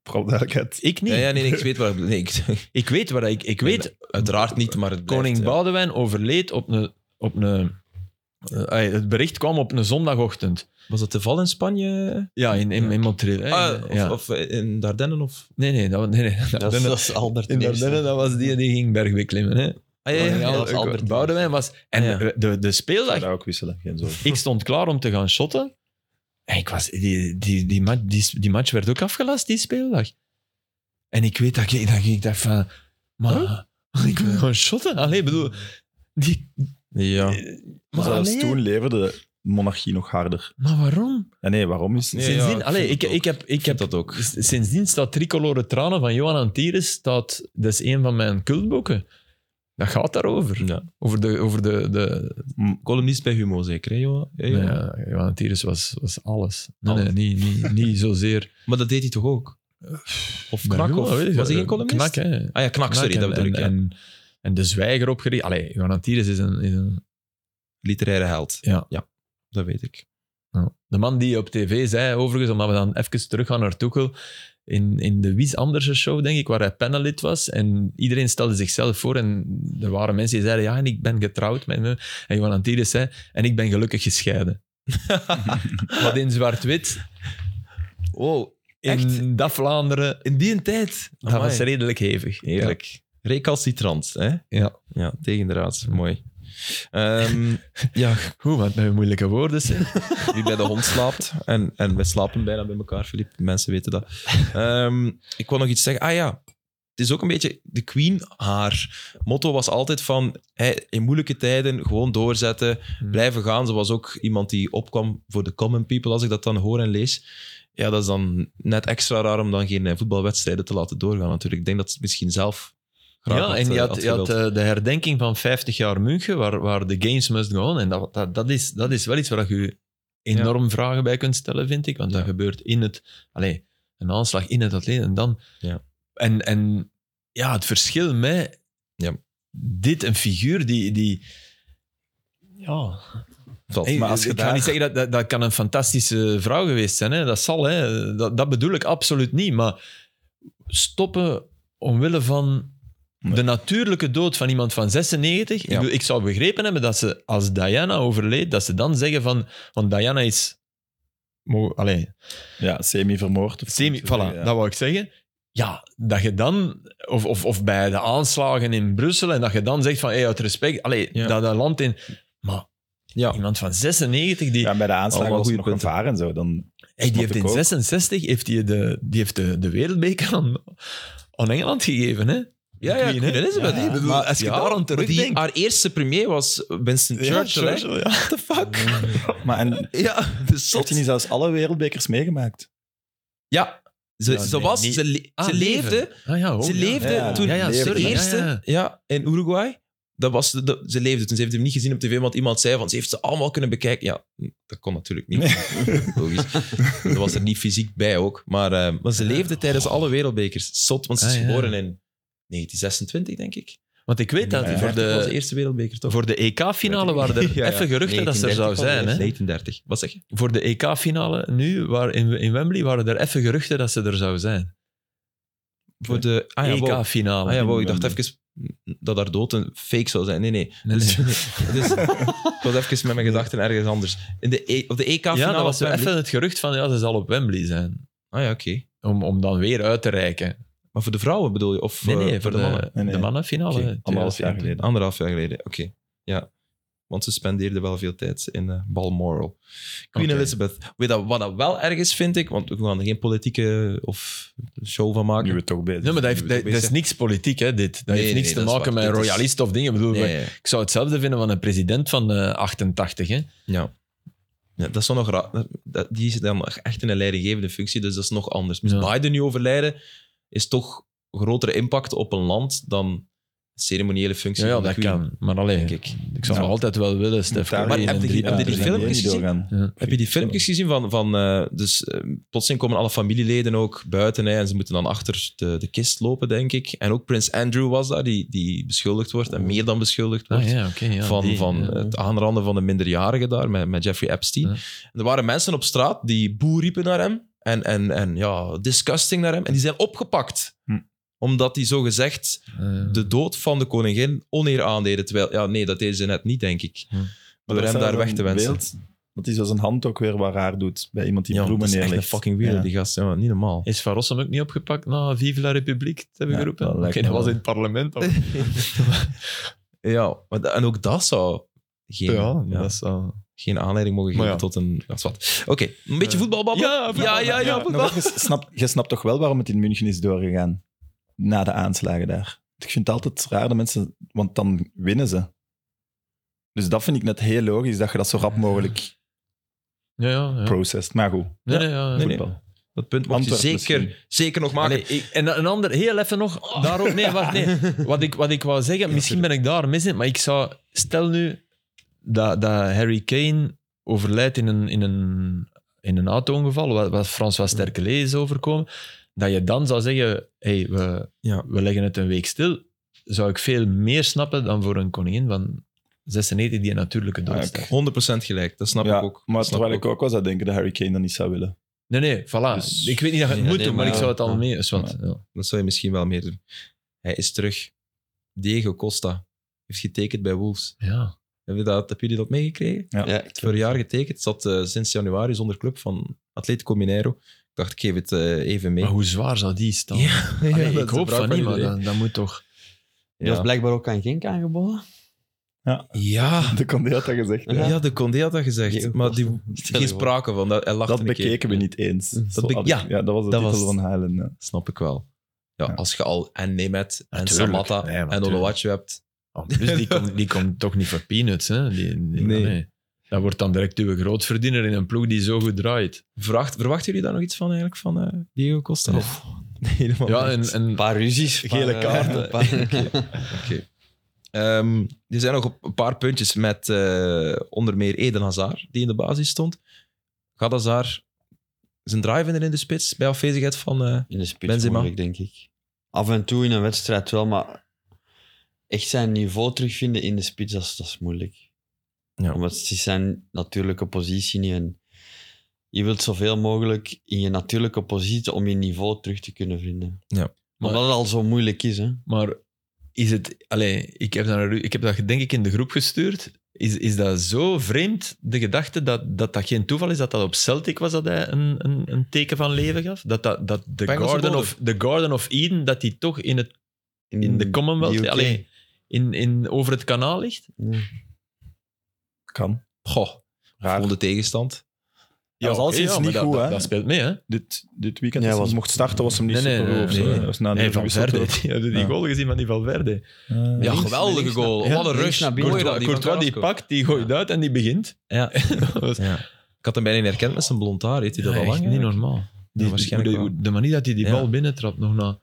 Vooral duidelijkheid.
Ik niet.
Ja, ja, nee, nee, ik weet waar. Nee, ik,
[laughs] Ik weet waar ik... Ik weet,
uiteraard niet, maar het blijft,
koning
ja.
Boudewijn overleed op een... Op een eh, ay, het bericht kwam op een zondagochtend.
Was dat de val in Spanje?
Ja, in, in, in Montreal. hè.
Ah, of,
ja.
of in Dardenne? Of...
nee, nee, dat, nee, nee.
Dat is, dat is Albert
in
Neers.
Dardenne, dat was die die ging bergbeklimmen. Hè?
Ah, ja, ja, ja.
dat was
Ik-
Albert
Boudewijn was... En
Ja.
de, de
Ik
speeldag
zou ook wisselen, geen zorgen.
[laughs]
ik stond klaar om te gaan shotten. En ik was, die, die, die, match, die, die match werd ook afgelast, die speeldag. En ik weet dat ik, dat ik dacht van... Maar, ik wil gaan shotten. Allee, bedoel... Die,
Ja.
maar,
Zelfs
allee,
toen leverde de monarchie nog harder.
maar waarom?
En nee, waarom is het?
Nee,
sindsdien,
ja, ik
allee,
vind
ik,
het ook.
ik heb... Ik heb
dat ook.
s- Sindsdien staat Tricolore Tranen van Johan Antires, staat, dat is een van mijn cultboeken. Dat gaat daarover.
Ja.
Over de, over de, de,
Columnist bij Humo, zeker, hè, Eh, Johan? Ja,
Nee,
Johan?
ja, Johan Tieris was, was alles. Nee,
Alles.
nee, niet, niet, niet zozeer.
Maar dat deed hij toch ook? Of
Maar
Knak?
goed,
Of,
weet je,
was hij
eh,
geen columnist?
Knak, hè.
Ah ja, Knak, sorry,
en,
dat bedoel ik.
en,
ja.
en, en de zwijger opgericht. Allee, Johan Antires is een... Is een
Literaire held.
Ja.
dat weet ik.
nou, de man die op tv zei, overigens, omdat we dan even teruggaan naar Toekel, in, in de Wies Andersen show, denk ik, waar hij panelid was. En iedereen stelde zichzelf voor en er waren mensen die zeiden, ja, en ik ben getrouwd met me. En Johan Antires zei, en ik ben gelukkig gescheiden. [laughs] Wat in zwart-wit,
Wow,
in
Echt?
dat Vlaanderen,
in die tijd?
dat was redelijk hevig.
Heerlijk. Recalcitrant, hè?
Ja.
Ja, tegendraads. Mooi. Ehm,
[laughs] Ja, goed, wat met moeilijke woorden. [laughs] zeg.
wie bij de hond slaapt. En, en wij slapen bijna bij elkaar, Filip. Mensen weten dat. Ehm, ik wil nog iets zeggen. Ah ja, het is ook een beetje de queen. Haar motto was altijd van hè, in moeilijke tijden gewoon doorzetten,
Hmm.
blijven gaan. Ze was ook iemand die opkwam voor de common people, als ik dat dan hoor en lees. Ja, dat is dan net extra raar om dan geen eh, voetbalwedstrijden te laten doorgaan natuurlijk. Ik denk dat ze het misschien zelf graag
Ja,
had,
en
eh,
je had,
had
je had
gewild.
eh, de herdenking van 50 jaar München, waar, waar de games must go on. En dat, dat, dat, is, dat is wel iets waar je enorm vragen bij kunt stellen, vind ik. Want dat gebeurt in het... Allee, een aanslag in het atleet en dan...
Ja.
En, en ja, het verschil met
Ja.
dit, een figuur die... die ja,
Valt.
Hey,
Maar als je
ik ga
daar-
niet zeggen dat, dat dat kan een fantastische vrouw geweest zijn. Hè? Dat zal, hè? Dat, dat bedoel ik absoluut niet. Maar stoppen omwille van de natuurlijke dood van iemand van 96. Ik,
Ja.
bedoel, ik zou begrepen hebben dat ze als Diana overleed, dat ze dan zeggen van, want Diana is mo- allee,
Ja, semi-vermoord. of
semi,
zo.
voilà,
Ja.
dat wou ik zeggen. Ja, dat je dan, of, of, of bij de aanslagen in Brussel, en dat je dan zegt van, hey, uit respect, allee,
Ja.
dat, dat land in, maar
Ja.
iemand van 96 die,
Ja, en bij de aanslagen
Oh, wel
was er
goede
nog
punten.
gevaar en zo. Dan,
Hey, die
Snap
heeft
ik
in
ook.
66 heeft die de, die heeft de, de wereldbeker aan, aan Engeland gegeven. Hè?
Ja, ja,
Queen, hè?
Elizabeth.
Ja. Maar als je daar aan
maar die-
terugdenkt-
Haar eerste premier was Winston Churchill. hè?
What the fuck?
maar [laughs] en,
Ja, dus
heeft hij niet zelfs alle wereldbekers meegemaakt?
Ja, ze,
Ja,
ze,
nee,
was,
niet-
ze, le-
Ah,
ze
leven.
leefde,
Ah, ja, oh,
ze
ja.
leefde
Ja,
toen
ja, ja,
de
sorry, ja,
eerste
ja.
ja, in Uruguay. Dat was de, de- ze leefde toen. Ze heeft hem niet gezien op tv, want iemand zei van ze heeft ze allemaal kunnen bekijken. Ja, dat kon natuurlijk niet. [laughs] Logisch. Ze was er niet fysiek bij ook. Maar, eh, maar ze leefde tijdens alle wereldbekers. Zot, want ze is
Ah, ja.
geboren in 1926, denk ik.
Want ik weet dat
Ja, ja.
voor,
1930 was de
de,
eerste wereldbeker, toch?
voor de EK-finale waren [laughs] er
[laughs] Ja, ja.
even geruchten dat ze er zou
1930 was het,
zijn. Hè?
1930. Wat zeg je?
Voor de EK-finale nu waar in, in Wembley waren er even geruchten dat ze er zou zijn. E
Voor de ah, ja, wow.
EK-finale.
Ah ja,
in
wow, ik dacht
Wembley.
even dat haar dood een fake zou zijn. Nee, nee.
Nee,
dus,
[laughs] nee.
dus, ik was even met mijn gedachten ergens anders. In de e, op de EK-finale
Ja, dat was
was
zo
Wembley.
even het gerucht van ja, ze zal op Wembley zijn.
Ah ja, oké.
Om, om dan weer uit te reiken.
Maar voor de vrouwen bedoel je? Of
Nee,
eh,
nee, voor, de, mannen.
Nee, nee.
de mannenfinale.
Oké,
Anderhalf jaar geleden.
Anderhalf jaar geleden, oké. Ja. Want ze spendeerden wel veel tijd in eh, Balmoral. Queen
Oké.
Elizabeth. Weet dat, wat dat wel ergens vind ik, want we gaan er geen politieke eh, of show van maken.
Nu we toch bezig
Nee, maar dat,
Nu
heeft,
we
dat,
toch
dat is
bezig-
niks politiek, hè, dit. Dat
Nee,
heeft
nee,
niks
dat
te
is
maken
waar.
met
Dit is-
royalist of dingen. Ik Bedoel,
Nee, ja.
Ik zou hetzelfde vinden van een president van eh, 88, hè.
Ja. ja dat is dan nog raar. Dat- Die is dan echt in een leidinggevende functie, dus dat is nog anders. Moest
Ja.
Biden nu overlijden, is toch een grotere impact op een land dan een ceremoniële functie.
Ja, ja,
van de
dat
Queen,
kan. Maar alleen,
Denk
ik, Nou.
ik.
zou
Ja.
altijd wel willen, Stef.
Daar-
Curry
Maar
en
heb je
drie
die- heb je
dagen.
die filmpjes
niet
gezien?
doorgaan.
Heb je die filmpjes gezien van... van eh, dus eh, plotseling komen alle familieleden ook buiten hè, en ze moeten dan achter de, de kist lopen, denk ik. En ook prins Andrew was daar, die, die beschuldigd wordt en meer dan beschuldigd wordt.
Oh. Ah, ja, oké. ja,
van,
die,
van
ja.
het aanranden van de minderjarigen daar met, met Jeffrey Epstein.
Ja.
En Er waren mensen op straat die boer riepen naar hem. en, en, en ja, disgusting naar hem. En die zijn opgepakt.
Hm.
Omdat die zogezegd de dood van de koningin oneer aandeden. Terwijl, ja, nee, dat deden ze net niet, denk ik.
Hm.
Door hem daar weg te wensen.
dat hij zo zijn hand ook weer wat raar doet bij iemand die
ja, dat
bloemen
is echt
neerlegt.
een fucking weirdo,
Ja.
die gast. Ja, niet normaal.
Is Van Rossum ook niet opgepakt na Vive la Republiek te hebben
Ja,
geroepen?
dat
Oké,
lijkt me
dat was
wel.
in het parlement. al.
Ja, maar da- en ook dat zou geen,
ja,
ja,
dat is al...
geen aanleiding mogen geven
Maar ja.
tot een... Dat is wat. Oké, een beetje
Eh,
voetbalbabbel.
Ja,
ja, ja, ja,
Maar wel, je, snapt, je snapt toch wel waarom het in München is doorgegaan na de aanslagen daar. Ik vind het altijd raar dat mensen, want dan winnen ze. Dus dat vind ik net heel logisch dat je dat zo rap mogelijk
Ja, ja. ja.
processt. Maar goed,
Nee, nee, ja, ja.
Nee, nee.
voetbal.
Dat punt mag je
Antwerpen
zeker,
misschien.
zeker nog maken.
Allee, ik- en een ander, heel even nog daarop. Nee, wacht, nee. Wat ik, wat ik wou zeggen, misschien ben ik daar mis in, maar ik zou, stel nu dat, dat Harry Kane overlijdt in een, in een, in een auto-ongeval, wat, wat François Sterkelee is overkomen, dat je dan zou zeggen, hey, we,
Ja.
we leggen het een week stil, zou ik veel meer snappen dan voor een koningin van 96 die een natuurlijke dood
Ah, oké.
sterft.
100% gelijk, dat snap
Ja,
ik ook.
maar
Dat snap
terwijl ik ook was dat denken dat Harry Kane dat niet zou willen. [laughs]
Nee, nee, voilà.
Dus-
ik weet niet dat je het
Ja,
moet
nee,
doen, maar,
maar
ik
ja.
zou het al
Ja.
mee... want, ja.
Dat zou je misschien wel meer doen. Hij is terug. Diego Costa heeft getekend bij Wolves.
Ja.
Heb je dat, heb jullie dat meegekregen?
Ja.
Ja,
Het vorige jaar getekend, zat eh, sinds januari zonder club van Atletico Mineiro. Ik dacht, ik geef het eh, even mee.
Maar hoe zwaar zou die
[laughs]
staan?
Ja,
Oh, Allee,
dat
ik
is de
hoop
vraag
van niet, maar
iedereen.
dat, dat moet toch...
Dat is
Ja.
blijkbaar ook aan Genk aangeboden.
Ja.
De Condé had dat gezegd. hè.
ja, de Condé had dat gezegd.
Diego
Maar die,
Costa. Stel
geen
je voor.
sprake van. Dat, hij lachte
Dat
een keer.
bekeken we niet eens. Zo
be-
had ik-
ja,
dat was de
dat
titel
was-
van Haaland. ja.
Snap ik wel. Ja,
Ja.
als je al en Nemet en
Natuurlijk.
Samatta
Nee, maar
en
natuurlijk.
Oluwatje hebt. [laughs]
Oh, plus die komt die komt toch niet voor peanuts, hè? Die, die-
Nee.
Dat wordt dan direct uw grootverdiener in een ploeg die zo goed draait.
Verwacht, verwachten jullie daar nog iets van eigenlijk, van eh, Diego Costa?
Nee.
Of- Nee, helemaal
Ja,
niet.
en, en
Een paar ruzies. een paar,
Gele
eh,
kaarten.
een [laughs] paar-
Oké. Ehm, er zijn nog op een paar puntjes met eh, onder meer Eden Hazard, die in de basis stond. Gaat Hazard zijn drive in de spits bij afwezigheid van... eh,
In de spits
Benzema.
moeilijk, denk ik. Af en toe in een wedstrijd wel, maar echt zijn niveau terugvinden in de spits, dat is, dat is moeilijk.
Ja.
Omdat het is zijn natuurlijke positie niet. En je wilt zoveel mogelijk in je natuurlijke positie om je niveau terug te kunnen vinden.
Ja.
Maar Omdat het al zo moeilijk is, hè.
Maar is het... Allee, ik, heb dat, naar u- ik heb dat denk ik in de groep gestuurd. Is, is dat zo vreemd, de gedachte dat, dat dat geen toeval is, dat dat op Celtic was dat hij een, een, een teken van leven gaf? Dat, dat, dat de,
Engelse
Garden
bodem.
of, de Garden of Eden, dat die toch in, het, in de Commonwealth,
UK.
allee, in, in, over het kanaal ligt?
Ja.
Kan.
goh,
Raar.
volgende tegenstand.
Ja, dat was al
oké,
sinds
maar
niet
dat,
goed,
dat,
hè?
dat speelt mee, hè?
Dit, dit weekend,
Ja,
als hij
was-
mocht starten, was hem niet
Nee, nee,
super goed. of
nee,
zo,
nee.
hè. Hij was na een
Nee,
uur
van
gewisseld
Verde. [laughs]
ook.
Die hebben die
Ja.
goal gezien van die van Verde.
Eh,
Ja,
Links-
geweldige
links
goal.
naar- ja,
Wat een
links
rush.
naar binnen.
Mooi dat,
Courtois,
die
Courtois
van
die
Carrasco.
pakt, die gooit uit en die begint.
Ja.
Dat was
ja. Ik had hem bijna niet herkend met zijn blond haar. Heeft hij dat
Ja,
al
echt
lang?
niet
eigenlijk?
normaal. Die,
waarschijnlijk
hoe de,
wel.
hoe de manier dat hij die bal
Ja.
binnentrapt nog na...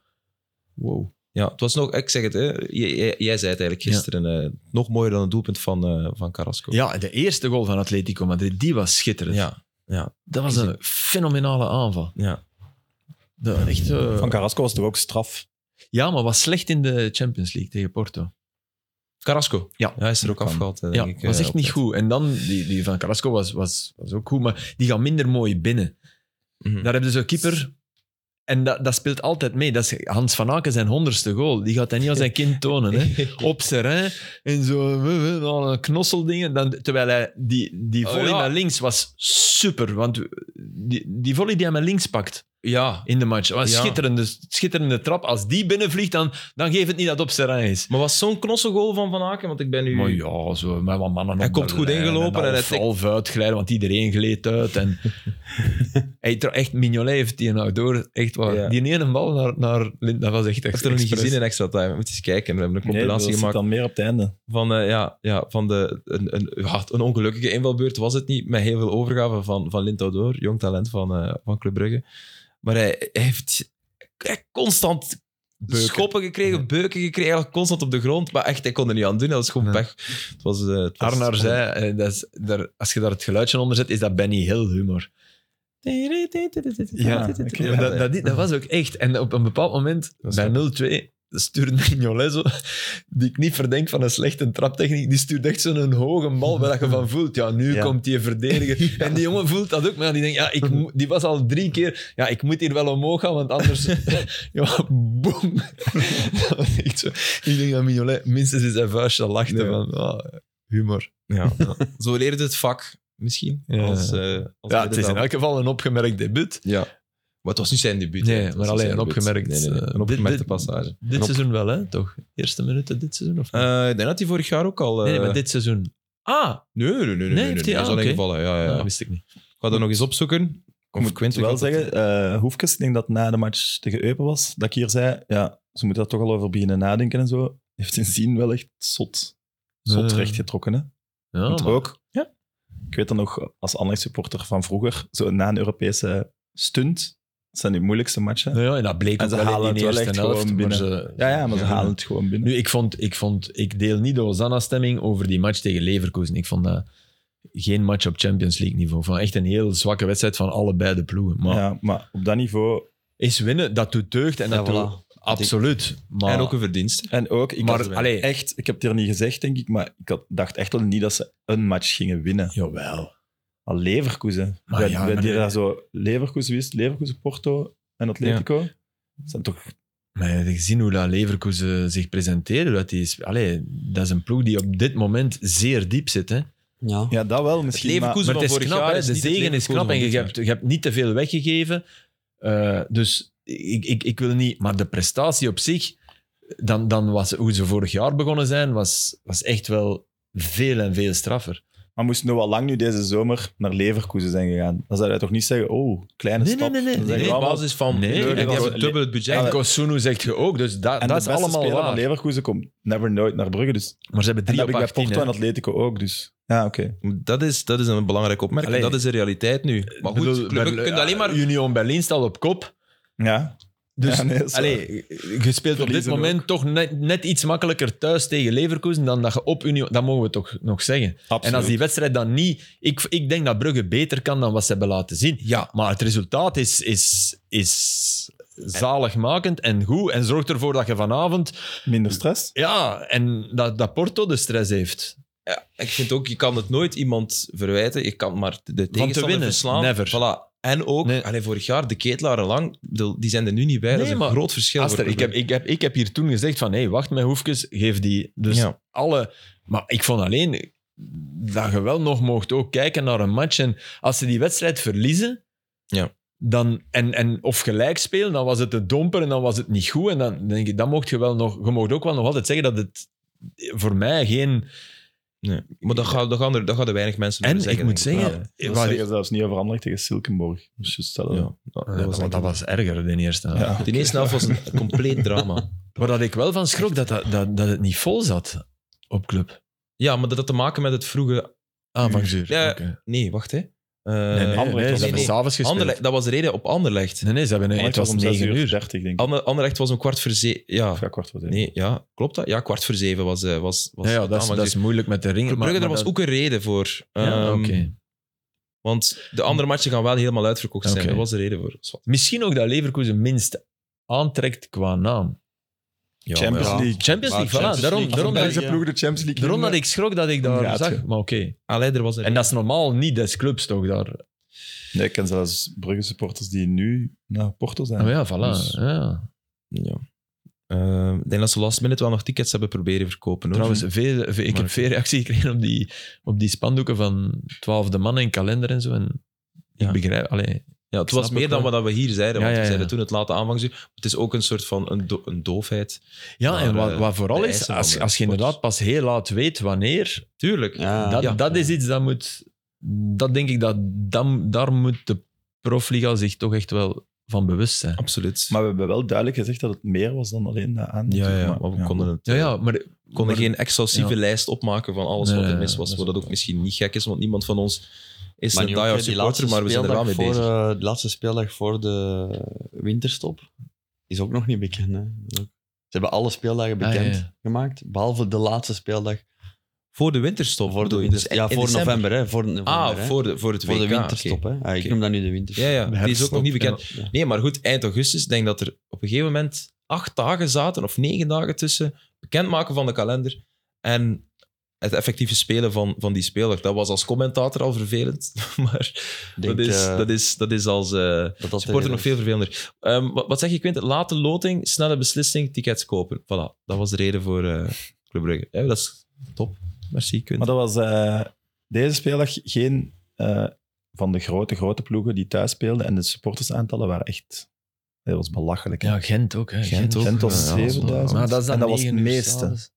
Wow.
Ja, het was nog... Ik zeg het, hè. J- j- Jij, zei het eigenlijk gisteren. eh, nog mooier dan het doelpunt van, eh, van Carrasco.
Ja, de eerste goal van Atletico Madrid, die was schitterend.
Ja.
Dat was een fenomenale aanval.
ja.
Dat, echt, eh,
Van Carrasco was toch ook straf.
ja, maar was slecht in de Champions League tegen Porto.
Carrasco.
Ja.
Hij is er ook
Kan.
afgehaald, eh,
Ja,
denk ik.
was
eh,
echt
op
niet
het-
goed. En dan, die, die van Carrasco was, was, was ook goed, maar die gaat minder mooi binnen.
Mhm.
Daar hebben ze zo'n keeper. En dat, dat speelt altijd mee. Dat is Hans van Aken zijn honderdste goal. Die gaat hij niet aan zijn kind tonen.
[laughs]
Hè. Op serrain. En zo eh, eh, al een knosseldingen. Dan, terwijl hij die, die
Oh,
volley
ja.
naar links was super. Want die, die volley die hij met links pakt
Ja.
in de match. Was
Ja.
schitterende, schitterende trap. Als die binnenvliegt, dan, dan geeft het niet dat het op serrain is.
Maar was zo'n knosse goal van Van Aken? Want ik ben nu...
Maar ja, zo met wat mannen
Hij
op
komt
de
goed
lijn
ingelopen en hij
en half,
tikt-
half uitglijden, want iedereen gleed uit.
[laughs]
En hij tro- echt Mignolet heeft die nou door. Echt waar.
Ja.
Die ene bal naar, naar Lind, dat was echt
Ik
echt.
heb het nog niet
expres.
gezien in extra time. We moeten eens kijken. We hebben een compilatie
dat zit
gemaakt
dan meer op het einde.
van, eh, ja, ja, van de, een, een, ja, een ongelukkige invalbeurt was het niet, met heel veel overgave van, van Lint Door, jong talent van, eh, van Club Brugge. Maar hij, hij heeft hij constant
Beuken.
schoppen gekregen, beuken gekregen, eigenlijk constant op de grond. Maar echt, hij kon er niet aan doen. Dat was gewoon
Nee.
pech. Het was, eh, het was-
Arnar zei, eh, dat is, daar, als je daar het geluidje onder zet, is dat Benny Hill humor.
Ja,
oké.
Ja, dat, dat, dat was ook echt. En op een bepaald moment,
Dat is
bij 0-2, stuurt Mignolet zo, die ik niet verdenk van een slechte traptechniek, die stuurt echt zo'n hoge bal waar dat je van voelt, ja, nu
Ja.
komt die verdediger. En die jongen voelt dat ook, maar die denkt, ja, ik, moet- die was al drie keer, ja, ik moet hier wel omhoog gaan, want anders, [laughs] ja, boem. [laughs] Dat was echt zo. Ik denk dat Mignolet minstens in zijn vuistje lachte
Ja.
van, ah, humor.
[laughs] Ja. Zo leerde het vak, misschien.
Ja.
Als, eh, als
Ja, het is in elk geval een opgemerkt debuut.
Ja. Maar het was niet zijn debuut. hè.
Nee,
Het was
maar
niet
alleen
zijn
een
debuut.
opgemerkt.
Nee, nee, nee.
eh,
Een
dit-
opgemerkte
dit-
passage.
Dit seizoen wel, hè? Toch? Eerste minuten dit seizoen?
Ah,
Of niet?
Eh, ik denk dat hij vorig jaar ook al... eh,
nee, nee, maar dit seizoen. Ah,
Nee, nee, nee. nee, nee,
heeft
nee,
hij-
dat is
ah,
alleen
oké.
gevallen. Ja, ja,
dat
ja. Ik
wist ik niet.
ga dat nog eens opzoeken. Of
Ik moet
Quinten
wel
gaat dat-
zeggen, eh Hoefkes, ik denk dat na de match tegen Eupen was, dat ik hier zei, ja, ze moeten daar toch al over beginnen nadenken en zo. Heeft sindsdien wel echt zot, zot
Ja.
recht getrokken, hè.
Ja,
Want
Oh, maar-
ook,
Ja.
ik weet dat nog, als Anderlecht supporter van vroeger, zo na een Europese stunt, dat zijn die moeilijkste matchen.
Nou ja, en dat bleek
En
ook
ze
wel
halen
in de
het wel
eerste
echt
helft.
gewoon
maar
binnen.
ze-
Ja, ja, maar ze halen het gewoon binnen.
Nu, ik, vond, ik, vond, ik deel niet de Hosanna-stemming over die match tegen Leverkusen. Ik vond dat geen match op Champions League niveau. Van echt een heel zwakke wedstrijd van allebei de ploegen. Maar
ja, maar op dat niveau...
is winnen, dat doet deugd. En
Ja,
dat doet,
voilà.
absoluut. Maar,
En ook een verdienste.
En ook, ik,
maar,
had
allee,
echt, ik heb het hier niet gezegd, denk ik, maar ik had, dacht echt wel niet dat ze een match gingen winnen.
jawel.
Al Leverkusen.
Maar
we
ja,
we
maar
deden
nee.
daar zo Leverkusen wist, Leverkusen, Porto en Atletico. Dat zijn toch...
Maar je hebt gezien hoe dat Leverkusen zich presenteerde. Dat, die is, allee, dat is een ploeg die op dit moment zeer diep zit. Hè?
Ja.
Ja, dat wel misschien, maar...
Leverkusen
Maar het
van
is
vorig
knap,
jaar
hè.
is
de
niet het
zegen is
Leverkusen
knap en
van
je
dit
hebt, je hebt niet te veel weggegeven. Eh, dus ik, ik, ik wil niet... Maar de prestatie op zich, dan, dan was, hoe ze vorig jaar begonnen zijn, was, was echt wel veel en veel straffer.
Maar moest nog wel lang nu deze zomer naar Leverkusen zijn gegaan. Dan zou je toch niet zeggen, oh, kleine
Nee, nee,
stap.
nee, nee,
Dan
nee,
zeggen
Nee,
we
op
allemaal-
basis van...
Nee,
Nee,
nee,
en die
dat
hebben
was-
dubbel het budget.
En
Ja,
Kosunu zegt je ook, dus dat, dat
En de
is
beste
allemaal
speler
waar.
van Leverkusen komt never nooit naar Brugge, dus...
Maar ze hebben
En
drie
dat
op
heb ik
18.
bij Porto en
hè.
Atletico ook, dus... Ja, oké.
Dat is, dat is een belangrijke opmerking.
Allee.
Dat is de realiteit nu. Maar
Ik
goed,
bedoel,
club- je
Berl-
kunt alleen maar...
Union Berlin staat op kop.
Ja.
Dus
Ja, nee, dat is
allee, je speelt op dit
Verliezen
moment toch net, net iets makkelijker thuis tegen Leverkusen dan dat je op Union... Dat mogen we toch nog zeggen.
Absoluut.
En als die wedstrijd dan niet... Ik, ik denk dat Brugge beter kan dan wat ze hebben laten zien.
Ja.
Maar het resultaat is, is, is zaligmakend en goed. En zorgt ervoor dat je vanavond...
Minder stress?
Ja, en dat, dat Porto de stress heeft.
Ik vind ook, je kan het nooit iemand verwijten. Je kan maar de tegenstander
winnen,
verslaan.
never.
Voilà. En ook,
Nee.
allee, vorig jaar, de ketelaren lang, ik bedoel, die zijn er nu niet bij. dat
Nee,
is een
maar
groot verschil.
Aster,
voor
ik heb, ik, heb, ik heb hier toen gezegd van... Hé, hey, wacht met Hoefkes, geef die... Dus
Ja.
alle... Maar ik vond alleen dat je wel nog mocht ook kijken naar een match. En als ze die wedstrijd verliezen...
Ja.
Dan, en, en, of gelijk spelen, dan was het de domper en dan was het niet goed. En dan denk ik, dan mocht je wel nog... Je mocht ook wel nog altijd zeggen dat het voor mij geen...
Nee. Maar dat gaan, dat, gaan er, dat gaan er weinig mensen
En
over zeggen.
ik moet
denk
zeggen...
Ja.
Dat
waar-
zeggen ze zelfs niet over Anderlecht tegen Silkenborg. Dus je stelt
Ja, dat, dat
Ja,
was
want dat
eigenlijk-
was erger, de eerste helft.
Ja.
De eerste helft was een compleet drama.
Waar dat ik wel van schrok, dat, dat, dat, dat het niet vol zat op club. Mm.
Ja, maar dat had te maken met het vroege...
Aanvangsuur.
Ja.
Oké.
Nee, wacht hè. Eh,
Nee, nee, nee,
Anderlecht was
ze hebben
nee.
s'avonds gespeeld.
Anderlecht, dat was de reden op Anderlecht.
Nee, nee, ze hebben een, het
Anderlecht
was
om
9 uur.
30, denk ik.
Ander, Anderlecht was een kwart voor zeven. Ja,
Of ja, kwart voor zeven.
nee, ja, klopt dat? Ja, kwart voor zeven was... eh, was, was
Ja, ja, dat, is, dat is moeilijk met de ring.
Club Brugge, daar was ook een reden voor.
Ja,
Ehm,
oké.
Want de andere matchen gaan wel helemaal uitverkocht zijn.
Oké.
Dat was de reden voor. Zwat.
Misschien ook dat Leverkusen minst aantrekt qua naam.
Ja,
Champions
maar ja.
League.
Champions League, voilà.
Champions
daarom
League,
daarom, dat,
Belgische
ik,
ploeg de Champions League.
daarom
winnen.
dat ik schrok dat ik daar
Gaat
zag.
je.
Maar oké.
Allee, er was een
En dat is normaal niet des clubs toch daar.
Nee, ik ken zelfs Brugge supporters die nu naar Porto zijn.
Oh ja, voilà.
Dus-
ja.
Ja. Eh, ik denk dat ze last minute wel nog tickets hebben proberen verkopen. Hoor.
Trouwens, Dus veel, veel- ik
Maar
heb
oké.
veel reactie gekregen op die, op die spandoeken van twaalfde mannen en kalender en zo. En
Ja.
Ik begrijp, allee,
ja, het
snap
was
ook
meer dan
wel.
wat we hier zeiden.
Ja,
want we
ja, ja.
zeiden toen het late aanvangsuur. Het is ook een soort van een, do- een doofheid.
Ja,
Maar,
en wat,
eh,
wat vooral
de
is,
eisen
als,
van de
als je
sport.
inderdaad pas heel laat weet wanneer,
Tuurlijk.
Ja.
dat,
ja.
dat is iets dat moet... Dat denk ik, dat, dat, daar moet de profliga zich toch echt wel van bewust zijn.
Absoluut.
Maar we hebben wel duidelijk gezegd dat het meer was dan alleen dat aan.
ja, ja,
maar-
maar we
ja.
konden, het, eh,
Ja, ja, maar...
we konden
maar-
geen exhaustieve
ja.
lijst opmaken van alles
Nee,
wat er
nee,
mis was. Wat
dat is
dat ook
waar.
misschien niet gek is, want niemand van ons is
Maar
een
nu ook
die-hard
weer die
supporter,
laatste
maar we zijn er wel mee
speeldag
bezig.
voor, eh, de laatste speeldag voor de winterstop is ook nog niet bekend. Hè? Ze hebben alle speeldagen
Ah,
bekend
ja, ja.
gemaakt, behalve de laatste speeldag
Voor de winterstop.
eh, voor de
bedoel je?
winterstop.
Dus
ja,
in
voor
december.
november. Hè? Voor november
Ah,
hè.
voor de, voor het
Voor de
WK,
winterstop.
oké.
Hè? Ah, ik
Oké.
noem dat nu de winterstop.
Ja, ja, die is ook nog niet bekend.
Ja.
Ja.
Nee, maar goed, eind augustus, ik denk dat er op een gegeven moment acht dagen zaten, of negen dagen tussen, bekendmaken van de kalender en het effectieve spelen van, van die speler. Dat was als commentator al vervelend, [laughs] maar
Denk,
dat, is,
eh,
dat, is, dat is als eh
dat dat
supporter
er-
nog veel vervelender. Ehm, wat, wat zeg je, Quint? Late loting, snelle beslissing, tickets kopen. Voilà, dat was de reden voor eh, Club Brugge. Ja, dat is top. Merci, Quint.
Maar dat was eh, deze speeldag geen eh, van de grote, grote ploegen die thuis speelden. En de supportersaantallen waren echt... Dat was belachelijk. hè.
Ja, Gent ook. Hè.
Gent ook.
Gent
Ja,
was
dat was-
7000.
Maar dat is dan
en dat was het
negen uur
meeste.
s'avonds.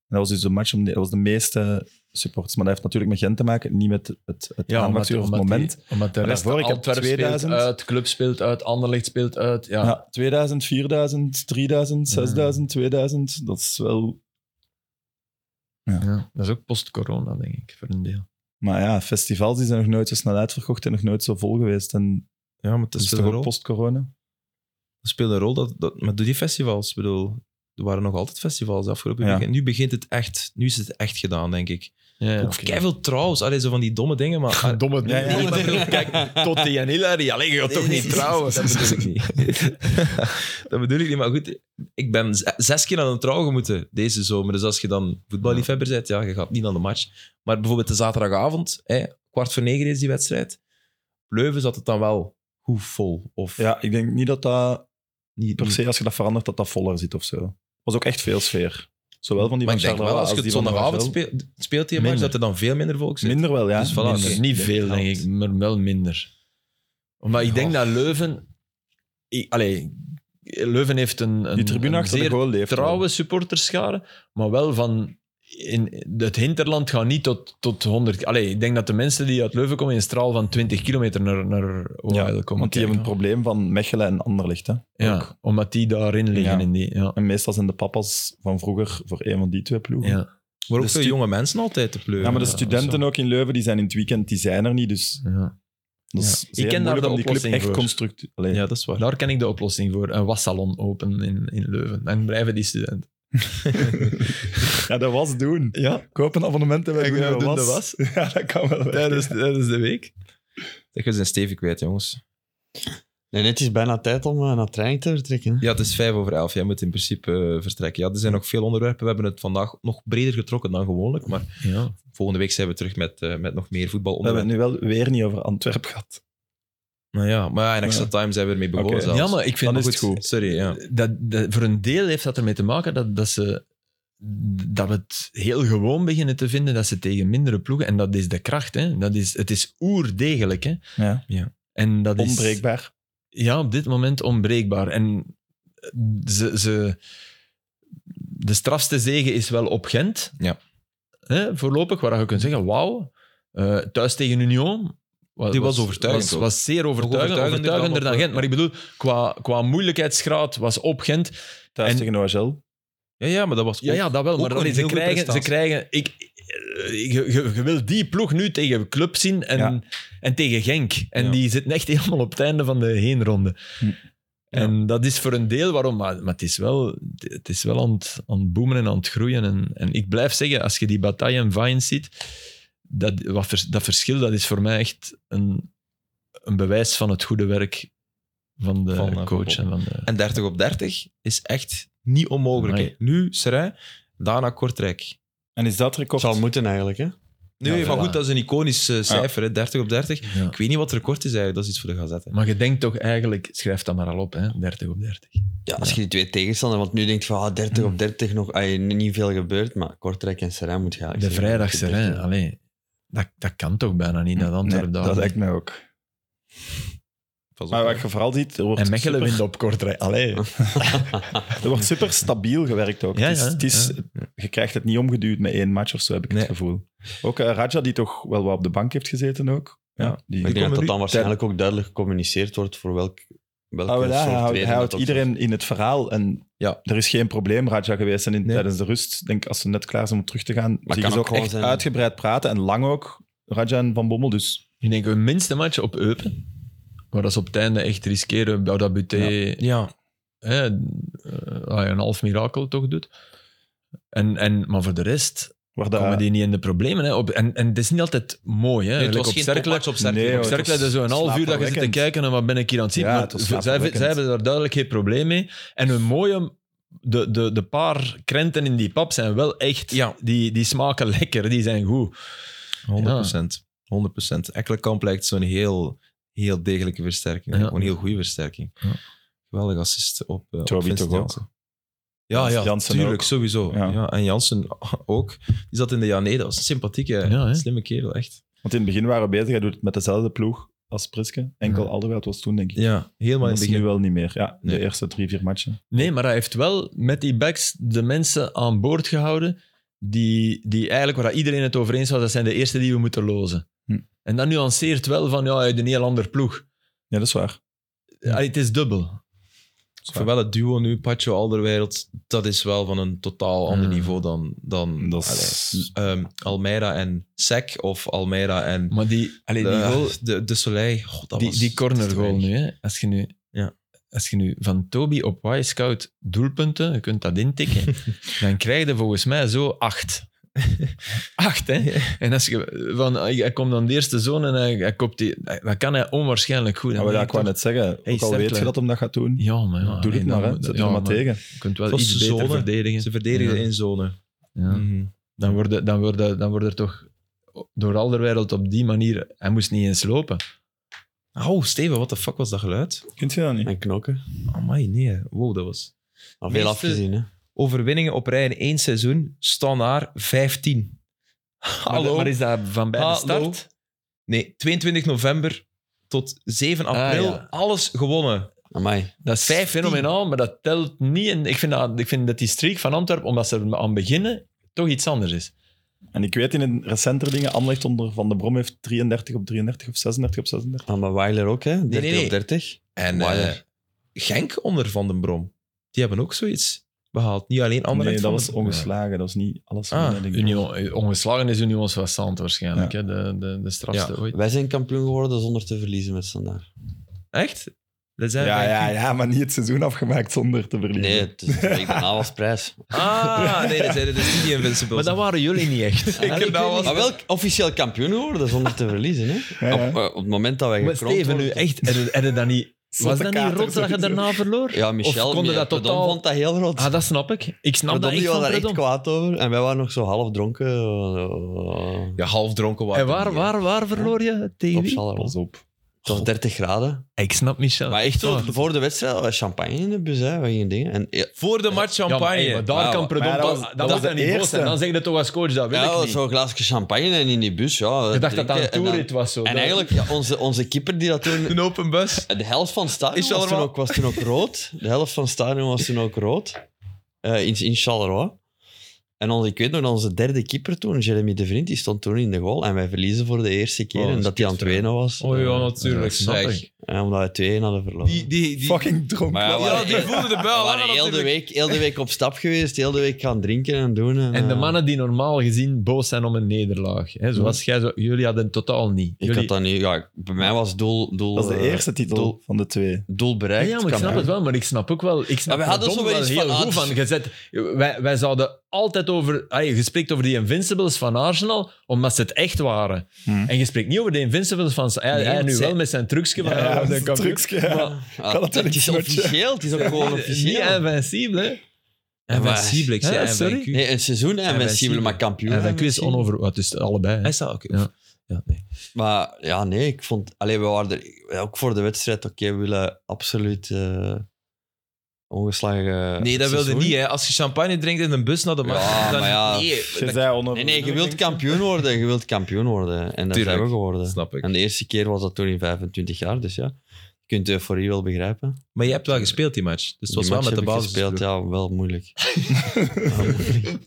En dat was dus de match om de, dat was de meeste supporters. Maar dat heeft natuurlijk met Gent te maken, niet met het, het
Ja, omdat,
aanmaaktuur of het
omdat
moment.
Die, omdat de
Maar
rest
daarvoor, ik heb
Antwerpen
2000.
speelt uit, Club speelt uit, Anderlecht speelt uit. Ja.
ja. 2000, 4000, 3000, 6000, 2000. Dat is wel...
Ja, Dat is ook post-corona, denk ik, voor een deel.
Maar ja, festivals die zijn nog nooit zo snel uitverkocht en nog nooit zo vol geweest. En
ja, maar
dat
het
is
speelt
toch
een
ook
rol.
post-corona?
Het speelt een rol, dat, dat, maar doe die festivals. Ik bedoel, er waren nog altijd festivals de afgelopen
Ja.
weekend. Nu begint het echt, nu is het echt gedaan, denk ik.
Ja,
Ook keiveel trouws, allee, zo van die domme dingen, maar...
[laughs]
Ah, Domme
Ja, ja.
Nee, maar ik
[laughs]
bedoel, kijk,
Totti en Hilary, alleen je gaat toch niet trouwen.
[laughs] Dat bedoel ik niet. dat bedoel ik niet, maar goed, ik ben z- zes keer aan een trouwen moeten deze zomer. Dus als je dan voetballiefhebber bent, ja, je gaat niet aan de match. Maar bijvoorbeeld de zaterdagavond, hè, kwart voor negen is die wedstrijd. Leuven zat het dan wel goed vol. Of
[laughs] Ja, ik denk niet dat dat
niet,
per se, als je dat verandert, dat dat voller zit of zo. was ook echt veel sfeer. Zowel van die
maar
van
ik denk wel,
Charleroi
als je het
die van
zondagavond
Ravel.
speelt, speelt die match,
Minder.
dat er dan veel minder volk zit.
Minder wel, ja.
Dus voilà,
Minder.
oké.
Niet veel, denk ik, maar wel minder. Maar ik denk dat Leuven... ik- Allee, Leuven heeft een, een,
Die tribune
een
achter de
zeer
goal leeft wel.
trouwe supporterschare, maar wel van... In het hinterland gaat niet tot, tot 100... Allee, ik denk dat de mensen die uit Leuven komen in een straal van 20 kilometer naar, naar
Ja,
Oeil komen
Want die hebben
kijken.
het probleem van Mechelen en Anderlecht. Hè? Ook.
Ja, omdat die daarin liggen.
Ja.
In die, ja.
En meestal zijn de papa's van vroeger voor een van die twee ploegen. Ja,
Ja.
Maar ook
De
veel
stu-
jonge mensen altijd te pleuren.
maar de
Ja,
studenten
zo.
ook in Leuven, die zijn in het weekend, die zijn er niet. Dus
Ja.
dat is
Ja.
zeer
Ik ken daar
moeilijk
de
om die club
oplossing
echt
voor.
constructief... Allee, [laughs]
Ja, dat is waar.
Daar ken ik de oplossing voor. Een wassalon open in, in Leuven. Dan blijven die studenten.
Ja, dat was doen.
Ja, [laughs]
Koop een abonnement en wij
En
doen,
we
de
doen
was.
de was.
[laughs]
dus-
Ja, dat kan wel.
tijdens, tijdens de week.
Zeg, we zijn stevig kwijt, jongens.
Nee, nee, het is bijna tijd om eh, naar training te vertrekken. hè.
Ja, het is vijf over elf. Jij moet in principe eh, vertrekken. Ja, er zijn nog veel onderwerpen. We hebben het vandaag nog breder getrokken dan gewoonlijk. Maar
Ja.
volgende week zijn we terug met, eh, met nog meer
We hebben
voetbalonderwerpen.
het nu wel weer niet over Antwerpen gehad.
Nou ja, maar ja, in extra
Ja.
time zijn we ermee begonnen
Oké.
zelfs.
ja, maar ik vind
Dan is
goed,
het goed.
Sorry, ja.
Dat, dat, voor een deel heeft dat ermee te maken dat, dat, ze, dat we het heel gewoon beginnen te vinden dat ze tegen mindere ploegen. En dat is de kracht. Hè. Dat is, het is oerdegelijk. Hè.
Ja.
En dat is,
Onbreekbaar.
ja, op dit moment onbreekbaar. En eh, ze, ze, de strafste zege is wel op Gent.
Ja.
Hè, voorlopig, waar je kunt zeggen, wauw. eh, thuis tegen Union. wa-
Die was overtuigend
Was,
ook.
was zeer overtuigend,
overtuigender
overtuigender,
dan
dan,
op-
Gent. Maar ik bedoel, qua, qua moeilijkheidsgraad was op Gent.
Thuis
En-
tegen OHL.
ja, ja, maar dat was
Ja,
ook-
ja dat wel. Maar
een
allee,
heel
ze,
goede
krijgen, ze
prestatie.
krijgen... Ik, eh, je, je- je wil die ploeg nu tegen club zien en,
Ja.
en tegen Genk. En
Ja.
die zitten echt helemaal op het einde van de heenronde.
Hm.
En dat is voor een deel waarom, maar, maar het is wel, het is wel aan, het, aan het boomen en aan het groeien. En, en ik blijf zeggen, als je die Bataille en Vines ziet, dat, wat vers- dat verschil dat is voor mij echt een, een bewijs van het goede werk van de
Van, eh,
coach.
Van
En van de,
En 30 op 30 is echt niet onmogelijk.
Amai.
hè. Nu Serijn, daarna Kortrijk.
En is dat record?
Het zal moeten eigenlijk, hè.
Nee,
Ja,
maar
voilà.
goed, dat is een iconisch eh, cijfer, hè, 30 op 30. Ik weet niet wat het record is eigenlijk, dat is iets voor de gazette.
Maar je denkt toch eigenlijk, schrijf dat maar al op, hè? 30 op 30.
Ja, als je die twee tegenstander, want nu denk je van ah, 30 op 30 nog, ah, niet niet veel gebeurd, maar Kortrijk en Serijn moet je
De
eigenlijk zeggen,
vrijdagse
dat je
rij,
ah,
30
allee. Dat, dat kan toch bijna niet, dat Antwerpen
Nee,
daar.
dat lijkt mij ook.
Pas op,
Maar
hè.
wat je vooral ziet, er wordt,
En Mechelen
super,
wint op Kortrijk, allee.
[laughs] er wordt super stabiel gewerkt ook.
Ja,
het is,
ja,
het is, Je krijgt het niet omgeduwd met één match of zo, heb ik
Nee.
het gevoel. Ook eh, Raja, die toch wel wat op de bank heeft gezeten ook.
Ja.
die,
Maar ik denk dat dat
komen
dan waarschijnlijk ook duidelijk gecommuniceerd wordt voor welk, welke
Ah, wel, ja,
soort
hij houdt,
reden
hij houdt
dat ook
iedereen in het verhaal. En
Ja.
er is geen probleem, Raja, geweest. En in,
Nee.
tijdens de rust, denk ik, als ze net klaar zijn om terug te gaan, maar
kan
zien ze
ook
ook
gewoon
echt
zijn-
uitgebreid praten. En lang ook, Raja en Van Bommel. Dus
Ik denk een minste match op Eupen. Maar dat is op het einde echt riskeren. Bouda Buté,
Ja,
hè, eh, dat je een half mirakel toch doet. En, en, maar voor de rest,
Waar dat,
komen die niet in de problemen. Hè? Op, en, en het is niet altijd mooi. Hè?
Nee, het
Like
was
op
geen
Cercle-
topmatch op Cercle.
Nee,
maar
op
hoor, het
Cercle
was
is zo'n half uur dat je zit te
slaapverwekkend.
kijken en wat ben ik hier aan het zien.
Ja,
maar
het was
zij,
slaapverwekkend.
zij hebben daar duidelijk geen probleem mee. En een mooie... De, de, de paar krenten in die pap zijn wel echt...
Ja.
Die, die smaken [laughs] lekker, die zijn goed.
100%. 100%. Ekkelenkamp lijkt zo'n heel, heel degelijke versterking.
Ja.
Gewoon Een heel goede versterking.
Ja.
Geweldig assist op, eh, op
Joby
Vincent
toch ook?
Janssen. Ja, ja,
Janssen
tuurlijk,
ook.
sowieso. Ja.
Ja.
en Jansen [laughs] ook. Die zat in de Jané, dat was een sympathieke,
Ja, hè?
slimme kerel, echt.
Want in het begin waren we bezig, hij doet het met dezelfde ploeg als Priske. Enkel
Ja.
Alderweireld was toen, denk ik.
Ja, helemaal
Maar
in
dat
het
is nu
begin.
wel niet meer. Ja,
Nee.
de eerste drie, vier matchen.
Nee, maar hij heeft wel met die backs de mensen aan boord gehouden die, die eigenlijk, waar iedereen het over eens was, dat zijn de eerste die we moeten lozen.
Hm.
En dat nuanceert wel van, ja, uit een heel ander ploeg.
Ja, dat is waar.
Allee, het is dubbel.
Voor wel het duo nu, Pacho Alderweireld, dat is wel van een totaal ander
Ja.
niveau dan, dan
Dat is-
allee, ehm, Almeida en Sek of Almeida en
Maar die, allee, die,
de,
goal,
de, de Soleil. God, dat
die,
was-
die corner goal
dat is
nu, hè, als je nu...
Ja.
Als je nu van Toby op Y-Scout doelpunten, je kunt dat intikken, dan krijg je volgens mij zo acht. Acht, hè? En als je, van, hij hij komt dan de eerste zone en hij, hij kopt die... Dat kan hij onwaarschijnlijk goed.
Ja,
Dan
maar
denk
dat
ik
ik
toch-
wou net zeggen.
Hey,
ook al weet
Cercle.
je dat hem dat gaat doen,
Ja, maar ja,
doe
nee,
het
dan
maar. Hè.
moet-
Zet
ja,
er maar tegen.
Je kunt wel
Het was de
iets beter
zone.
verdedigen.
Ze verdedigen
Ja.
in zone.
Ja.
Mhm.
Dan worden dan worden dan worden er toch door al de wereld op die manier... Hij moest niet eens lopen.
Oh, Steven, wat de fuck was dat geluid?
Kunt je dat niet?
En knokken.
Amai, nee. Wow, dat was...
Al
Meeste-
veel afgezien, hè.
Overwinningen op rij in één seizoen, standaard 15. Hallo?
Maar, maar is dat van bij de
Hallo?
start?
Nee, 22 november tot 7 april,
Ah, ja.
alles gewonnen.
Amai.
Dat is
15.
fenomenaal, maar dat telt niet. En ik, vind dat, ik vind dat die streak van Antwerpen, omdat ze er aan beginnen, toch iets anders is.
En ik weet in een recentere dingen, Anderlecht onder Van de Brom heeft 33 op 33 of 36 op 36.
Ah, maar Weiler ook, hè. 30
nee, nee.
op 30.
En
Wauw.
eh, Genk onder Van den Brom. Die hebben ook zoiets behaald. Niet alleen
nee,
Anderlecht.
dat
Van
was
den-
ongeslagen. Dat was niet alles.
Ah,
nee, denk ik.
Union, ongeslagen is Union Soissant waarschijnlijk. Hè? De, de, de strafste ooit.
Wij zijn kampioen geworden zonder te verliezen met standaard.
Echt? Dat zijn
Ja,
wij-
ja, ja, maar niet het seizoen afgemaakt zonder te verliezen.
Nee, het [laughs] is ik daarna was
[laughs]
prijs.
Ah, nee, dat zijn dat is niet die Invincibles.
Maar dat waren jullie niet
[laughs]
echt.
Ah, ik weet niet. Maar wel officieel kampioen geworden zonder te verliezen, hè.
Ja, ja.
Op, eh, op het moment dat wij
Maar
gekroond
Steven, nu
worden-
echt, er, er, dat niet,
Zotte
was dat niet
kater,
rot dat je
sowieso.
daarna verloor?
Ja, Michel,
Of konden dat
Predom
totaal-
vond dat heel rot.
Ah, dat snap ik. Ik snap dat
Predom
echt
die was
van
daar echt
Predom.
kwaad over. En wij waren nog zo half dronken. eh,
Ja, half dronken waren.
En waar,
die, eh, hè.
waar, waar verloor je tegen
op
wie?
Charleroi.
Pas op.
Het was 30 graden.
Ik snap Michel.
Maar echt zo,
Ah.
voor de wedstrijd hadden we champagne in de bus. Hè. We gingen dingen. En, ja,
Voor de match
Ja, maar,
champagne.
hey, maar daar
Wauw.
kan Predom...
Maar dat
pas-
was-
Dat,
dat
was
was
dan
de
niet boos
eerste.
zijn. Dan zeg je dat toch als coach, dat wil
ja,
ik niet.
zo'n glaasje champagne en in die bus. Ja,
Ik dacht dat dat een
drinken en dan-
toerit was. Zo.
En
Dat-
eigenlijk, ja, onze, onze keeper die dat toen...
Een open bus.
De helft van het stadion
Is
was toen,
Charleroi-
ook, was toen ook rood. De helft van het stadion was toen ook rood. Eh, in, in Charleroi. En onze, ik weet nog, dat onze derde keeper toen, Jeremy de Vriend, die stond toen in de goal. En wij verliezen voor de eerste keer.
Oh, dat
en
is
dat hij aan het
kut,
wenen was.
Oh ja,
Eh,
natuurlijk.
snap
zeg.
ik.
eh, omdat we 2-1 hadden verloren.
Die, die, die,
Fucking dronk.
Maar ja, we
ja,
waren,
die
heel-
voelde de
[laughs] we
bel.
waren
hè,
heel, de
natuurlijk.
week, heel de week op stap geweest. Heel de week gaan drinken en doen. En,
En de
eh,
mannen die normaal gezien boos zijn om een nederlaag. Hè, zoals jij, zo, jullie hadden totaal niet.
Ik
Jullie-
had dat niet... Ja, ik- bij mij was doel... doel
Dat is de
eh,
eerste titel
doel,
van de twee.
doel
Ja,
bereikt.
ja, maar ik snap
kampioen.
het wel, maar ik snap ook wel. Ik snap
Maar we hadden
verdomd
zo wel iets
heel
van, ah,
goed
het
van
is-
gezet. Wij, wij zouden altijd over. Allee, je spreekt over die Invincibles van Arsenal, omdat ze het echt waren.
Hm.
En je spreekt niet over de Invincibles van. Hij,
Nee,
hij
het
nu
zijn-
wel met zijn trucje. [laughs] Van,
Ja,
ah,
ja,
we zijn
dat is een
kampioen.
trucje, ja.
Maar
Kan
Ah,
dat
het
dan
is
niet goed, hè?
officieel. Het is ook gewoon
[laughs] niet
officieel.
invincibel, hè?
En Invincibel, ik zei
Ja,
Invincibel.
sorry.
Nee, een seizoen en
Invincibel.
invincibel, maar kampioen.
En dat is
invincibel.
onover. Het is allebei. hè.
Hij staat ook.
Ja.
Ja. nee.
Maar ja, nee, ik vond... Alleen, we waren er... ja, Ook voor de wedstrijd, oké, we willen absoluut eh, ongeslagen
nee, dat wilde
seizoen.
niet. Hè. Als je champagne drinkt in een bus naar de match,
Ja,
dan...
maar ja.
Nee,
Je
dat
zei onder...
Nee, nee, je wilt kampioen worden. Je wilt kampioen worden. En dat
Tuurlijk.
zijn we geworden.
snap ik.
En de eerste keer was dat toen in 25 jaar, dus ja. Je kunt de euforie wel begrijpen.
Maar je hebt wel gespeeld die match. Dus het was
Die
wel
match
met de
heb ik
basis.
gespeeld, ja, wel
[laughs]
moeilijk. ja,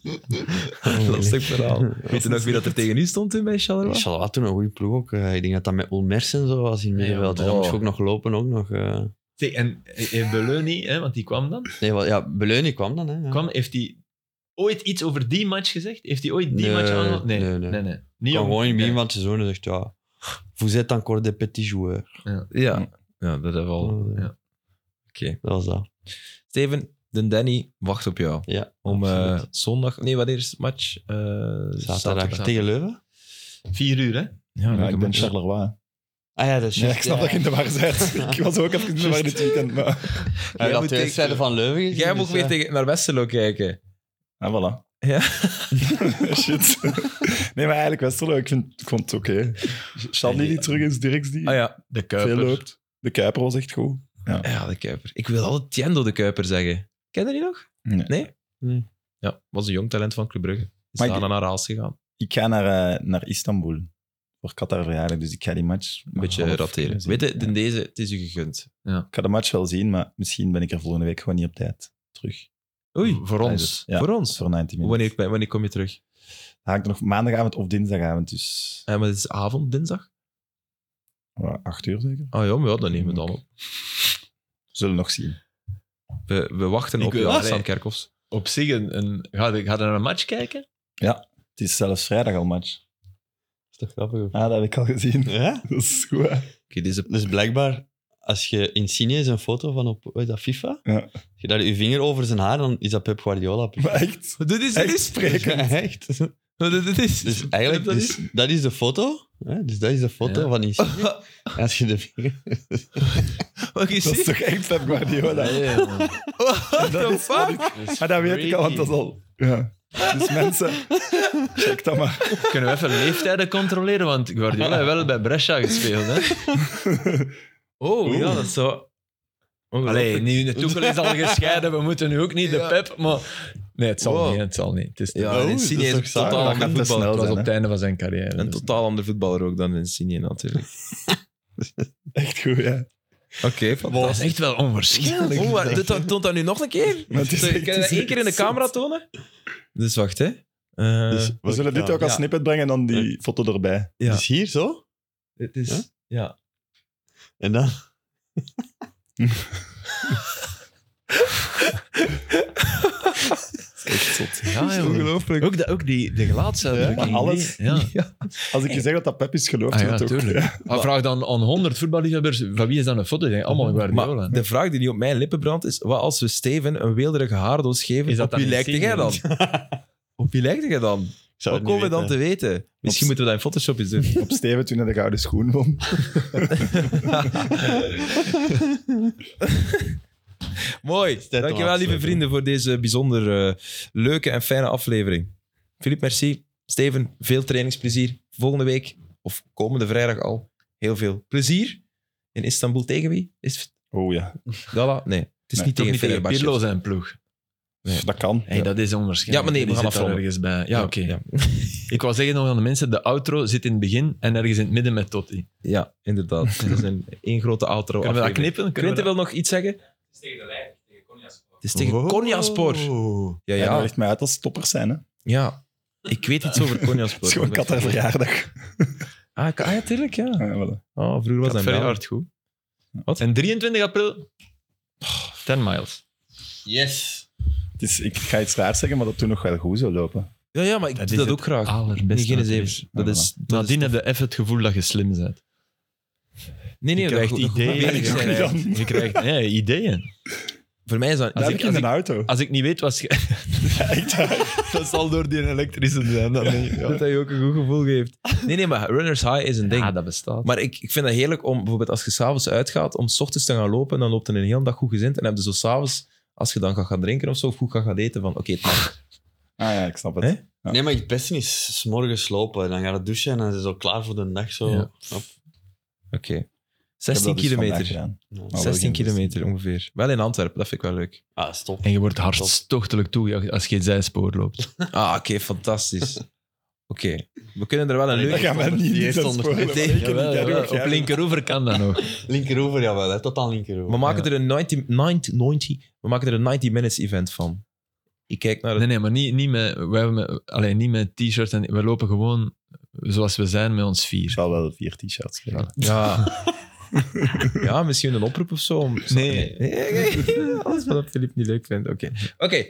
moeilijk.
Lastig verhaal. Weet je nog wie dat er tegen u stond toen bij Charleroi?
Charleroi had toen een goede ploeg ook. eh, ik denk dat dat met Ulmers en zo was in middenveld.
ja,
En dan moest
oh.
je ook nog lopen. Ook nog, eh.
Zeg, En heeft Beleu niet, hè, want die kwam dan.
Nee, wel, ja, Beleuning kwam dan. Hè, ja.
Kwam, heeft hij ooit iets over die match gezegd? Heeft hij ooit die
Nee,
match aangehaald? Nee, nee,
nee,
nee.
nee.
Niet
Kwam
om-
gewoon in het begin
nee.
van het seizoen en zegt ja... Vous êtes encore des petits joueurs.
Ja. ja, dat is wel...
Oh,
Oké.
Dat was dat.
Steven, de Danny wacht op jou.
Ja,
Om eh,
absoluut.
zondag... Nee, wanneer is het match? Eh, zaterdag.
Zaterdag tegen Leuven.
Vier uur, hè?
Ja,
Ja,
leuke
ik ben
match.
Charleroi.
Ah ja, dat is
Ja, ik
juist.
snap dat je in de war [laughs] bent. ik was ook even in de war dit weekend. Maar...
Hij
Jij moet
had twee
tegen-
wedstrijden van Leuven gezien,
Jij moet
dus,
weer
eh,
tegen, naar Westerlo kijken.
Ah, voilà.
Ja.
[laughs] Shit. Nee, maar eigenlijk Westerlo, ik, vind, ik vond het oké. Charlie die terug is, Dirks die
Ah ja.
De
veel
Kuiper.
loopt. De Kuiper was echt goed.
Ja, de Kuiper. Ik wil altijd Tiendo de Kuiper zeggen. Ken je die nog?
Nee.
Nee? Ja, was een jong talent van Club Brugge. Is
Maar
daar
ik-
naar Haas gegaan.
Ik ga naar, eh, naar Istanbul voor Qatar verjaardag, dus ik ga die match...
Een beetje rateren. Weet je, in deze, het is u gegund.
Ik ga de match wel zien, maar misschien ben ik er volgende week gewoon niet op tijd terug.
Oei.
Voor
dat
ons.
is het.
Ja.
Voor
Dat is
ons.
voor 90 minuten.
Wanneer, wanneer kom je terug?
Haakt nog maandagavond of dinsdagavond, dus
Eh, maar het is avond, dinsdag?
eh, acht uur zeker.
Ah ja, maar ja, dan nemen we dan op.
We zullen nog zien.
We, we wachten
Ik
op
wil-
jou,
Ah,
Sam
nee.
Kerkhoffs.
Op zich, een, een, ga, je, ga je naar een match kijken?
Het is zelfs vrijdag al match.
is toch grappig?
Ah, dat heb ik al gezien.
Ja?
Dat is goed. hè?
Oké, deze...
Dus blijkbaar, als je Insigne is een foto van op hoe is dat, FIFA,
Ja.
als je daar je vinger over zijn haar, dan is dat Pep Guardiola. [laughs] Dus
Maar [laughs] echt,
Dit is, dit
echt
is...
spreken.
Echt?
Dit is...
Dus eigenlijk,
Dat
dat
is-
is, dat is de foto. Hè? Dus dat is de foto
Ja.
van Insigne. En als je de vinger...
[laughs] Wat is
Dat
dit?
is toch echt Pep Guardiola?
What the fuck?
Maar dat weet ik al, want dat is al... Ja. Dus mensen, check dat maar.
Kunnen we even leeftijden controleren? Want Guardiola heeft wel bij Brescia gespeeld. Hè?
[laughs] Oh, ja, dat is zo...
Allee,
Ongelooflijk.
nu de Tuchel is al gescheiden. We moeten nu ook niet de pep. Maar nee, het zal
Wow.
niet. Het zal niet. Het is
Ja, en
een
Oh, dat is
Insigne
toch
is
saai?
totaal
Dat
ander
kan
voetballer.
te snel
het was
zijn,
op
hè?
het einde van zijn carrière.
Een
dus-
totaal ander voetballer ook dan Insigne natuurlijk.
Echt goed, ja.
Oké, [laughs]
Dat is echt wel onverschillig.
Oh,
[laughs]
maar dit toont dat nu nog een keer?
Maar het is
Kan
echt-
je dat één keer in de camera tonen? Dus wacht, hè. Eh,
Dus
We
wat
zullen
ik
dit
ga-
ook als
Ja.
snippet brengen en dan die foto erbij.
ja.
Dus hier zo.
het is...
Ja?
Ja.
En dan...
Dat is echt zot.
Ja, jongen.
Ongelooflijk.
Ook, dat- ook die, de gelaatsdrukking.
Ja, maar alles-
Ja.
[laughs]
Als ik je zeg dat dat Pep is, geloof
Ah,
je
ja,
dat ook.
tuurlijk.
Ja.
Maar vraag dan aan 100 voetballiefhebbers, van wie is dan een foto? Die zeggen, Allemaal Guardiola.
Maar de vraag die nu op mijn lippen brandt is, wat als we Steven een weelderige haardoos geven,
Is dat
op
dan
wie lijkt jij dan?
Insigne?
op wie lijkt jij dan?
Ik zou
Wat
het
komen we
niet
dan te
weten.
weten? Misschien moeten we dat in Photoshop eens doen.
[laughs] Op Steven toen hij de gouden schoen won.
Mooi.
tijd om af
Dankjewel,
te
lieve
sluiten.
vrienden, voor deze bijzonder eh, leuke en fijne aflevering. Philippe, merci. Steven, veel trainingsplezier. Volgende week, of komende vrijdag al, heel veel plezier. In Istanbul tegen wie? Is
Oh ja,
Gala? Nee, het is
Nee,
niet
Toch
tegen
niet tegen
Fenerbahce.
Pirlo zijn ploeg.
dat kan.
Hey, Dat is onwaarschijnlijk.
Ja, maar nee, we
Die
gaan
zit daar
afronden.
ergens bij. Ja, oké.
Ja,
Ik wou zeggen nog aan de mensen, de outro zit in het begin en ergens in het midden
[laughs]
met Totti.
Ja, inderdaad. Het is een één grote outro
Kunnen we dat
aflevering.
knippen? Kunnen we
Quinten wil nog iets zeggen? Het
Het is tegen de Leiden, tegen Konyaspor.
is tegen
Oh.
Wow.
Konyaspor. Ja,
Ja, dat
ja.
legt mij uit als toppers zijn. Hè. Het
ja. Ik weet iets over Konyaspor.
[laughs] is gewoon
Ik ben-
Qatar verjaardag.
Ah, ka- ah, ja, tuurlijk, ja.
Ja, voilà.
Oh, vroeger was dat
dat dat
een
verjaard
naam.
goed.
Wat?
En 23 april, 10 miles.
Yes.
Het is, ik ga iets raars zeggen, maar dat toen nog wel goed zou lopen.
Ja, ja, maar ik
Dat
doe
is
dat
het
ook graag.
allerbeste
Nee, geen
wat er
zeven. Dat
Ja,
is, dat is
Nadien heb je even het gevoel dat je slim bent.
Nee, nee,
je
dat
krijgt
goed- dat goed
ideeën.
bezig
Ik ook
zijn.
niet dan.
Je krijgt nee, ideeën.
Voor mij is [laughs] dat...
Daar
als
heb ik
ik-
in
als
een
ik-
auto.
Als ik niet weet wat... sch- dat zal door die elektrische zijn. Dan denk ik, [laughs] ja.
dat hij ook een goed gevoel geeft. Nee, nee, maar runner's high is een ding.
Ja, dat bestaat.
Maar ik, ik vind dat heerlijk om, bijvoorbeeld als je s'avonds uitgaat, om s ochtends te gaan lopen, dan loopt er een hele dag goed gezind. En heb je zo s'avonds, als je dan gaat gaan drinken of zo, of goed gaat gaan eten, van oké, het mag.
Ah ja, ik snap het.
Hè?
Nee, maar het beste is 's morgens lopen. Dan ga je douchen en dan is het al klaar voor de dag. Zo.
Ja.
Hop.
Oké.
Ik heb
16
dat dus vandaag
kilometer.
gedaan.
Ja.
wel
16
geen zestien.
kilometer ongeveer. Wel in Antwerpen, dat vind ik wel leuk.
Ah, stop.
En je wordt hartstochtelijk toegejaagd als je het zijspoor loopt.
Ah, oké, fantastisch. Oké, we kunnen er wel een
Dat
leuke...
gaan we niet
Die
in
heeft
dat spoor.
onder-
lopen.
Nee,
Ik heb
Jawel,
niet
jawel.
duidelijk
Op
geheim.
linkeroever kan dat nog.
Linkerover, jawel. Hè. Totaal linkerover.
We maken
Ja.
er een 90, 90, 90 we maken er een 90 minutes event van. Ik kijk naar het...
[laughs] Nee, nee, maar niet, niet met, we hebben met, allee, niet met t-shirts. en- We lopen gewoon zoals we zijn met ons
Ik
vier.
zal wel vier t-shirts krijgen.
[laughs]
Ja. ja, misschien een oproep of zo. Om...
Nee.
nee, nee. Alles wat Filip niet leuk vindt. Oké. Oké.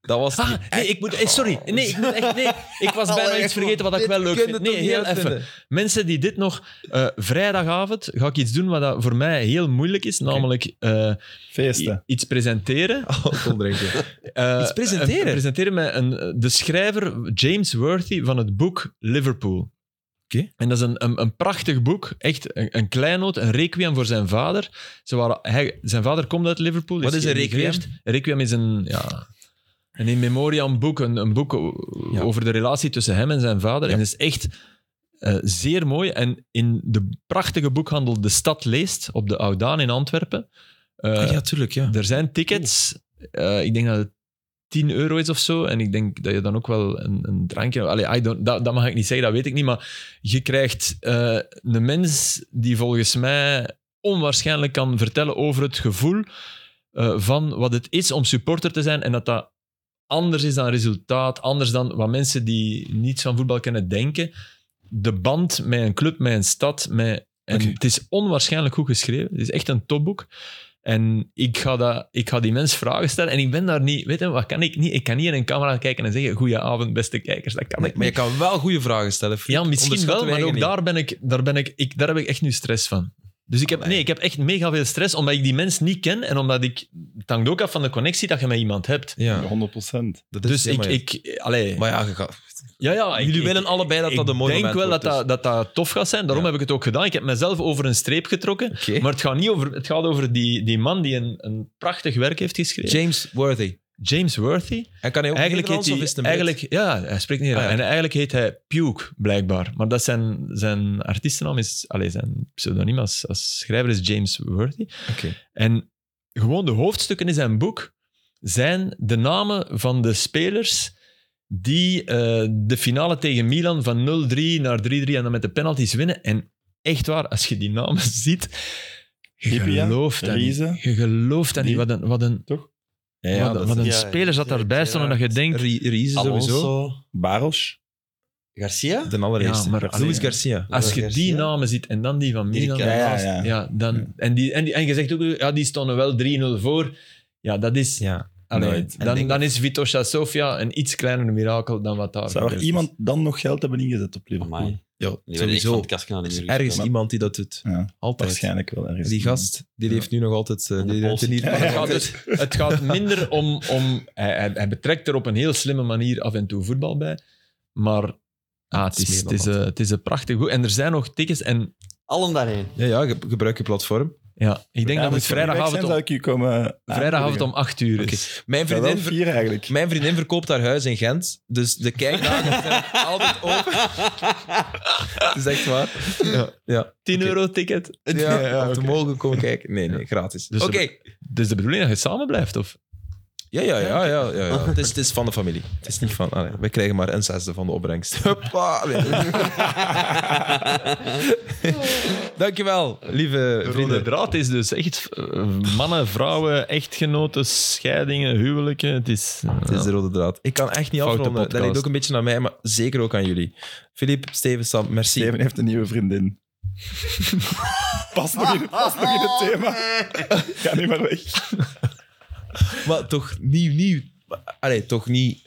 Dat was die-
nee, ik moet, eh, sorry, nee, ik moet echt, nee, ik was bijna
Oh. Allee,
iets vergeten wat ik
dit
wel leuk
kun je
vind.
toch
Nee,
niet
heel even.
uitvinden?
Mensen die dit nog, eh, vrijdagavond ga ik iets doen wat dat voor mij heel moeilijk is, namelijk eh, i-
Feesten.
iets presenteren.
Alcohol drinken.
Eh,
Oh, Iets presenteren?
eh, presenteren met een, de schrijver James Worthy van het boek Liverpool.
Oké.
En dat is een, een, een prachtig boek. Echt een, een kleinoot, een requiem voor zijn vader. Ze waren, hij, zijn vader komt uit Liverpool.
Wat is een requiem?
geëmigreerd. Een requiem is een, ja, een in memoriam boek. Een, een boek o-
Ja.
over de relatie tussen hem en zijn vader. En het is echt eh, zeer mooi. En in de prachtige boekhandel De Stad Leest op de Oudaan in Antwerpen. eh,
Ah, ja, tuurlijk, ja.
er zijn tickets. Eh, ik denk dat het 10 euro is of zo. En ik denk dat je dan ook wel een, een drankje. Allee, I don't, dat, dat mag ik niet zeggen, dat weet ik niet. Maar je krijgt eh, een mens die volgens mij onwaarschijnlijk kan vertellen over het gevoel eh, van wat het is om supporter te zijn. En dat dat anders is dan resultaat, anders dan wat mensen die niets van voetbal kennen denken. De band met een club, met een stad. Met, en
Oké.
Het is onwaarschijnlijk goed geschreven. Het is echt een topboek. En ik ga, dat, ik ga die mens vragen stellen. En ik ben daar niet... Weet je, wat kan ik niet? Ik kan niet in een camera kijken en zeggen... Goedenavond, beste kijkers. Dat kan
Nee, [laughs]
ik
maar je
niet.
kan wel goede vragen stellen. Fried.
Ja, misschien wel,
Onderschatten
maar
wij
ook
niet.
daar, ben ik, daar, ben ik, ik, daar heb ik echt nu stress van. Dus ik heb, nee, ik heb echt mega veel stress, omdat ik die mens niet ken en omdat ik... Het hangt ook af van de connectie dat je met iemand hebt.
Ja,
100 procent.
dat is
Dus ik...
helemaal-
ik allee,
Maar ja, je gaat-
ja, ja, ik-
jullie
ik-
willen allebei dat dat een mooi
Ik denk
moment
wel dat,
wordt, dus.
dat, dat dat tof gaat zijn. Daarom
Ja.
heb ik het ook gedaan. Ik heb mezelf over een streep getrokken.
dus- Oké.
Maar het gaat, niet over, het gaat over die, die man die een, een prachtig werk heeft geschreven.
James Worthy.
James Worthy.
Hij kan hij ook
Eigenlijk heet
Nederlands of is
hij,
het een Brit?
eigenlijk, ja, hij spreekt niet.
Ah,
raar.
ja.
En eigenlijk heet hij Puke, blijkbaar. Maar dat zijn, zijn artiestennaam is, allez, zijn pseudoniem als, als schrijver is James Worthy.
Oké.
En gewoon de hoofdstukken in zijn boek zijn de namen van de spelers die eh, de finale tegen Milan van 0-3 naar 3-3 en dan met de penalties winnen. En echt waar, als je die namen [laughs] ziet, je
Hipia,
gelooft dat niet.
Riese.
Je gelooft dat niet.
Die.
Wat een, wat een,
Toch?
Ja, ja,
wat,
dat
een- wat een
ja,
speler zat
zeker,
daarbij stond en dat je denkt...
Rie- Ries sowieso.
Alonso.
Baros.
Garcia?
De allereerste.
Ja, maar
Luis
alleen-
Garcia.
Als je die
Garcia.
namen ziet en dan die van
Die
Milan,
ken ik.
Ja, ja, ja.
ja, dan, en, die, en, die, en je zegt ook, ja, die stonden wel 3-0 voor. Ja, dat is...
Ja.
allee,
nooit. En
dan,
denk
dan is Vitosha Sofia een iets kleiner mirakel dan wat daar
Zou er
gebeurd is.
iemand dan nog geld hebben ingezet op Liverpool?
Amai.
Ja,
Die ben ik van
sowieso.
het kastje aan
Er
de
is
muur
ergens
gespeeld.
iemand die dat doet.
Ja,
Altijd.
waarschijnlijk wel ergens.
Die gast, die
Ja.
heeft nu nog altijd... eh,
Aan de
die heeft er niet...
Het gaat,
[laughs]
dus- het gaat minder om... om hij, hij, hij betrekt er op een heel slimme manier af en toe voetbal bij. Maar ah, het,
Het is
is,
meer
het,
dan
is,
dat.
eh, het is een prachtig goed. En er zijn nog tickets. En
Allen daarheen.
Ja, ja, ge- gebruik je platform.
ja, ik denk
Ja,
dat
maar
het
als jullie weg zijn,
vrijdagavond
zou
om,
ik Ah, u komen
vrijdagavond om 8 uur
Oké.
is.
Mijn
Ik ben wel
vriendin, ver-
vier eigenlijk.
mijn vriendin verkoopt haar huis in Gent, dus de kijkdagen zijn altijd open. Het is echt waar. Ja, ja.
10
Oké.
euro ticket.
ja,
ja,
op de mogen komen kijken. Nee, nee, gratis.
Dus
Oké.
Dus de bedoeling dat je samen blijft, of?
Ja, ja, ja. ja, ja, ja. Het, is, het is van de familie. Het is niet van... allee, wij krijgen maar een zesde van de opbrengst. Hoppa. Nee. Dankjewel, lieve
De rode
vrienden.
draad is dus echt eh, mannen, vrouwen, echtgenoten, scheidingen, huwelijken. Het is,
Het is
ja.
de rode draad. Ik kan echt niet
Foute
afronden. Dat
podcast.
ligt ook een beetje aan mij, maar zeker ook aan jullie. Filip, Steven, Sam, merci.
Steven heeft een nieuwe vriendin. Pas nog in, past nog in het thema. Ga niet maar weg.
Maar toch niet nieuw. Allee, toch
[laughs]
niet...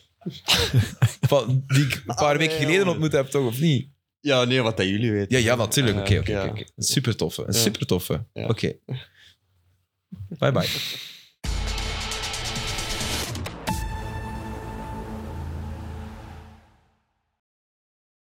Van die ik een paar weken geleden ontmoet heb, toch? Of niet?
Ja, nee, wat dat jullie weten.
Ja, ja natuurlijk.
Eh,
Oké, oké,
ja.
oké. Super toffe.
Ja.
Super toffe.
Ja.
Oké. Bye bye.